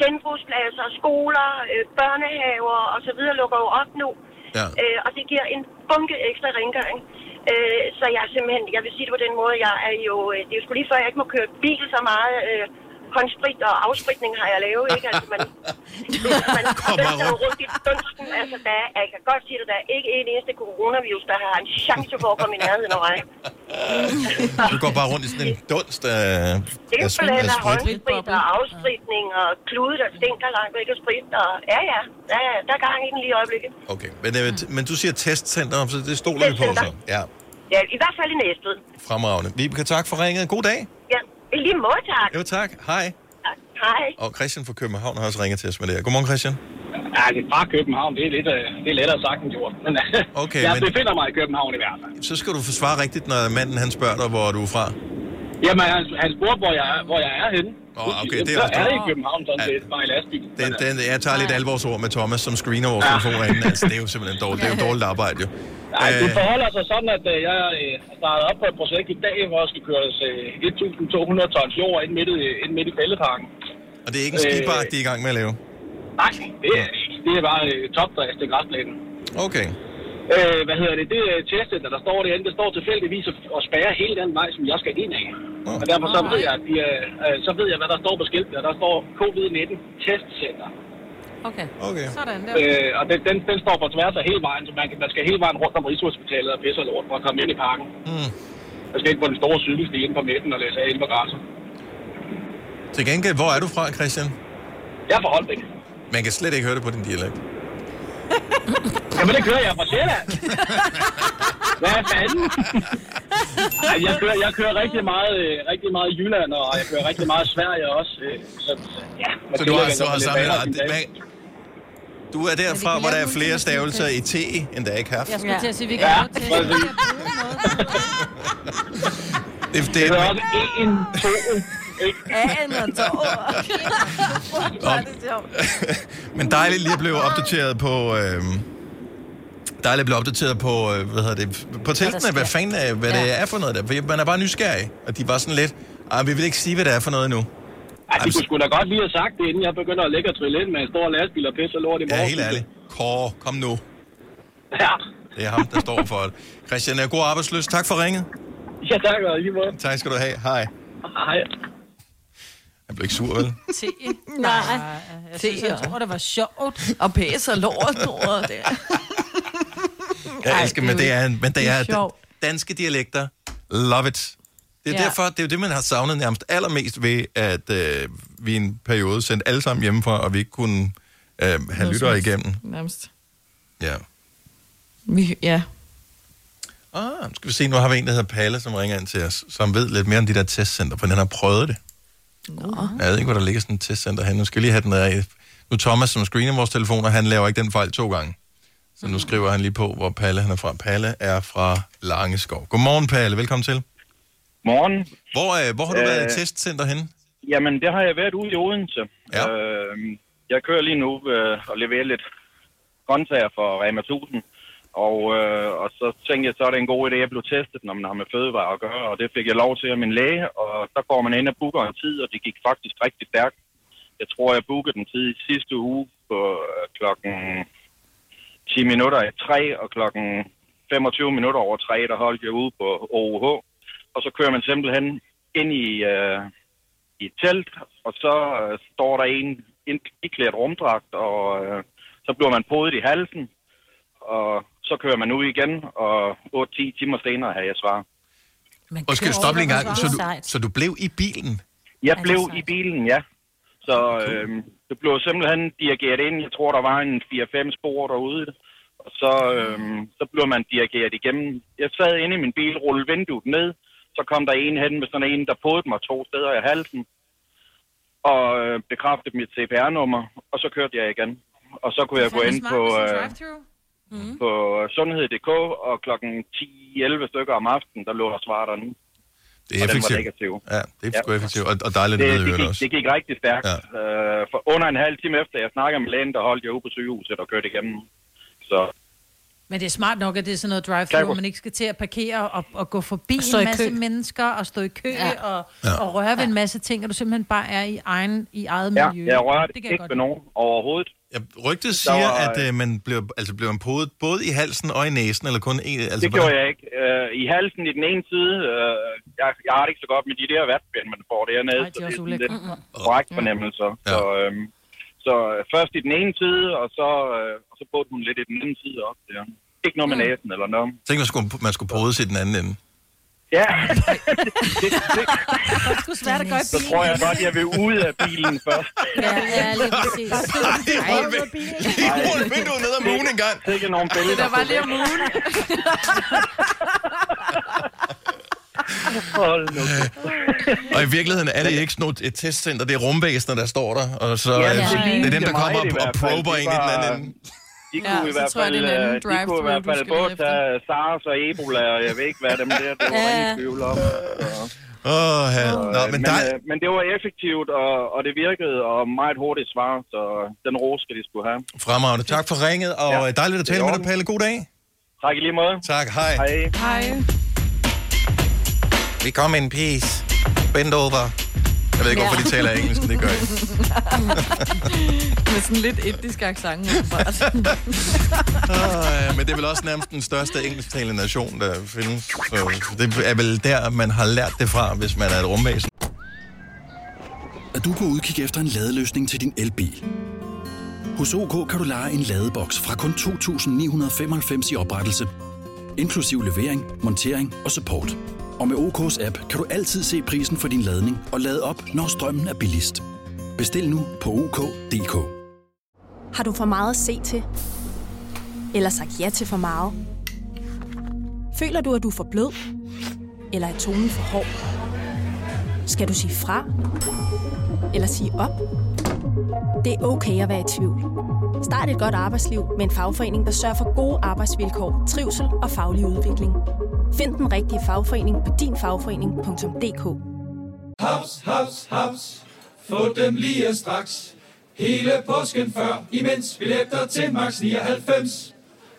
[SPEAKER 23] genbrugspladser, skoler, øh, børnehaver og så videre lukker jo op nu.
[SPEAKER 1] Ja.
[SPEAKER 23] Øh, og det giver en bunke ekstra rengøring. Øh, så jeg er simpelthen, jeg vil sige det på den måde, jeg er jo, øh, det er jo sgu lige før, jeg ikke må køre bil så meget. Øh, håndsprit og afspritning har jeg lavet, ikke? Altså, man, man vælter jo rundt i dunsten. Altså, der er, jeg kan godt sige det, der er ikke en eneste coronavirus, der har en chance for at komme i nærheden af mig.
[SPEAKER 1] Du går bare rundt i sådan en dunst af, af,
[SPEAKER 23] Det er
[SPEAKER 1] af
[SPEAKER 23] blandt andet
[SPEAKER 1] sprit.
[SPEAKER 23] håndsprit og afspritning og klude, der stinker langt væk af sprit. Og ja, ja, ja, ja, der er gang i den lige i øjeblikket.
[SPEAKER 1] Okay, men, øh, t- men du siger testcenter, så det stoler vi på så. Ja,
[SPEAKER 23] Ja, i hvert fald i næste.
[SPEAKER 1] fremragende. Vibeke, tak for ringet. God dag.
[SPEAKER 23] Ja, i lige måde, tak.
[SPEAKER 1] Jo, tak. Hej.
[SPEAKER 23] Hej.
[SPEAKER 1] Og Christian fra København har også ringet til os med det her. Godmorgen, Christian.
[SPEAKER 24] Ja, det er fra København, det er, lidt, øh, det er lettere sagt end gjort. Men øh,
[SPEAKER 1] Okay,
[SPEAKER 24] jeg
[SPEAKER 1] men-
[SPEAKER 24] befinder mig i København i hvert fald.
[SPEAKER 1] Så skal du forsvare rigtigt, når manden han spørger dig, hvor du er fra.
[SPEAKER 24] Jamen, han, han spurgte, hvor jeg, er- hvor jeg er henne.
[SPEAKER 1] Åh, okay, det er
[SPEAKER 24] så
[SPEAKER 1] også
[SPEAKER 24] er det
[SPEAKER 1] godt.
[SPEAKER 24] i København sådan set, bare i lastbil.
[SPEAKER 1] Den, den, jeg tager lidt alvorsord med Thomas, som screener vores telefoner inden. Altså, det er jo simpelthen dårligt. Det er jo dårligt arbejde, jo.
[SPEAKER 24] Nej, det
[SPEAKER 1] Øh,
[SPEAKER 24] forholder sig sådan, at øh, jeg øh, har startet op på et projekt i dag, hvor der skal køres øh, 1.200 tons jord ind midt, i, ind midt i fældeparken. Øh,
[SPEAKER 1] og det er ikke en skibark, de er i gang med at lave.
[SPEAKER 24] Nej, det er, det ikke. det er bare øh, topdrift til græsplænen.
[SPEAKER 1] Okay.
[SPEAKER 24] Øh, hvad hedder det? Det øh, testcenter, der står derinde, det står tilfældigvis og, og spærrer hele den vej, som jeg skal ind af. Og derfor så ved, jeg, at de, øh, øh, så ved jeg, hvad der står på skiltene. Der står COVID-19 testcenter.
[SPEAKER 5] <laughs> Okay.
[SPEAKER 1] okay.
[SPEAKER 4] Sådan der.
[SPEAKER 24] Øh, og den, den, den, står på tværs af hele vejen, så man, kan, man skal hele vejen rundt om Rigshospitalet og pisse og lort for at komme ind i parken.
[SPEAKER 1] Mm.
[SPEAKER 24] Man skal ind på den store cykelsti inde på midten og læse af inde på græsset.
[SPEAKER 1] Til gengæld, hvor er du fra, Christian?
[SPEAKER 24] Jeg er fra Holbæk.
[SPEAKER 1] Man kan slet ikke høre det på din dialekt.
[SPEAKER 24] <laughs> Jamen, det kører jeg fra Sjælland. Hvad fanden? Ej, jeg, kører, jeg kører rigtig meget, øh, rigtig meget i Jylland, og jeg kører rigtig meget i Sverige også. øh, Så, så, ja, man
[SPEAKER 1] Så du
[SPEAKER 24] tænker, at
[SPEAKER 1] har, du
[SPEAKER 24] jeg
[SPEAKER 1] har
[SPEAKER 24] lidt
[SPEAKER 1] samlet
[SPEAKER 24] vannere i sin dag.
[SPEAKER 1] dig. Du er derfra, hvor der er flere stavelser i T, end der er i kaffe.
[SPEAKER 4] Jeg skulle
[SPEAKER 24] Ja.
[SPEAKER 4] til at sige, at vi kan
[SPEAKER 24] Ja,
[SPEAKER 4] lave til.
[SPEAKER 24] præcis.
[SPEAKER 4] <laughs>
[SPEAKER 1] Det, det, det
[SPEAKER 24] er også en, to.
[SPEAKER 2] Agen og <laughs> tårer.
[SPEAKER 1] Men dejligt lige at blive opdateret på... Øh, dejligt at blive opdateret på, øh, hvad hedder det, på teltene, hvad fanden er, hvad det er for noget der. For man er bare nysgerrig, og de var sådan lidt, "Ej, vi vil ikke sige, hvad det er for noget endnu.
[SPEAKER 24] Ej, de kunne sgu da godt lige have sagt det, inden jeg begynder at lægge og trylle ind med en stor lastbil og pisse og lort i
[SPEAKER 1] Ja,
[SPEAKER 24] morgen.
[SPEAKER 1] helt ærligt. Kåre, kom nu. Ja. Det er ham, der står for det. Christian, er god arbejdsløs. Tak for ringet.
[SPEAKER 24] Ja, tak og lige måde.
[SPEAKER 1] Tak skal du have. Hej.
[SPEAKER 24] Hej.
[SPEAKER 1] Han blev ikke sur, vel?
[SPEAKER 4] Te. Nej. Jeg, synes, jeg tror, det var sjovt.
[SPEAKER 2] Og pæs og lort over det.
[SPEAKER 1] Jeg elsker, men det er, men det
[SPEAKER 2] det er
[SPEAKER 1] er
[SPEAKER 2] sjovt.
[SPEAKER 1] danske dialekter. Love it. Det er
[SPEAKER 2] Ja.
[SPEAKER 1] ja. derfor, det er jo det, man har savnet nærmest allermest ved, at øh, vi i en periode sendte alle sammen hjemmefra, og vi ikke kunne øh, have lyttere igennem.
[SPEAKER 2] Nærmest.
[SPEAKER 1] Ja.
[SPEAKER 2] Vi, ja. <laughs>
[SPEAKER 1] Ah, nu skal vi se, nu har vi en, der hedder Palle, som ringer ind til os, som ved lidt mere om de der testcenter, for den har prøvet det.
[SPEAKER 2] Nå.
[SPEAKER 1] Jeg ved ikke, hvor der ligger sådan et testcenter henne. Nu skal jeg lige have den der. øh, Nu Thomas, som screener vores telefoner, han laver ikke den fejl to gange. Så
[SPEAKER 4] Mhm.
[SPEAKER 1] nu skriver han lige på, hvor Palle han er fra. Palle er fra Langeskov. Godmorgen, Palle. Velkommen til.
[SPEAKER 14] Morgen.
[SPEAKER 1] Hvor, øh, hvor har du øh... været i
[SPEAKER 14] Øh,
[SPEAKER 1] testcenter henne?
[SPEAKER 14] Jamen, det har jeg været ude i Odense. Ja. Øh, jeg kører lige nu øh, og leverer lidt grøntsager for Rema 1000. Og, øh, og så tænkte jeg, så er det en god idé, at jeg blev testet, når man har med fødevarer at gøre. Og det fik jeg lov til af min læge, og der går man ind og booker en tid, og det gik faktisk rigtig stærkt. Jeg tror, jeg bookede den tid i sidste uge på øh, klokken 10 minutter i 3, og klokken 25 minutter over 3, der holdt jeg ude på OUH. Og så kører man simpelthen ind i... Øh, i et telt, og så øh, står der en ind- iklædt rumdragt, og øh, så bliver man podet i halsen, og så kører man ud igen, og 8-10 timer senere har jeg svar.
[SPEAKER 1] Og skal du
[SPEAKER 14] kører
[SPEAKER 1] stoppe lige en
[SPEAKER 14] over,
[SPEAKER 1] gang?
[SPEAKER 14] hvor
[SPEAKER 1] Så
[SPEAKER 14] var
[SPEAKER 1] du,
[SPEAKER 14] det sejt.
[SPEAKER 1] så du blev i bilen?
[SPEAKER 14] Jeg blev i bilen, ja. Så øh, det blev simpelthen dirigeret ind. Jeg tror, der var en 4-5 spor derude. Og så, øh, så blev man dirigeret igennem. Jeg sad inde i min bil, rullede vinduet ned. Så kom der en hen med sådan en, der podede mig to steder i halsen. Og øh, bekræftede mit CPR-nummer. Og så kørte jeg igen. Og så kunne jeg gå ind på... Øh, på sundhed.dk, og klokken 10-11 stykker om aftenen, der lå der svar der nu.
[SPEAKER 1] Det er
[SPEAKER 14] Og den var
[SPEAKER 1] effektivt.
[SPEAKER 14] negativ.
[SPEAKER 1] Ja, det er sgu effektivt, og, og dejligt at
[SPEAKER 14] Det,
[SPEAKER 1] vide i
[SPEAKER 14] det,
[SPEAKER 1] øvrigt
[SPEAKER 14] gik,
[SPEAKER 1] også.
[SPEAKER 14] det gik rigtig stærkt. Ja. Øh, for under en halv time efter, jeg snakkede med lægen, der holdt jeg ude på sygehuset og kørte igennem. Så
[SPEAKER 4] Men det er smart nok, at det er sådan noget
[SPEAKER 14] Tak,
[SPEAKER 4] drive-thru,
[SPEAKER 14] hvor-
[SPEAKER 4] hvor man ikke skal til at parkere og, og gå forbi
[SPEAKER 22] Og stå
[SPEAKER 4] en
[SPEAKER 22] i
[SPEAKER 4] masse
[SPEAKER 22] kø.
[SPEAKER 4] mennesker og stå i kø ja. og,
[SPEAKER 14] Ja.
[SPEAKER 4] og røre ved en masse ting, og du simpelthen bare er i, egen, i eget
[SPEAKER 14] ja,
[SPEAKER 4] miljø.
[SPEAKER 14] jeg rørte
[SPEAKER 4] Det kan jeg
[SPEAKER 14] ikke
[SPEAKER 4] godt
[SPEAKER 14] ved
[SPEAKER 4] lide.
[SPEAKER 14] nogen overhovedet.
[SPEAKER 1] Jeg Rygtet siger, var, at øh, man bliver, altså, bliver man podet både i halsen og i næsen, eller kun en... Altså,
[SPEAKER 14] Altså, det gjorde jeg ikke. Øh, I halsen i den ene side, øh, jeg, jeg har det ikke så godt med de der vatpind, man får dernede.
[SPEAKER 4] Ej, de er også
[SPEAKER 14] så det er
[SPEAKER 4] ulækre.
[SPEAKER 14] sådan lidt korrekt fornemmelse. Ja. Så, øh, så øh, først i den ene side, og så, øh, og så burde hun lidt i den anden side op. Ja. Ikke noget med
[SPEAKER 1] Mm.
[SPEAKER 14] næsen eller noget.
[SPEAKER 1] Tænk, man skulle, man skulle podes i den anden ende.
[SPEAKER 4] <laughs>
[SPEAKER 14] Ja.
[SPEAKER 4] Det er sgu svært at gøre i
[SPEAKER 14] Så
[SPEAKER 4] bilen.
[SPEAKER 14] tror jeg godt, jeg vil ud af bilen først.
[SPEAKER 4] Ja, ja, lige
[SPEAKER 14] <laughs>
[SPEAKER 4] præcis.
[SPEAKER 14] Ej,
[SPEAKER 1] Rulle vinduet ned om ugen en gang.
[SPEAKER 14] Det er ikke nogen billeder.
[SPEAKER 2] Det der var lige om
[SPEAKER 25] <laughs>
[SPEAKER 2] ugen.
[SPEAKER 14] Hold nu. <laughs>
[SPEAKER 1] Og i virkeligheden er det ikke sådan noget- et testcenter, det er rumvæsener, der står der, og så
[SPEAKER 14] Ja,
[SPEAKER 1] ja,
[SPEAKER 14] det
[SPEAKER 1] det, det er
[SPEAKER 14] lignede
[SPEAKER 1] dem, der
[SPEAKER 14] mig
[SPEAKER 1] kommer
[SPEAKER 14] det i
[SPEAKER 1] og, og
[SPEAKER 14] hvert fald.
[SPEAKER 1] prober
[SPEAKER 14] Det
[SPEAKER 1] en i den
[SPEAKER 14] var-
[SPEAKER 1] anden ende.
[SPEAKER 14] De
[SPEAKER 2] Ja,
[SPEAKER 14] kunne i
[SPEAKER 2] så
[SPEAKER 14] hvert
[SPEAKER 2] tror jeg,
[SPEAKER 14] fald,
[SPEAKER 2] det er en anden
[SPEAKER 14] øh, de kunne drive-thru, i hvert fald
[SPEAKER 2] du skal
[SPEAKER 14] både
[SPEAKER 2] lede
[SPEAKER 14] tage SARS og Ebola, og jeg ved ikke, hvad dem der, det var ingen tvivl om. Så-
[SPEAKER 1] Åh, ja. Nå, men dig...
[SPEAKER 14] øh, men det var effektivt, og, og det virkede, og meget hurtigt svar, så den ros skal de skulle have.
[SPEAKER 1] Fremragende. Tak for ringet, og ja. dejligt
[SPEAKER 14] Det
[SPEAKER 1] at
[SPEAKER 14] er
[SPEAKER 1] tale med dig,
[SPEAKER 14] orden.
[SPEAKER 1] Palle. God dag.
[SPEAKER 14] Tak i lige måde.
[SPEAKER 1] Tak, hej.
[SPEAKER 14] Hej.
[SPEAKER 2] Hej.
[SPEAKER 1] Vi kom in peace. Bend over. Jeg ved ikke, hvorfor
[SPEAKER 2] Ja.
[SPEAKER 1] de taler engelsk, men det
[SPEAKER 2] <laughs>
[SPEAKER 1] gør jeg.
[SPEAKER 2] Med sådan lidt indisk accent. åbenbart.
[SPEAKER 1] Øh, men det er vel også nærmest den største engelsktalende nation, der findes. Så det er vel der, man har lært det fra, hvis man er et rumvæsen.
[SPEAKER 15] Er du på udkig efter en ladeløsning til din elbil? Hos OK kan du lege en ladeboks fra kun 2.995 i oprettelse, inklusiv levering, montering og support. Og med OK's app kan du altid se prisen for din ladning og lade op, når strømmen er billigst. Bestil nu på OK.dk.
[SPEAKER 10] Har du for meget at se til? Eller sagt ja til for meget? Føler du, at du er for blød? Eller er tonen for hård? Skal du sige fra? Eller sige op? Det er okay at være i tvivl. Start et godt arbejdsliv med en fagforening, der sørger for gode arbejdsvilkår, trivsel og faglig udvikling. Find den rigtige fagforening på dinfagforening.dk.
[SPEAKER 19] Haps, haps, haps. Få dem lige straks. Hele påsken før, imens vi læfter til max 99.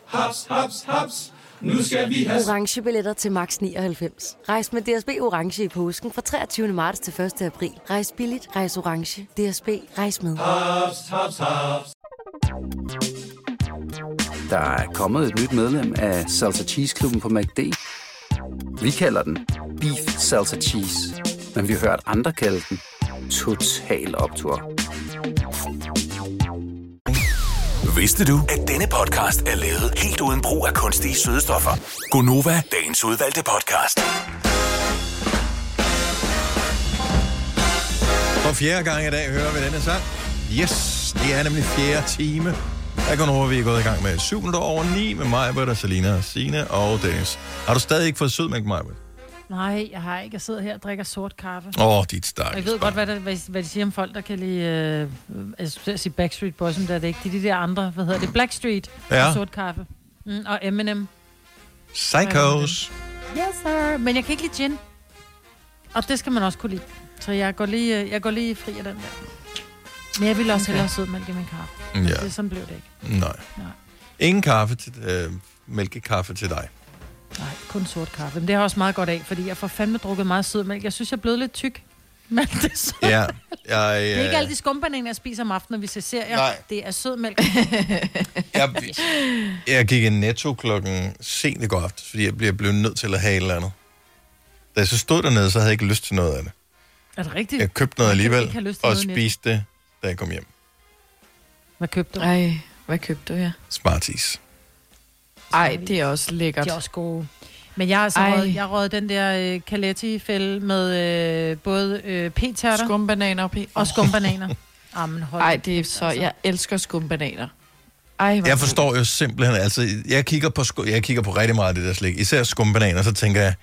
[SPEAKER 19] Haps, haps, haps. Nu skal vi have...
[SPEAKER 20] orange billetter til max 99. Rejs med DSB orange i påsken fra 23. marts til 1. april. Rejs billigt, rejs orange. DSB rejs med.
[SPEAKER 19] Haps, haps, haps.
[SPEAKER 21] Der er kommet et nyt medlem af Salsa Cheese Klubben på MACD. Vi kalder den Beef Salsa Cheese, men vi har hørt andre kalde den Total Optor.
[SPEAKER 6] Vidste du, at denne podcast er lavet helt uden brug af kunstige sødestoffer?
[SPEAKER 21] Gonova,
[SPEAKER 6] Dagens udvalgte podcast.
[SPEAKER 1] For fjerde gang i dag hører vi denne sang. Yes, det er nemlig fjerde time. Der går over, vi er gået i gang med 7 minutter over 9 med mig, og Selina, og Signe og Dennis. Har du stadig ikke fået sødmælk, Maja?
[SPEAKER 4] Nej, jeg har ikke. Jeg sidder her og drikker sort kaffe.
[SPEAKER 1] Åh, dit
[SPEAKER 4] Og
[SPEAKER 1] stakkels
[SPEAKER 4] Jeg ved godt, hvad, der, hvad, hvad de siger om folk, der kan lide... Øh, jeg skulle til at sige Backstreet Boys, men det er det ikke. Det er de der andre, hvad hedder det? Blackstreet
[SPEAKER 1] Ja.
[SPEAKER 4] og sort kaffe. Mm, og M&M.
[SPEAKER 1] Psychos.
[SPEAKER 4] Yes, sir. Men jeg kan ikke lide gin. Og det skal man også kunne lide. Så jeg går lige, øh, jeg går lige fri af den der. Men jeg ville også
[SPEAKER 1] Okay.
[SPEAKER 4] hellere have sødmælk i min kaffe.
[SPEAKER 1] Ja.
[SPEAKER 4] Men det, sådan blev det ikke.
[SPEAKER 1] Nej. Ingen kaffe til, øh, mælkekaffe til dig.
[SPEAKER 4] Nej, kun sort kaffe. Men det har jeg også meget godt af, fordi jeg får fandme drukket meget sødmælk. Jeg synes, jeg er blevet lidt tyk. <laughs> Men det er så...
[SPEAKER 1] Ja.
[SPEAKER 4] <laughs>
[SPEAKER 1] Jeg,
[SPEAKER 4] Det er ikke alle de
[SPEAKER 1] øh,
[SPEAKER 4] skumbananer, jeg spiser om aftenen, når vi ser serier.
[SPEAKER 1] Nej.
[SPEAKER 4] Det er <laughs> sødmælk.
[SPEAKER 1] jeg, jeg gik i netto klokken sent i går aftes, fordi jeg blev, blev nødt til at have et eller andet. Da jeg så stod dernede, så havde jeg ikke lyst til noget af det.
[SPEAKER 4] er det rigtigt?
[SPEAKER 1] Jeg købte
[SPEAKER 4] Man
[SPEAKER 1] noget
[SPEAKER 4] kan
[SPEAKER 1] alligevel
[SPEAKER 4] ikke have lyst til
[SPEAKER 1] og
[SPEAKER 4] noget net.
[SPEAKER 1] spiste det, da jeg kom hjem.
[SPEAKER 4] <laughs> Hvad købte du?
[SPEAKER 2] Ej, hvad købte du her?
[SPEAKER 1] Smarties.
[SPEAKER 2] Ej, det er også lækkert.
[SPEAKER 4] De er også gode. Men jeg har altså
[SPEAKER 2] Ej.
[SPEAKER 4] røget, jeg rød den der øh, Caletti-fælde med øh, både øh, p-tærter...
[SPEAKER 2] Skumbananer og p
[SPEAKER 4] Og skumbananer. Amen, hold
[SPEAKER 2] Ej, det er så...
[SPEAKER 4] altså.
[SPEAKER 2] Jeg elsker skumbananer. Ej, hvor
[SPEAKER 1] Jeg
[SPEAKER 2] god.
[SPEAKER 1] forstår jo simpelthen, altså, jeg kigger på, sku- jeg kigger på rigtig meget af det der slik. Især skumbananer, så tænker jeg,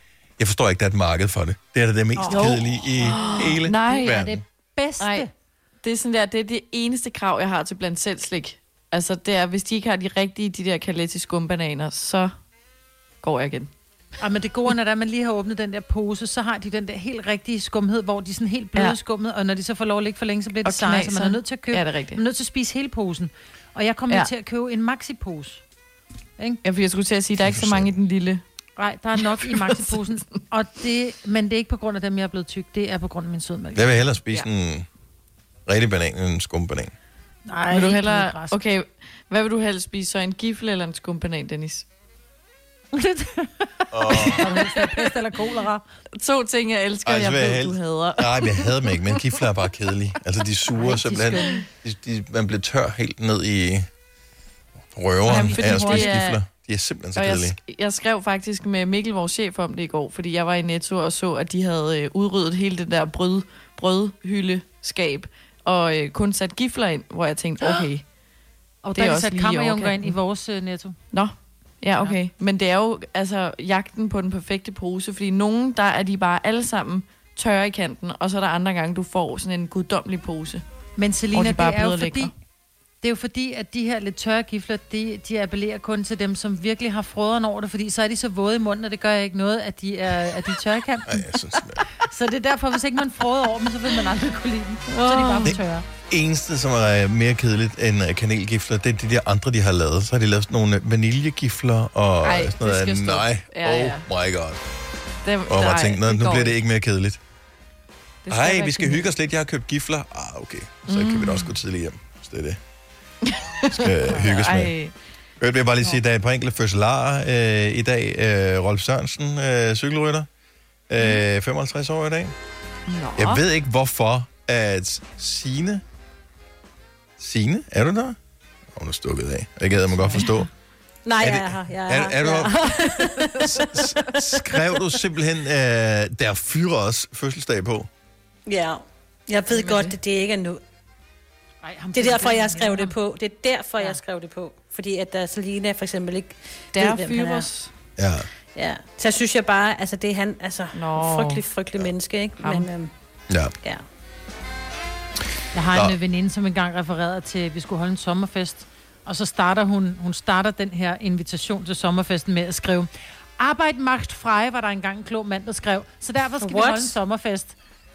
[SPEAKER 1] jeg forstår ikke, der er et marked for det. Det er da det mest
[SPEAKER 2] Jo.
[SPEAKER 1] oh. kedelige
[SPEAKER 2] <gasps>
[SPEAKER 1] i hele
[SPEAKER 2] Nej,
[SPEAKER 1] verden.
[SPEAKER 2] er det
[SPEAKER 4] bedste.
[SPEAKER 2] Nej, det er sådan der, det er det eneste krav, jeg har til blandt selv slik. Altså, det er, hvis de ikke har de rigtige, de der kaletti skumbananer, så går jeg igen.
[SPEAKER 4] Ej, men det gode, når det er, at man lige har åbnet den der pose, så har de den der helt rigtige skumhed, hvor de er sådan helt bløde
[SPEAKER 2] Ja.
[SPEAKER 4] ja. skummet, og når de så får lov at ligge for længe, så bliver
[SPEAKER 2] Og
[SPEAKER 4] det seje, så man er
[SPEAKER 2] knaser.
[SPEAKER 4] nødt til at købe.
[SPEAKER 2] Ja, det er rigtigt.
[SPEAKER 4] Man er nødt til at spise hele posen. Og jeg kom ja.
[SPEAKER 2] Ja.
[SPEAKER 4] til at købe en maxipose.
[SPEAKER 2] Ja, for jeg skulle til at sige, der er ikke så mange i den lille.
[SPEAKER 4] Nej, der er nok
[SPEAKER 2] <laughs>
[SPEAKER 4] i maxiposen. Og det, men det er ikke på grund af dem, jeg er blevet tyk. Det er på grund af min sødmælk.
[SPEAKER 1] Jeg vil hellere spise ja. en rigtig banan end en skumbanan.
[SPEAKER 4] Nej,
[SPEAKER 2] vil du
[SPEAKER 4] helt
[SPEAKER 2] hellere,
[SPEAKER 4] græs.
[SPEAKER 2] okay, hvad vil du helst spise? Så en gifle eller en skumbanan,
[SPEAKER 4] <laughs>
[SPEAKER 2] Dennis?
[SPEAKER 4] Pest eller kolera.
[SPEAKER 2] To ting, jeg elsker,
[SPEAKER 1] Ej,
[SPEAKER 2] Ej,
[SPEAKER 1] så
[SPEAKER 2] jeg
[SPEAKER 1] vil jeg
[SPEAKER 2] ved,
[SPEAKER 1] helst-
[SPEAKER 2] du hader.
[SPEAKER 1] Nej, men jeg havde dem ikke, men kifler er bare kedelige. Altså, de suger simpelthen.
[SPEAKER 2] skønne.
[SPEAKER 1] De, de, man bliver tør helt ned i røveren
[SPEAKER 2] fordi
[SPEAKER 1] af at
[SPEAKER 2] hvor
[SPEAKER 1] spise
[SPEAKER 2] de er-
[SPEAKER 1] gifler. De er simpelthen så
[SPEAKER 2] Og jeg,
[SPEAKER 1] kedelige.
[SPEAKER 2] sk- jeg skrev faktisk med Mikkel, vores chef, om det i går, fordi jeg var i Netto og så, at de havde øh, udryddet hele det der brød, brødhyldeskab, og øh, kun sat gifler ind, hvor jeg tænkte,
[SPEAKER 4] <gasps>
[SPEAKER 2] okay,
[SPEAKER 4] Og der
[SPEAKER 2] Det er
[SPEAKER 4] er de
[SPEAKER 2] også
[SPEAKER 4] sat
[SPEAKER 2] lige i
[SPEAKER 4] kammerjunker ind
[SPEAKER 2] overkanten.
[SPEAKER 4] i vores øh, netto.
[SPEAKER 2] nå, ja okay. Ja. Men det er jo altså jagten på den perfekte pose, fordi nogen, der er de bare alle sammen tørre i kanten, og så er der andre gange, du får sådan en guddommelig pose.
[SPEAKER 4] Men
[SPEAKER 2] hvor
[SPEAKER 4] Selina,
[SPEAKER 2] de
[SPEAKER 4] det er jo
[SPEAKER 2] bløde lækre.
[SPEAKER 4] fordi, det er jo fordi, at de her lidt tørre gifler, de, de appellerer kun til dem, som virkelig har frøderen over det, fordi så er de så våde i munden, og det gør jeg ikke noget, at de er, at de er tørre i kanten. <laughs> så det er derfor, hvis ikke man frøder over dem, så vil man aldrig kunne lide dem. Så er de bare for
[SPEAKER 1] Det-
[SPEAKER 4] tørre.
[SPEAKER 1] eneste, som er øh, mere kedeligt end øh, kanelgifler, det er de der andre, de har lavet. Så har de lavet sådan nogle øh, vaniljegifler og
[SPEAKER 2] Ej,
[SPEAKER 1] Ej,
[SPEAKER 2] det
[SPEAKER 1] sådan noget.
[SPEAKER 2] skal
[SPEAKER 1] af-
[SPEAKER 2] stoppe.
[SPEAKER 1] Nej,
[SPEAKER 2] Ja,
[SPEAKER 1] oh
[SPEAKER 2] ja.
[SPEAKER 1] my god.
[SPEAKER 2] Det,
[SPEAKER 1] Og man tænkte, "Nå, nu
[SPEAKER 2] går
[SPEAKER 1] bliver det ikke mere kedeligt.
[SPEAKER 2] Det skal
[SPEAKER 1] Nej,
[SPEAKER 2] være Mm.
[SPEAKER 1] vi skal
[SPEAKER 2] genialt.
[SPEAKER 1] hygge os lidt. Jeg har købt gifler. Ah, okay. Så kan vi da også gå tidligt hjem, hvis det er det. Skal hygges med.
[SPEAKER 2] Ej.
[SPEAKER 1] Jeg vil jeg bare lige sige, at der er et par enkelte fødselarer øh, i dag. Øh, Rolf Sørensen, øh, cykelrytter,
[SPEAKER 2] Mm.
[SPEAKER 1] øh, 55 år i dag.
[SPEAKER 2] Nå.
[SPEAKER 1] Jeg ved ikke, hvorfor at Sine... Sine, er du der? Hun er stukket af. Jeg gad, man godt forstå.
[SPEAKER 5] Nej,
[SPEAKER 1] Er
[SPEAKER 5] jeg
[SPEAKER 1] det-
[SPEAKER 5] er her. Jeg er,
[SPEAKER 1] er-
[SPEAKER 5] her.
[SPEAKER 1] er du
[SPEAKER 5] Jeg
[SPEAKER 1] her?
[SPEAKER 5] <laughs>
[SPEAKER 1] Skrev du simpelthen, øh, der fyrer os fødselsdag på?
[SPEAKER 5] Ja, jeg ved godt, at det ikke er nu. Det er derfor, jeg skrev det på. Det er derfor, jeg skrev det på. Fordi at der Selina for eksempel ikke
[SPEAKER 2] Der
[SPEAKER 5] ved, hvem han er.
[SPEAKER 2] fyres.
[SPEAKER 1] Ja.
[SPEAKER 5] Ja. Så synes jeg bare, altså det er han, altså Nå. frygtelig, frygtelig menneske, ikke?
[SPEAKER 4] Ham.
[SPEAKER 5] Men, øhm,
[SPEAKER 1] Ja.
[SPEAKER 5] ja.
[SPEAKER 4] Jeg har en
[SPEAKER 5] Nå.
[SPEAKER 4] øh, veninde, som engang refererede til, at vi skulle holde en sommerfest. Og så starter hun, hun starter den her invitation til sommerfesten med at skrive, Arbejd macht frei, var der engang en klog mand, der skrev. Så derfor skal What? vi
[SPEAKER 5] What?
[SPEAKER 4] holde en sommerfest.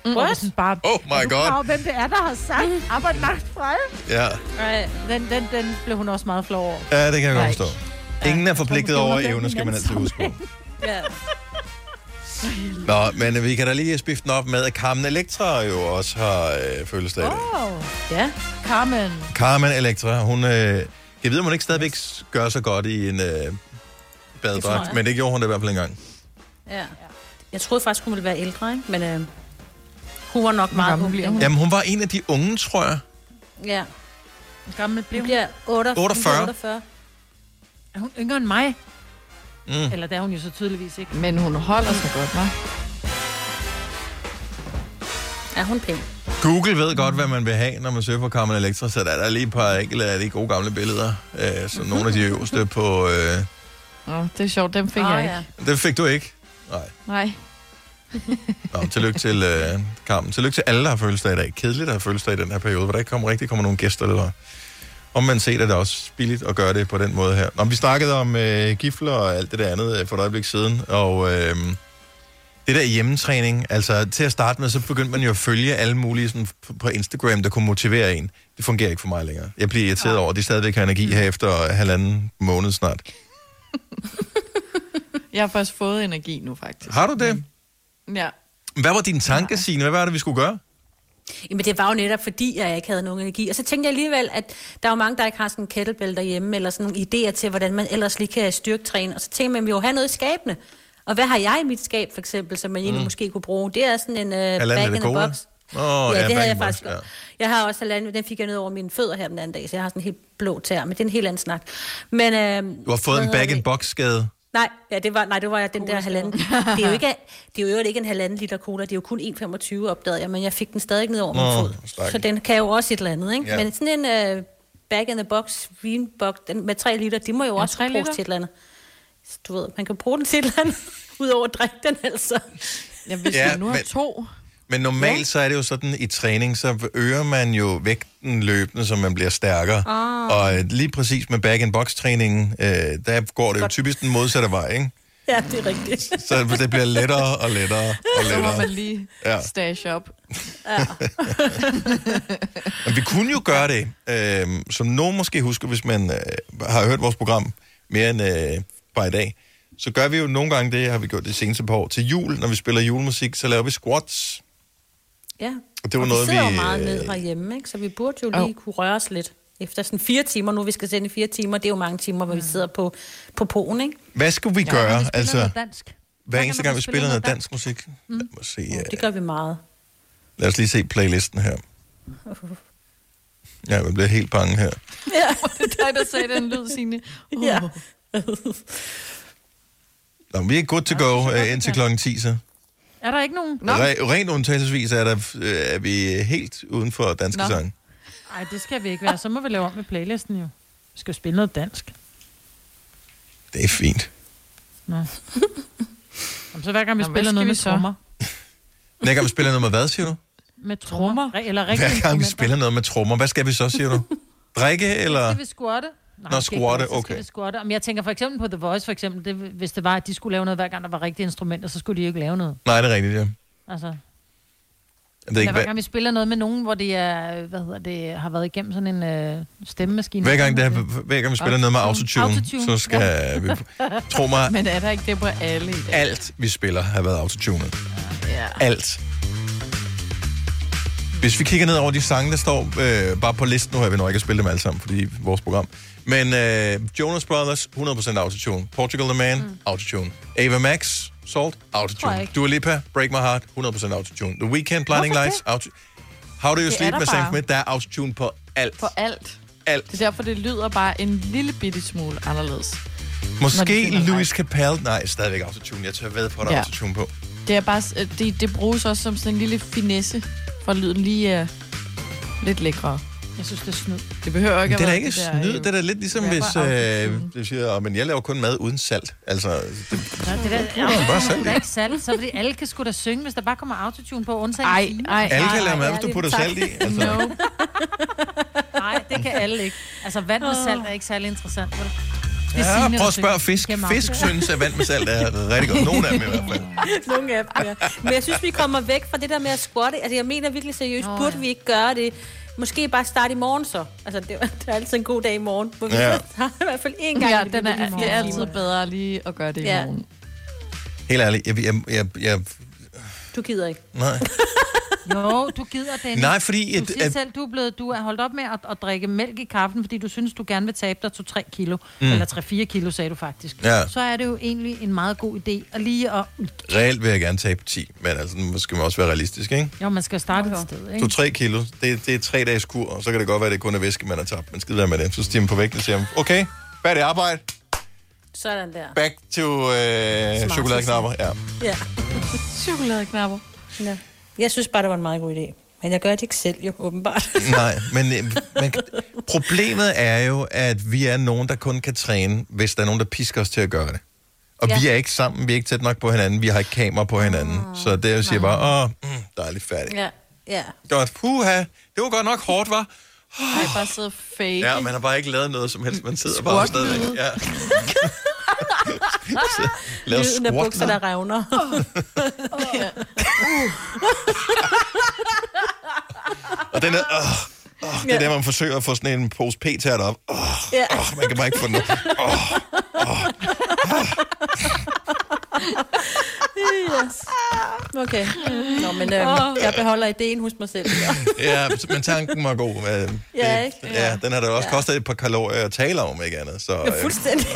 [SPEAKER 4] Mm.
[SPEAKER 5] What?
[SPEAKER 4] Sådan bare,
[SPEAKER 1] Oh my
[SPEAKER 4] "Er du klar
[SPEAKER 1] God."
[SPEAKER 4] over, hvem det er, der har sagt, Arbejd macht frei.
[SPEAKER 1] Ja,
[SPEAKER 4] Mm. Den, den, den blev hun også meget flov over.
[SPEAKER 1] ja det kan jeg
[SPEAKER 4] Nej.
[SPEAKER 1] godt forstå. Ingen er forpligtet over evner, skal man altid huske på.
[SPEAKER 4] <laughs>
[SPEAKER 7] Ja.
[SPEAKER 1] Nå, men øh, vi kan da lige spifte den op med, at Carmen Electra jo også har øh, fødselsdag. Oh.
[SPEAKER 4] Wow. Ja, Carmen.
[SPEAKER 1] Carmen Electra, hun... Øh, jeg ved, om hun ikke stadigvæk s- gør så godt i en øh,
[SPEAKER 5] tror jeg.
[SPEAKER 1] badedragt, men det gjorde hun da i hvert fald engang.
[SPEAKER 5] Ja. Jeg troede faktisk, hun ville være ældre, ikke? men øh, hun var nok meget ung. dengang.
[SPEAKER 1] Jamen, hun var en af de unge, tror jeg.
[SPEAKER 5] Ja.
[SPEAKER 4] Hvor gammel blev hun?
[SPEAKER 5] bliver 48.
[SPEAKER 1] 48.
[SPEAKER 5] 48.
[SPEAKER 4] Er hun yngre end mig?
[SPEAKER 1] Mm.
[SPEAKER 4] Eller det er hun jo så tydeligvis ikke.
[SPEAKER 2] Men hun holder sig godt, hva'?
[SPEAKER 5] Er hun pæn?
[SPEAKER 1] Google ved godt, hvad man vil have, når man søger på Carmen Electra, så der er der lige et par enkelte af de gode gamle billeder, øh, som nogle af de øverste på... Øh,
[SPEAKER 2] Nå, det er sjovt, dem fik
[SPEAKER 5] Åh,
[SPEAKER 2] jeg ikke.
[SPEAKER 5] ja.
[SPEAKER 1] det fik du ikke. Nej.
[SPEAKER 2] Nej.
[SPEAKER 1] Nå, tillykke til øh, Carmen. Tillykke til alle, der har fødselsdag i dag. Kedeligt at have fødselsdag i den her periode, hvor der ikke kommer rigtig kommer nogen gæster. Eller om man set, at det er også billigt at gøre det på den måde her. Nå, men vi snakkede om øh, gifler og alt det der andet øh, for et øjeblik siden, og øh, det der hjemmetræning, altså til at starte med, så begyndte man jo at følge alle mulige sådan, på- på Instagram, der kunne motivere en. Det fungerer ikke for mig længere. Jeg bliver irriteret over, at de stadigvæk har energi her efter halvanden måned snart.
[SPEAKER 2] <laughs> Jeg har først fået energi nu, faktisk.
[SPEAKER 1] Har du det?
[SPEAKER 2] Ja.
[SPEAKER 1] Hvad var din tanke, Signe? Hvad var det, vi skulle gøre?
[SPEAKER 5] Jamen, det var jo netop, fordi jeg ikke havde nogen energi. Og så tænkte jeg alligevel, at der er jo mange, der ikke har sådan en kettlebell derhjemme, eller sådan nogle idéer til, hvordan man ellers lige kan styrketræne. Og så tænkte man, at vi jo have noget skabende. Og hvad har jeg i mit skab, for eksempel, som man egentlig
[SPEAKER 1] Mm.
[SPEAKER 5] måske kunne bruge? Det er sådan en uh, bag in the
[SPEAKER 1] cola?
[SPEAKER 5] box.
[SPEAKER 1] Åh,
[SPEAKER 5] ja, det havde
[SPEAKER 1] bag in
[SPEAKER 5] jeg
[SPEAKER 1] the box,
[SPEAKER 5] faktisk. Ja. Jeg har også halvanden, den fik jeg ned over mine fødder her den anden dag, så jeg har sådan en helt blå tær, men det er en helt anden snak. Men, øh,
[SPEAKER 1] Du har fået en bag-in-box-skade.
[SPEAKER 5] Nej, ja, det var, nej, det var jeg, den der halvanden. Det er jo ikke, det er jo ikke en halvanden liter cola, det er jo kun 1,25 opdagede jeg, men jeg fik den stadig ned over
[SPEAKER 1] Nå,
[SPEAKER 5] min fod.
[SPEAKER 1] stakkels.
[SPEAKER 5] Så den kan jo også et eller andet, ikke?
[SPEAKER 1] Ja.
[SPEAKER 5] Ja. Men sådan en uh, bag in the box vinbox den med 3 liter, de må jo ja, også
[SPEAKER 2] 3
[SPEAKER 5] bruges
[SPEAKER 2] liter?
[SPEAKER 5] liter. til et eller andet. Så Du ved, man kan bruge den til et eller andet, <laughs> udover at drikke den altså.
[SPEAKER 2] Jeg hvis
[SPEAKER 1] Ja,
[SPEAKER 2] ja, nu er
[SPEAKER 1] men-
[SPEAKER 2] to...
[SPEAKER 1] Men normalt så er det jo sådan, i træning, så øger man jo vægten løbende, så man bliver stærkere.
[SPEAKER 2] Ah.
[SPEAKER 1] Og øh, lige præcis med bag-in-box-træningen, øh, der går det jo typisk den modsatte vej, ikke?
[SPEAKER 5] Ja, det er rigtigt.
[SPEAKER 1] <laughs> Så det bliver lettere og lettere og
[SPEAKER 2] Så må man
[SPEAKER 1] lettere.
[SPEAKER 2] lige
[SPEAKER 1] Ja.
[SPEAKER 2] ja. stash op.
[SPEAKER 1] Men vi kunne jo gøre det, øh, som nogen måske husker, hvis man øh, har hørt vores program mere end øh, bare i dag, så gør vi jo nogle gange det, har vi gjort det seneste par år, til jul, når vi spiller julemusik, så laver vi squats.
[SPEAKER 5] Ja.
[SPEAKER 1] Og det var
[SPEAKER 5] og
[SPEAKER 1] noget,
[SPEAKER 5] vi sidder
[SPEAKER 1] vi,
[SPEAKER 5] jo meget
[SPEAKER 1] øh,
[SPEAKER 5] ned herhjemme, ikke? så vi burde jo
[SPEAKER 1] Jo.
[SPEAKER 5] lige kunne røre os lidt. Efter sådan fire timer, nu vi skal sende i fire timer, det er jo mange timer, hvor vi sidder på, på poen, ikke?
[SPEAKER 1] Hvad skulle vi gøre? altså,
[SPEAKER 5] dansk.
[SPEAKER 1] hver eneste gang, vi
[SPEAKER 5] spiller
[SPEAKER 1] spiller noget
[SPEAKER 5] noget
[SPEAKER 1] dansk musik. Mm. Lad, mig se, øh,
[SPEAKER 5] Det gør vi meget. <laughs>
[SPEAKER 1] lad os lige se playlisten her. Ja, jeg bliver helt bange
[SPEAKER 2] <laughs>
[SPEAKER 1] her.
[SPEAKER 5] <laughs>
[SPEAKER 2] Ja. det er dig, der sagde den lyd, Signe. Uh. Ja.
[SPEAKER 1] Nå, men vi er good to go ja, indtil klokken 10, så.
[SPEAKER 4] Er der ikke nogen?
[SPEAKER 1] Re- rent undtagelsesvis er, der, øh, er vi helt uden for danske
[SPEAKER 4] Nå.
[SPEAKER 1] sange.
[SPEAKER 4] Nej, det skal vi ikke være. Så må vi lave om med playlisten jo. Vi skal jo spille noget dansk.
[SPEAKER 1] Det er fint.
[SPEAKER 4] Nå. Jamen, så hver gang vi
[SPEAKER 2] Nå, hvad
[SPEAKER 4] spiller
[SPEAKER 2] skal
[SPEAKER 4] noget
[SPEAKER 2] vi
[SPEAKER 4] med
[SPEAKER 2] så?
[SPEAKER 4] trommer.
[SPEAKER 1] Hver gang vi spiller noget med hvad, siger du?
[SPEAKER 4] Med trommer? Eller rigtig
[SPEAKER 1] Hver gang vi spiller noget med trommer, hvad skal vi så, siger du? <laughs> Drikke, eller?
[SPEAKER 4] Skal vi squatte? Nej,
[SPEAKER 1] Nå,
[SPEAKER 4] vi skal ikke
[SPEAKER 1] squatte,
[SPEAKER 4] drikke, så skal
[SPEAKER 1] okay.
[SPEAKER 4] vi squatte. Men jeg tænker for eksempel på The Voice, for eksempel, det, hvis det var, at de skulle lave noget, hver gang der var rigtige instrumenter, så skulle de jo ikke lave noget.
[SPEAKER 1] Nej, det er rigtigt, ja.
[SPEAKER 4] Altså,
[SPEAKER 1] Jeg ved
[SPEAKER 4] det
[SPEAKER 1] ikke,
[SPEAKER 4] hver
[SPEAKER 1] hver,
[SPEAKER 4] gang vi spiller noget med nogen, hvor det er, hvad hedder det, har været igennem sådan en øh, stemmemaskine.
[SPEAKER 1] hver, gang, det er, hver gang vi spiller noget med autotune,
[SPEAKER 4] Autotune,
[SPEAKER 1] så skal vi... Tro mig,
[SPEAKER 2] Men er der ikke det på alle i dag?
[SPEAKER 1] alt vi spiller har været autotunet.
[SPEAKER 2] Ja.
[SPEAKER 1] Alt. Hvis vi kigger ned over de sange, der står øh, bare på listen, nu har vi nok ikke at spille dem alle sammen, fordi det er vores program. Men øh, Jonas Brothers, 100% autotune. Portugal The Man, mm. autotune. Ava Max, Salt,
[SPEAKER 4] jeg
[SPEAKER 1] autotune.
[SPEAKER 4] ikke.
[SPEAKER 1] Dua Lipa, Break My Heart, 100% autotune. The Weeknd, Blinding
[SPEAKER 2] Hvorfor
[SPEAKER 1] Lights, autotune. How Do You
[SPEAKER 2] Det er
[SPEAKER 1] Sleep
[SPEAKER 2] der
[SPEAKER 1] med Sam
[SPEAKER 2] bare.
[SPEAKER 1] Smith, der er autotune på alt.
[SPEAKER 2] På alt.
[SPEAKER 1] Alt.
[SPEAKER 2] Det er derfor, det lyder bare en lille bitte smule anderledes. når de
[SPEAKER 1] Måske
[SPEAKER 2] finder
[SPEAKER 1] Louis Capaldi, nej, stadigvæk autotune. Jeg tør ved på, at der er
[SPEAKER 2] Ja.
[SPEAKER 1] autotune på.
[SPEAKER 2] Det, er bare, s- øh, det, det bruges også som sådan en lille finesse, for at lyden lige er lidt lækre.
[SPEAKER 4] Jeg synes, det er snyd.
[SPEAKER 2] Det behøver ikke
[SPEAKER 1] Men det er da
[SPEAKER 2] være
[SPEAKER 1] ikke snyd. Det er da lidt ligesom,
[SPEAKER 2] rapper
[SPEAKER 1] hvis øh, du siger, "Åh, men jeg laver kun mad uden salt. Altså, det,
[SPEAKER 4] Ja, det der,
[SPEAKER 1] Ja, bare salt i.
[SPEAKER 4] der er ikke salt, så fordi alle kan sgu da synge, hvis der bare kommer autotune på, undtagen
[SPEAKER 2] Ej,
[SPEAKER 4] Signe.
[SPEAKER 2] ej,
[SPEAKER 1] Alle kan ej, lave mad, hvis du ærligt, putter tak. salt i, altså.
[SPEAKER 4] No. <laughs> Nej, det kan alle ikke. Altså, vand med salt er ikke særlig interessant. vel? Det er
[SPEAKER 1] ja,
[SPEAKER 4] Signe,
[SPEAKER 1] prøv
[SPEAKER 4] der
[SPEAKER 1] at spørge
[SPEAKER 4] synger.
[SPEAKER 1] fisk.
[SPEAKER 4] Gennem
[SPEAKER 1] Fisk
[SPEAKER 4] autotune.
[SPEAKER 1] synes, at vand med salt er rigtig godt. Nogle af dem i hvert fald.
[SPEAKER 5] Nogle af dem, ja. Men jeg synes, vi kommer væk fra det der med at squatte. Altså, jeg mener virkelig seriøst, burde vi ikke gøre det? Måske bare starte i morgen så. Altså, det <laughs> er, det er altid en god dag i morgen. Hvor vi
[SPEAKER 1] Ja.
[SPEAKER 5] ja. <laughs> starter i hvert fald én gang.
[SPEAKER 2] Ja,
[SPEAKER 5] i
[SPEAKER 2] den er,
[SPEAKER 5] begyndelsen.
[SPEAKER 2] det er altid bedre lige at gøre det i
[SPEAKER 5] Ja.
[SPEAKER 2] morgen.
[SPEAKER 1] Helt ærligt, jeg, jeg, jeg, jeg
[SPEAKER 5] Du gider ikke.
[SPEAKER 1] nej.
[SPEAKER 4] Jo, du gider, Dennis.
[SPEAKER 1] Nej, fordi
[SPEAKER 4] Du
[SPEAKER 1] at-
[SPEAKER 4] siger
[SPEAKER 1] at-
[SPEAKER 4] selv, du er, blevet, du er holdt op med at, at drikke mælk i kaffen, fordi du synes, du gerne vil tabe dig 2-3 kilo.
[SPEAKER 1] Mm.
[SPEAKER 4] Mm. Eller 3-4 kilo, sagde du faktisk.
[SPEAKER 1] Ja.
[SPEAKER 4] Så er det jo egentlig en meget god idé at lige at...
[SPEAKER 1] Reelt vil jeg gerne tabe 10, men altså, nu skal man også være realistisk, ikke?
[SPEAKER 4] Jo, man skal starte et sted, ikke?
[SPEAKER 1] 2-3 kilo, det, det er tre dages kur, og så kan det godt være, at det kun er væske, man har tabt. Men skid være med det. Så stiger man på vægten og siger, okay, færdig arbejde,
[SPEAKER 5] Sådan der.
[SPEAKER 1] back to øh, chokoladeknapper. Ja.
[SPEAKER 5] Ja.
[SPEAKER 2] Chokoladeknapper.
[SPEAKER 5] Ja. Jeg synes bare, det var en meget god idé. Men jeg gør det ikke selv, jo, åbenbart.
[SPEAKER 1] <laughs> Nej, men øh, man, kan- problemet er jo, at vi er nogen, der kun kan træne, hvis der er nogen, der pisker os til at gøre det. Og ja.
[SPEAKER 5] Ja. Ah.
[SPEAKER 1] vi er ikke sammen, vi er ikke tæt nok på hinanden, vi har ikke kamera på hinanden. Så det jeg siger bare, åh, mm, dejligt færdigt.
[SPEAKER 5] Ja, ja.
[SPEAKER 1] Godt, puha, det var godt nok hårdt, var.
[SPEAKER 2] Jeg bare sidde og fake.
[SPEAKER 1] Ja, man har bare ikke lavet noget som helst, man sidder
[SPEAKER 2] Squat.
[SPEAKER 1] bare stadigvæk.
[SPEAKER 5] <laughs>
[SPEAKER 1] Ja. Lav
[SPEAKER 5] Lyden af
[SPEAKER 1] squat.
[SPEAKER 5] bukser, der revner. <laughs> ja. <laughs>
[SPEAKER 1] Og den er, åh, åh, det er
[SPEAKER 5] Ja.
[SPEAKER 1] der, man forsøger at få sådan en pose p-tært op. Åh,
[SPEAKER 5] Ja.
[SPEAKER 1] åh, man kan bare ikke få den
[SPEAKER 5] <laughs>
[SPEAKER 1] op.
[SPEAKER 5] yes. Okay. Nå, men øhm, jeg beholder ideen hos mig selv.
[SPEAKER 1] Ja, men tanken var god. Øh, det-
[SPEAKER 5] Ja, ikke?
[SPEAKER 1] Ja, den har da også kostet et par kalorier at tale om, ikke andet. Så
[SPEAKER 5] Ja,
[SPEAKER 1] øh,
[SPEAKER 5] fuldstændig.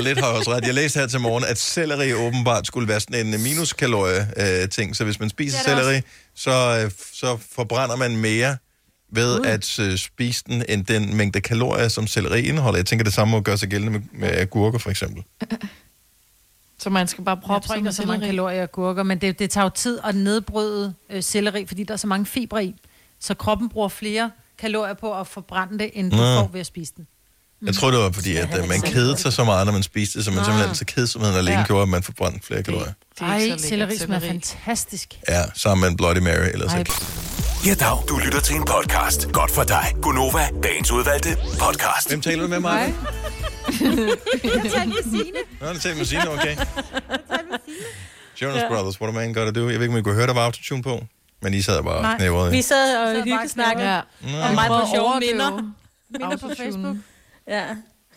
[SPEAKER 1] lidt har jeg også ret. Jeg læste her til morgen, at selleri åbenbart skulle være sådan en øh, minuskalorie-ting. så hvis man spiser
[SPEAKER 25] er det
[SPEAKER 1] selleri, så, øh, så forbrænder man mere ved at øh, spise den, end den mængde kalorier, som selleri indeholder. Jeg tænker, det samme må gøre sig gældende med, med agurker, for eksempel.
[SPEAKER 2] Så man skal bare
[SPEAKER 4] Jeg
[SPEAKER 2] proppe
[SPEAKER 4] tror ikke, der er så mange
[SPEAKER 2] selleri.
[SPEAKER 4] kalorier og gurker, men det, det tager jo tid at nedbryde øh, selleri, fordi der er så mange fibre i. Så kroppen bruger flere kalorier på at forbrænde det, end du
[SPEAKER 1] Nå.
[SPEAKER 4] får ved at spise den.
[SPEAKER 1] Jeg tror, det var fordi, at øh, man kedede sig så meget, når man spiste det, så man
[SPEAKER 4] Ah.
[SPEAKER 1] simpelthen så kedsomheden alene
[SPEAKER 4] Ja.
[SPEAKER 1] gjorde, at man forbrændte flere kalorier.
[SPEAKER 6] er ikke så
[SPEAKER 4] Ej,
[SPEAKER 6] lækkert,
[SPEAKER 4] selleri smager
[SPEAKER 6] selleri.
[SPEAKER 4] fantastisk.
[SPEAKER 1] Ja, sammen med en Bloody Mary, ellers
[SPEAKER 4] Ej,
[SPEAKER 1] ikke.
[SPEAKER 6] Ja, dag. Du lytter til en podcast. Godt for dig. Gunova, dagens udvalgte podcast.
[SPEAKER 1] Hvem taler du med, Maja?
[SPEAKER 7] Jeg tager lige
[SPEAKER 5] Signe.
[SPEAKER 1] Nå, det taler med Signe, okay. Jonas
[SPEAKER 5] Ja.
[SPEAKER 1] Brothers, what a man gotta do. Jeg ved ikke, om I kunne høre, der var autotune på, men I sad bare og knævrede.
[SPEAKER 5] Vi sad og
[SPEAKER 2] knævrede.
[SPEAKER 5] hyggesnakkede.
[SPEAKER 2] Ja.
[SPEAKER 5] Ja.
[SPEAKER 1] Nå.
[SPEAKER 5] Og meget
[SPEAKER 2] Prøv
[SPEAKER 5] på
[SPEAKER 2] at
[SPEAKER 5] sjove
[SPEAKER 2] overdøve
[SPEAKER 5] minder. Minder på
[SPEAKER 4] autotunen.
[SPEAKER 5] Facebook. Ja.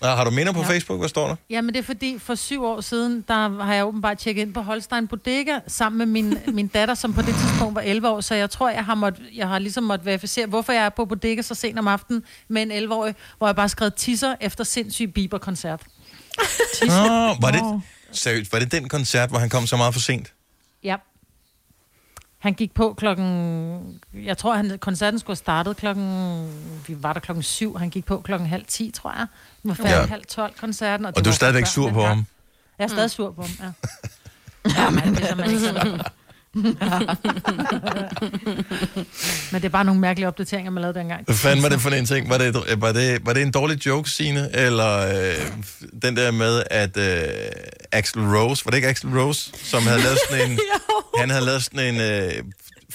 [SPEAKER 1] Nå, Ah, har du minder på Facebook? Hvad står der?
[SPEAKER 4] Ja, men det er fordi, for syv år siden, der har jeg åbenbart tjekket ind på Holstein Bodega, sammen med min, <laughs> min datter, som på det tidspunkt var 11 år, så jeg tror, jeg har, måtte, jeg har ligesom måttet verificere, hvorfor jeg er på Bodega så sent om aftenen med en 11-årig, hvor jeg bare skrev tisser efter sindssyg Bieber-koncert.
[SPEAKER 1] Nå, var det, seriøst, var det den koncert, hvor han kom så meget for sent?
[SPEAKER 4] Ja. Han gik på klokken... Jeg tror, han, koncerten skulle have startet klokken... Vi var der klokken syv. Han gik på klokken halv ti, tror jeg. Den var færdig
[SPEAKER 1] Ja.
[SPEAKER 4] ja. halv tolv koncerten.
[SPEAKER 1] Og du er
[SPEAKER 4] var
[SPEAKER 1] stadigvæk
[SPEAKER 4] før
[SPEAKER 1] sur på
[SPEAKER 4] dengang.
[SPEAKER 1] ham?
[SPEAKER 4] Jeg er stadig sur på ham, ja. ja men, det er man ikke sur på. men det er bare nogle mærkelige opdateringer, man lavede dengang.
[SPEAKER 1] Hvad fanden var det for en ting? Var det, var det, var det en dårlig joke, Signe? Eller øh, den der med, at øh, Axel Rose, var det ikke Axel Rose, som havde lavet <laughs> sådan en, han havde lavet sådan en øh,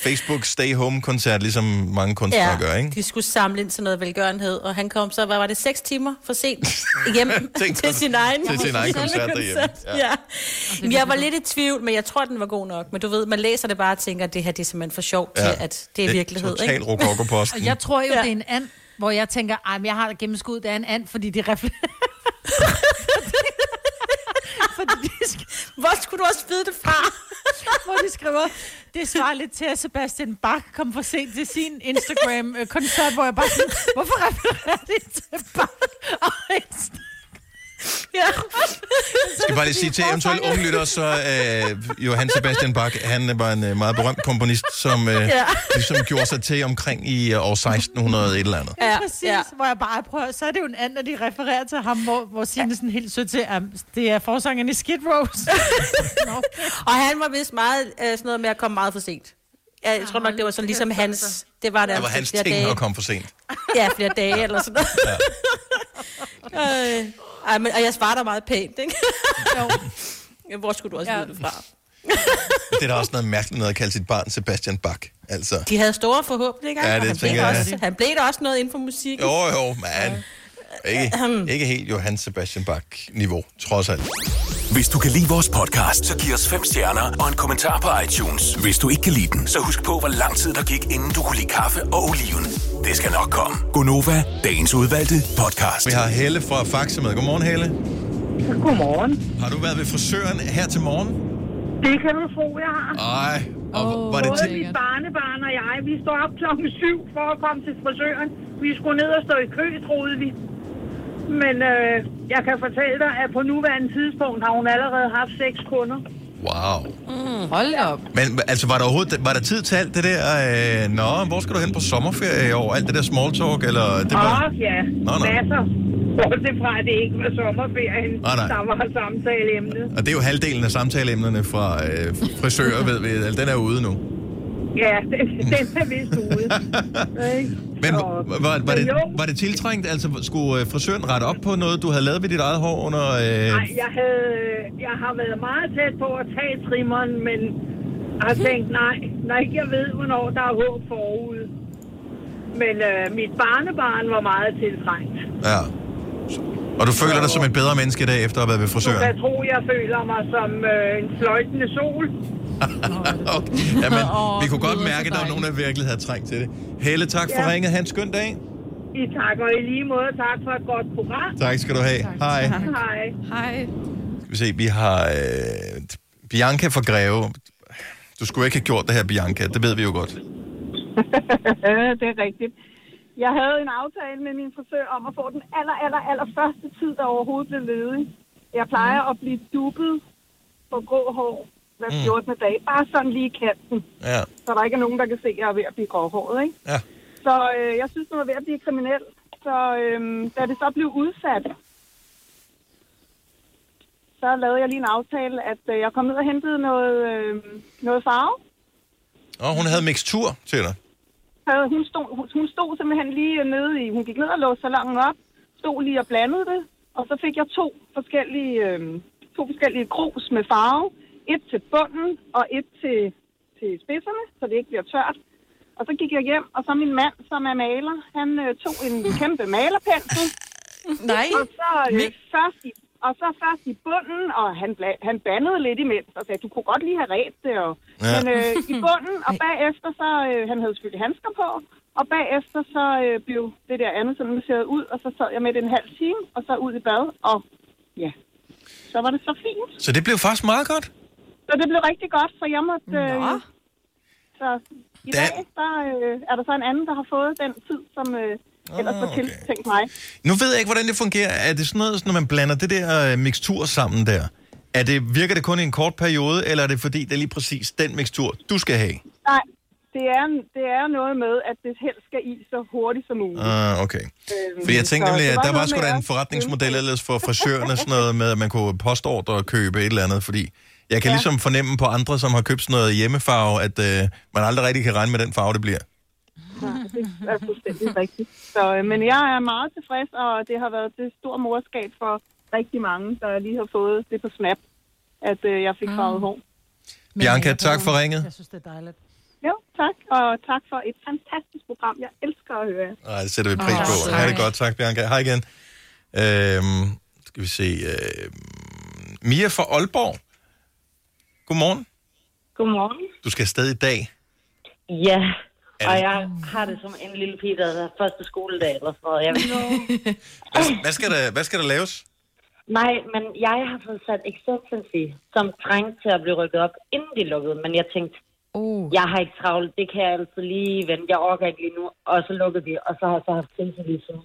[SPEAKER 1] Facebook Stay Home-koncert, ligesom mange kunstnere ja. gør, ikke?
[SPEAKER 5] de skulle samle ind til noget velgørenhed, og han kom så, hvad var det, seks timer for sent hjem
[SPEAKER 1] <laughs> Tænk
[SPEAKER 5] til
[SPEAKER 1] sig-
[SPEAKER 5] sin egen,
[SPEAKER 1] til sin egen koncert derhjemme.
[SPEAKER 5] <laughs> Ja.
[SPEAKER 1] Ja.
[SPEAKER 5] ja. Men jeg var lidt i tvivl, men jeg tror, den var god nok. Men du ved, man læser det bare og tænker, at det her det er simpelthen for sjovt
[SPEAKER 1] Ja.
[SPEAKER 5] til, at det er
[SPEAKER 1] Det er
[SPEAKER 5] virkelighed.
[SPEAKER 1] total rokokoposten.
[SPEAKER 4] Og jeg tror jo, ja. det er en and, hvor jeg tænker, ej, men jeg har gennemskuddet, det er en and, fordi de reflekterer. <laughs> fordi de sk-
[SPEAKER 5] Hvor skulle du også vide det fra?
[SPEAKER 4] <laughs> hvor de skriver, det svarer lidt til, at Sebastian Bach kom for sent til sin Instagram-koncert, hvor jeg bare sådan, hvorfor refererer de til Bach? <laughs> Og Instagram?"
[SPEAKER 5] ja.
[SPEAKER 1] Jeg skal bare lige sige til eventuelle unge lytter, så øh, Johan Sebastian Bach, han var en øh, meget berømt komponist, som øh, ja.
[SPEAKER 4] Ja.
[SPEAKER 1] ligesom gjorde sig til omkring i øh, år 1600 et eller andet.
[SPEAKER 4] Ja, ja, præcis, ja. hvor jeg bare prøver, så er det jo en anden, de refererer til ham, hvor, hvor Signe sådan helt sødt til, at det er forsangeren i Skid
[SPEAKER 5] <laughs>
[SPEAKER 4] Rose.
[SPEAKER 5] Og han var vist meget øh, sådan noget med at komme meget for sent. Jeg tror nok, det var sådan ligesom hans... Det var, der
[SPEAKER 1] Det var hans ting at komme for sent.
[SPEAKER 5] Ja, flere dage eller sådan noget.
[SPEAKER 1] Ja.
[SPEAKER 5] Øh, <laughs> Ej, men, og jeg svarer dig meget pænt, ikke? <laughs> jo. Hvor skulle du også ja. vide det fra?
[SPEAKER 1] Det er da også noget mærkeligt noget at kalde sit barn Sebastian Bach. Altså.
[SPEAKER 5] De havde store forhåbninger,
[SPEAKER 1] Ja,
[SPEAKER 5] og
[SPEAKER 1] det
[SPEAKER 5] han, blev
[SPEAKER 1] tænker jeg.
[SPEAKER 5] også, han blev der også noget inden for musik.
[SPEAKER 1] Jo, jo, man. Ikke, ikke helt Johan Sebastian Bach-niveau, trods alt.
[SPEAKER 6] Hvis du kan lide vores podcast, så giv os fem stjerner og en kommentar på iTunes. Hvis du ikke kan lide den, så husk på, hvor lang tid der gik, inden du kunne lide kaffe og oliven. Det skal nok komme. Gonova, dagens udvalgte podcast.
[SPEAKER 1] Vi har Helle fra Faxe med. Godmorgen, Helle.
[SPEAKER 25] Godmorgen.
[SPEAKER 1] Har du været ved frisøren her til morgen?
[SPEAKER 25] Det kan du tro, jeg har.
[SPEAKER 1] Nej. Og oh, var det
[SPEAKER 25] Både
[SPEAKER 1] til...
[SPEAKER 25] mit barnebarn og jeg, vi står op klokken syv for at komme til frisøren. Vi skulle ned og stå i kø, troede vi. Men øh, jeg kan fortælle dig, at på nuværende tidspunkt har hun allerede haft seks kunder.
[SPEAKER 1] Wow.
[SPEAKER 25] Mm, hold op.
[SPEAKER 1] Men altså, var der overhovedet var der tid til alt det der? Øh, nå, hvor skal du hen på sommerferie i år? Alt det der small talk, eller... Det var...
[SPEAKER 25] Åh, ja.
[SPEAKER 1] Nå, nå.
[SPEAKER 25] Masser. Bortset fra, at det ikke var sommerferien,
[SPEAKER 1] Nej, nej.
[SPEAKER 25] der var samtaleemnet.
[SPEAKER 1] Og det er jo halvdelen af samtaleemnerne fra øh, frisører, ved vi. Altså, den er ude nu.
[SPEAKER 13] <laughs>
[SPEAKER 25] Ja, den, den er vist
[SPEAKER 1] <laughs>
[SPEAKER 25] ude. Ikke?
[SPEAKER 1] Men var, var, var, det, var det tiltrængt? Altså, skulle øh, frisøren rette op på noget, du havde lavet ved dit eget hår under...
[SPEAKER 25] Nej,
[SPEAKER 1] Øh...
[SPEAKER 25] jeg, havde, øh, jeg har været meget tæt på at tage trimmeren, men har tænkt, nej, når ikke jeg ved, hvornår der er håb forud. Men øh, mit barnebarn var meget tiltrængt.
[SPEAKER 1] Ja. Og du føler dig som et bedre menneske i dag, efter at have været ved
[SPEAKER 25] Du
[SPEAKER 1] frisøren?
[SPEAKER 25] kan tro, jeg føler mig som øh, en fløjtende sol.
[SPEAKER 1] <laughs> okay. Jamen,
[SPEAKER 25] <laughs>
[SPEAKER 1] vi kunne godt mærke, at der var nogen, der virkelig havde trængt til det. Helle, tak for
[SPEAKER 25] Ja.
[SPEAKER 1] ringet. Ha' en skøn dag.
[SPEAKER 25] I tak, og i lige måde tak for et godt program.
[SPEAKER 1] Tak skal du have. Hej.
[SPEAKER 25] Hej. Hej.
[SPEAKER 1] Skal vi se, vi har øh, Bianca fra Greve. Du skulle ikke have gjort det her, Bianca. Det ved vi jo godt.
[SPEAKER 13] det er rigtigt. Jeg havde en aftale med min frisør om at få den aller, aller, aller første tid, der overhovedet blev ledig. Jeg plejer at blive dubbet på grå hår hver
[SPEAKER 1] Mm.
[SPEAKER 13] 14. dag. Bare sådan lige i kanten.
[SPEAKER 1] Ja.
[SPEAKER 13] Så der ikke er nogen, der kan se, at jeg er ved at blive gråhåret. Ikke?
[SPEAKER 1] Ja.
[SPEAKER 13] Så øh, jeg synes, den var ved at blive kriminel. Så øh, da det så blev udsat, så lavede jeg lige en aftale, at øh, jeg kom ned og hentede noget, øh, noget farve.
[SPEAKER 1] Og hun havde mixtur til dig.
[SPEAKER 13] havde, hun, stod, hun, hun stod simpelthen lige nede i, hun gik ned og låste salongen op, stod lige og blandede det, og så fik jeg to forskellige, øh, to forskellige grus med farve. Et til bunden og et til, til spidserne, så det ikke bliver tørt. Og så gik jeg hjem, og så min mand, som er maler, han øh, tog en kæmpe malerpensel.
[SPEAKER 2] Nej.
[SPEAKER 13] Og så, øh, først i, og så først i bunden, og han, bla- han bandede lidt imens og sagde, du kunne godt lige have ret det. Og,
[SPEAKER 26] Ja.
[SPEAKER 13] ja. Men øh, i bunden, og bagefter så, øh, han havde selvfølgelig handsker på, og bagefter så øh, blev det der andet sådan masseret ud, og så sad jeg med det en halv time, og så ud i bad, og ja, så var det så fint.
[SPEAKER 1] Så det blev faktisk meget godt.
[SPEAKER 13] Så det blev rigtig godt, så jeg måtte... Øh, så i
[SPEAKER 1] Da-
[SPEAKER 13] dag, der øh, er der så en anden, der har fået den tid, som øh,
[SPEAKER 1] Ah,
[SPEAKER 13] ellers var tiltænkt mig.
[SPEAKER 1] Nu ved jeg ikke, hvordan det fungerer. Er det sådan noget, når man blander det der øh, mixtur sammen der? Er det, virker det kun i en kort periode, eller er det fordi, det er lige præcis den mixtur, du skal have?
[SPEAKER 13] Nej, det er, det er noget med, at det helst skal i så hurtigt som muligt.
[SPEAKER 1] Ah, okay. For
[SPEAKER 13] Øhm,
[SPEAKER 1] jeg tænkte
[SPEAKER 13] så
[SPEAKER 1] nemlig,
[SPEAKER 13] det
[SPEAKER 1] at
[SPEAKER 13] var
[SPEAKER 1] der var
[SPEAKER 13] noget
[SPEAKER 1] sgu
[SPEAKER 13] med
[SPEAKER 1] da en
[SPEAKER 13] at-
[SPEAKER 1] forretningsmodel ellers for
[SPEAKER 13] <laughs>
[SPEAKER 1] frisørerne, sådan noget med, at man kunne postordre og købe et eller andet, fordi jeg kan
[SPEAKER 13] Ja.
[SPEAKER 1] ligesom fornemme på andre, som har købt sådan noget hjemmefarve, at øh, man aldrig rigtig kan regne med den farve, det bliver.
[SPEAKER 13] Nej, det er fuldstændig rigtigt. Så, øh, men jeg er meget tilfreds, og det har været det store morskab for rigtig mange, der lige har fået det på Snap, at øh, jeg fik farvet hår.
[SPEAKER 1] Bianca, tak for ringet.
[SPEAKER 13] synes, det er dejligt. Jo, tak, og tak for et fantastisk program. Jeg elsker at høre jer.
[SPEAKER 1] Nej, det sætter vi pris
[SPEAKER 13] Åh,
[SPEAKER 1] på.
[SPEAKER 13] tak.
[SPEAKER 1] Ha' det godt. Tak, Bianca. Hej igen. Øhm, skal vi se. Øh, Mia fra Aalborg. Godmorgen.
[SPEAKER 27] Godmorgen.
[SPEAKER 1] Du skal afsted i dag.
[SPEAKER 27] Ja, og jeg har det som en lille pige, der er første skoledag eller sådan noget. Jeg ved.
[SPEAKER 1] Hvad skal der, hvad skal der laves?
[SPEAKER 27] Nej, men jeg har fået sat Excellency som trængte til at blive rykket op, inden de lukkede. Men jeg tænkte,
[SPEAKER 2] uh.
[SPEAKER 27] jeg har ikke travlt, det kan jeg altid lige vente. Jeg orker ikke lige nu. Og så lukkede de, og så har jeg så haft krise lige siden.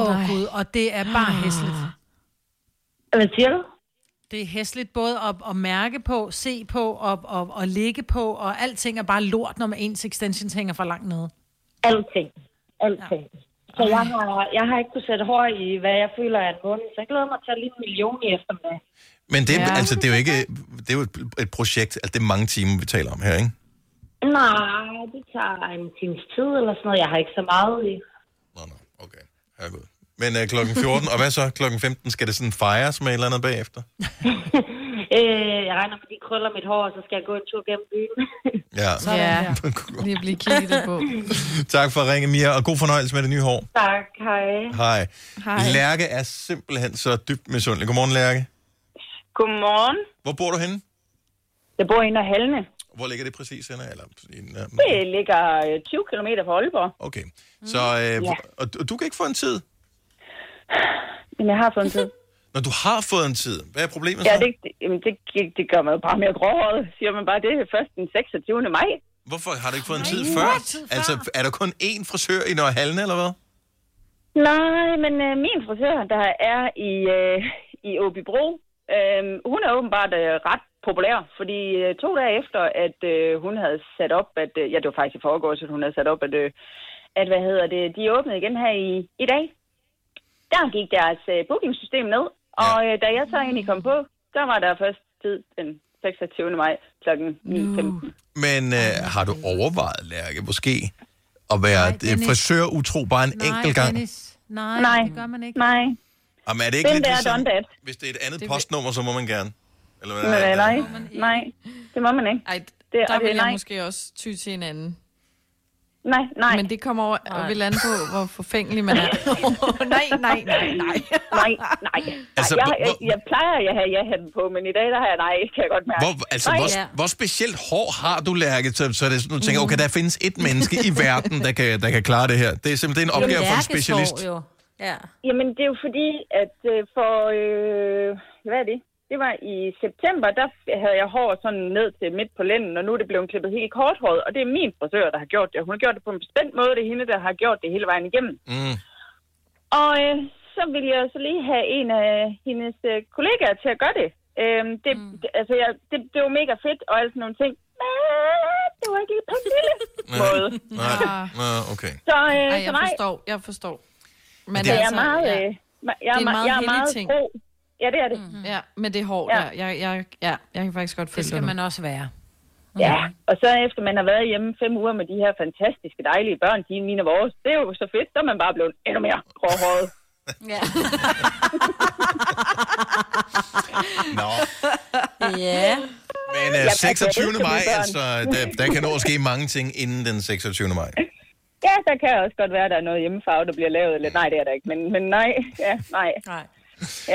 [SPEAKER 4] Åh oh, gud, og det er bare hæsligt.
[SPEAKER 27] Hvad siger du?
[SPEAKER 4] Det er hæsligt både at, at mærke på, se på og, og, og ligge på, og alting er bare lort, når man ens extensions hænger for langt nede.
[SPEAKER 27] Alting. Alting. Så jeg har, jeg har ikke kunnet sætte hår i, hvad jeg føler er en måned, så jeg glæder mig til at lige en million i eftermiddag.
[SPEAKER 1] Men det, ja.
[SPEAKER 27] Ja.
[SPEAKER 1] altså, det er jo ikke det er jo et- et projekt. Altså, det er mange timer, vi taler om her, ikke?
[SPEAKER 27] Nej, det tager en times tid eller sådan noget. Jeg har ikke så meget i.
[SPEAKER 1] Men øh, klokken 14, og hvad så? Klokken 15 skal det sådan fejres med et eller andet bagefter?
[SPEAKER 27] Øh, jeg regner med, at de krøller mit hår, og så skal jeg gå en tur gennem byen.
[SPEAKER 1] Ja. <laughs>
[SPEAKER 27] Ja.
[SPEAKER 2] Lige
[SPEAKER 27] <laughs>
[SPEAKER 2] blive kigget på.
[SPEAKER 1] tak for at ringe, Mia, og god fornøjelse med det nye hår.
[SPEAKER 27] tak, hej.
[SPEAKER 1] Hej.
[SPEAKER 27] Hej.
[SPEAKER 1] Lærke er simpelthen så dybt misundelig. Godmorgen, Lærke.
[SPEAKER 13] Godmorgen.
[SPEAKER 1] Hvor bor du henne?
[SPEAKER 13] Jeg bor i en af halvene.
[SPEAKER 1] Hvor ligger det præcis henne? Eller, i nærheden?
[SPEAKER 25] Det ligger øh, 20 km fra Aalborg.
[SPEAKER 1] okay. Så, øh,
[SPEAKER 25] Mm. Ja.
[SPEAKER 1] og, du- og du kan ikke få en tid?
[SPEAKER 25] Men jeg har fundet tid.
[SPEAKER 1] Når du har fået en tid, hvad er problemet
[SPEAKER 25] ja,
[SPEAKER 1] så?
[SPEAKER 25] det, det, jamen, det, gi- det gør man jo bare mere gråhåret. Siger man bare, det er først den 26. maj.
[SPEAKER 1] Hvorfor har du ikke fået en
[SPEAKER 25] Nej,
[SPEAKER 1] tid
[SPEAKER 25] jeg
[SPEAKER 1] før?
[SPEAKER 25] har ikke tid før.
[SPEAKER 1] Altså, er der kun én frisør i Nørre Hallen, eller hvad?
[SPEAKER 25] Nej, men øh, min frisør, der er i, øh, i Åbibro, øh, hun er åbenbart øh, ret populær, fordi øh, to dage efter, at øh, hun havde sat op, at, øh, ja, det var faktisk i forgårs, at hun havde sat op, at, øh, at hvad hedder det, de åbnede igen her i, i dag, der gik deres øh, bookingsystem ned, og øh, da jeg så egentlig kom på, der var der først tid den 26. maj kl.
[SPEAKER 2] Mm.
[SPEAKER 25] 9.15.
[SPEAKER 1] Men øh, har du overvejet, Lærke, måske at være øh,
[SPEAKER 25] Dennis.
[SPEAKER 1] frisør utro bare en enkelt gang?
[SPEAKER 25] Nej, Nej, det gør man ikke. Nej.
[SPEAKER 1] Jamen, er det ikke
[SPEAKER 25] Den
[SPEAKER 1] lidt
[SPEAKER 25] der er
[SPEAKER 1] ligesom,
[SPEAKER 25] done that.
[SPEAKER 1] hvis det er et andet postnummer, så må man gerne? Eller hvad
[SPEAKER 25] Nej,
[SPEAKER 1] er det?
[SPEAKER 25] nej, nej, det må man ikke.
[SPEAKER 2] Ej,
[SPEAKER 25] det,
[SPEAKER 2] Der
[SPEAKER 25] og det
[SPEAKER 2] vil
[SPEAKER 25] er
[SPEAKER 2] jeg
[SPEAKER 25] nej.
[SPEAKER 2] måske også ty til en anden.
[SPEAKER 25] Nej, nej.
[SPEAKER 2] Men det kommer over og
[SPEAKER 25] Nej.
[SPEAKER 2] vil an på, hvor forfængelig man er. nej, nej, nej, nej.
[SPEAKER 25] nej, nej. Altså, jeg, jeg, jeg plejer, at jeg har ja hatten på, men i dag, der har jeg nej, kan jeg godt mærke.
[SPEAKER 1] Hvor, altså,
[SPEAKER 25] nej,
[SPEAKER 1] hvor, hvor specielt hår har du, Lærke, så, så det, sådan, du tænker, okay,
[SPEAKER 25] Mm.
[SPEAKER 1] der findes et menneske i verden, der kan, der kan klare det her. Det er simpelthen en opgave for en specialist.
[SPEAKER 27] Jo. Ja.
[SPEAKER 25] Jamen, det er jo fordi, at øh, for, øh, hvad er det? Det var i september, der havde jeg hår sådan ned til midt på lænden, og nu er det blevet klippet helt korthåret, og det er min frisør, der har gjort det. Hun har gjort det på en bestemt måde, det er hende, der har gjort det hele vejen igennem.
[SPEAKER 1] Mm.
[SPEAKER 25] Og øh, så vil jeg så lige have en af hendes øh, kollegaer til at gøre det. Øhm, det, mm. det, altså, jeg, det, det var mega fedt og alt sådan nogle ting. Men det var ikke lige præcis. Måde.
[SPEAKER 1] Nej, nej, okay.
[SPEAKER 25] Så, øh,
[SPEAKER 2] Ej,
[SPEAKER 25] så
[SPEAKER 2] jeg
[SPEAKER 25] nej.
[SPEAKER 2] forstår, jeg forstår.
[SPEAKER 25] Men det er meget,
[SPEAKER 2] ja.
[SPEAKER 25] øh, ma- jeg er
[SPEAKER 2] det er en
[SPEAKER 25] ma-
[SPEAKER 2] meget
[SPEAKER 25] jeg er
[SPEAKER 2] hellig
[SPEAKER 25] meget
[SPEAKER 2] ting.
[SPEAKER 25] pro. Ja, det er det.
[SPEAKER 2] Mm. Ja, men det er hårdt.
[SPEAKER 25] Ja.
[SPEAKER 2] Ja. Jeg, jeg, ja, jeg kan faktisk godt følge
[SPEAKER 25] skal man
[SPEAKER 2] også være.
[SPEAKER 25] Ja, og så efter man har været hjemme fem uger med de her fantastiske dejlige børn, de er mine og vores, det er jo så fedt, så er man bare blevet endnu mere gråhåret.
[SPEAKER 27] Ja.
[SPEAKER 1] Nå,
[SPEAKER 27] ja.
[SPEAKER 1] men
[SPEAKER 25] altså, Jeg
[SPEAKER 1] øh,
[SPEAKER 25] kan
[SPEAKER 1] 26.
[SPEAKER 25] elske
[SPEAKER 1] maj,
[SPEAKER 25] mine børn.
[SPEAKER 1] altså, der, der kan nå at ske mange ting inden den 26. maj.
[SPEAKER 25] Ja, der kan også godt være, at der er noget hjemmefarve, der bliver lavet. Eller, nej, det er der ikke, men, men nej. Ja, nej.
[SPEAKER 27] nej.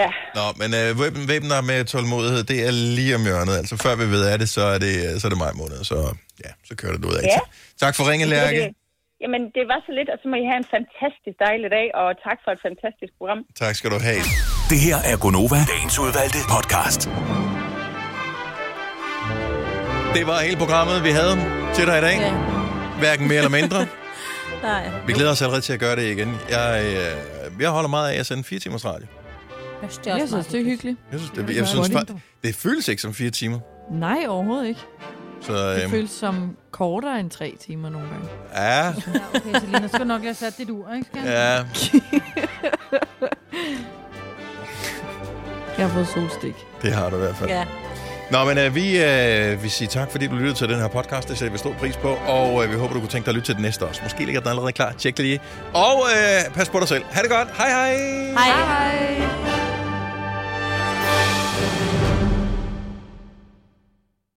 [SPEAKER 25] Ja,
[SPEAKER 1] Nå, men øh, væbn, væbner med tålmodighed, det er lige om hjørnet. Altså, før vi ved af det, så er det, øh, så er det maj måned, så ja, så kører det ud af.
[SPEAKER 25] Ja.
[SPEAKER 1] Tak for ringen, Lærke.
[SPEAKER 25] Jamen, det var så lidt, og så må I have en fantastisk dejlig dag, og tak for et fantastisk program.
[SPEAKER 1] Tak skal du have.
[SPEAKER 6] Det her er Gonova, dagens udvalgte podcast.
[SPEAKER 1] Det var hele programmet, vi havde til dig i dag. Hverken mere eller mindre.
[SPEAKER 27] Nej.
[SPEAKER 1] Vi glæder os allerede til at gøre det igen. Jeg, øh, jeg holder meget af at sende 4 timers radio.
[SPEAKER 27] Jeg synes, det er
[SPEAKER 2] Jeg
[SPEAKER 27] også
[SPEAKER 2] synes, det er hyggeligt.
[SPEAKER 1] Jeg synes, det, jeg synes, det, det føles ikke som 4 timer.
[SPEAKER 2] Nej, overhovedet ikke.
[SPEAKER 1] Så,
[SPEAKER 2] Det
[SPEAKER 1] øh,
[SPEAKER 2] føles som kortere end tre timer nogle gange.
[SPEAKER 1] ja,
[SPEAKER 4] Okay, Selina, skal du nok lige have sat dit ur, ikke?
[SPEAKER 1] ja.
[SPEAKER 4] <laughs>
[SPEAKER 2] Jeg har fået solstik.
[SPEAKER 1] Det har du i hvert fald.
[SPEAKER 2] Ja.
[SPEAKER 1] Nå, men øh, vi, øh, vi siger tak, fordi du lyttede til den her podcast. Det sætter vi stor pris på, og øh, vi håber, du kunne tænke dig at lytte til den næste også. Måske ligger den allerede klar. Tjek lige. Og øh, pas på dig selv. Ha' det godt. Hej hej.
[SPEAKER 27] Hej. Hej.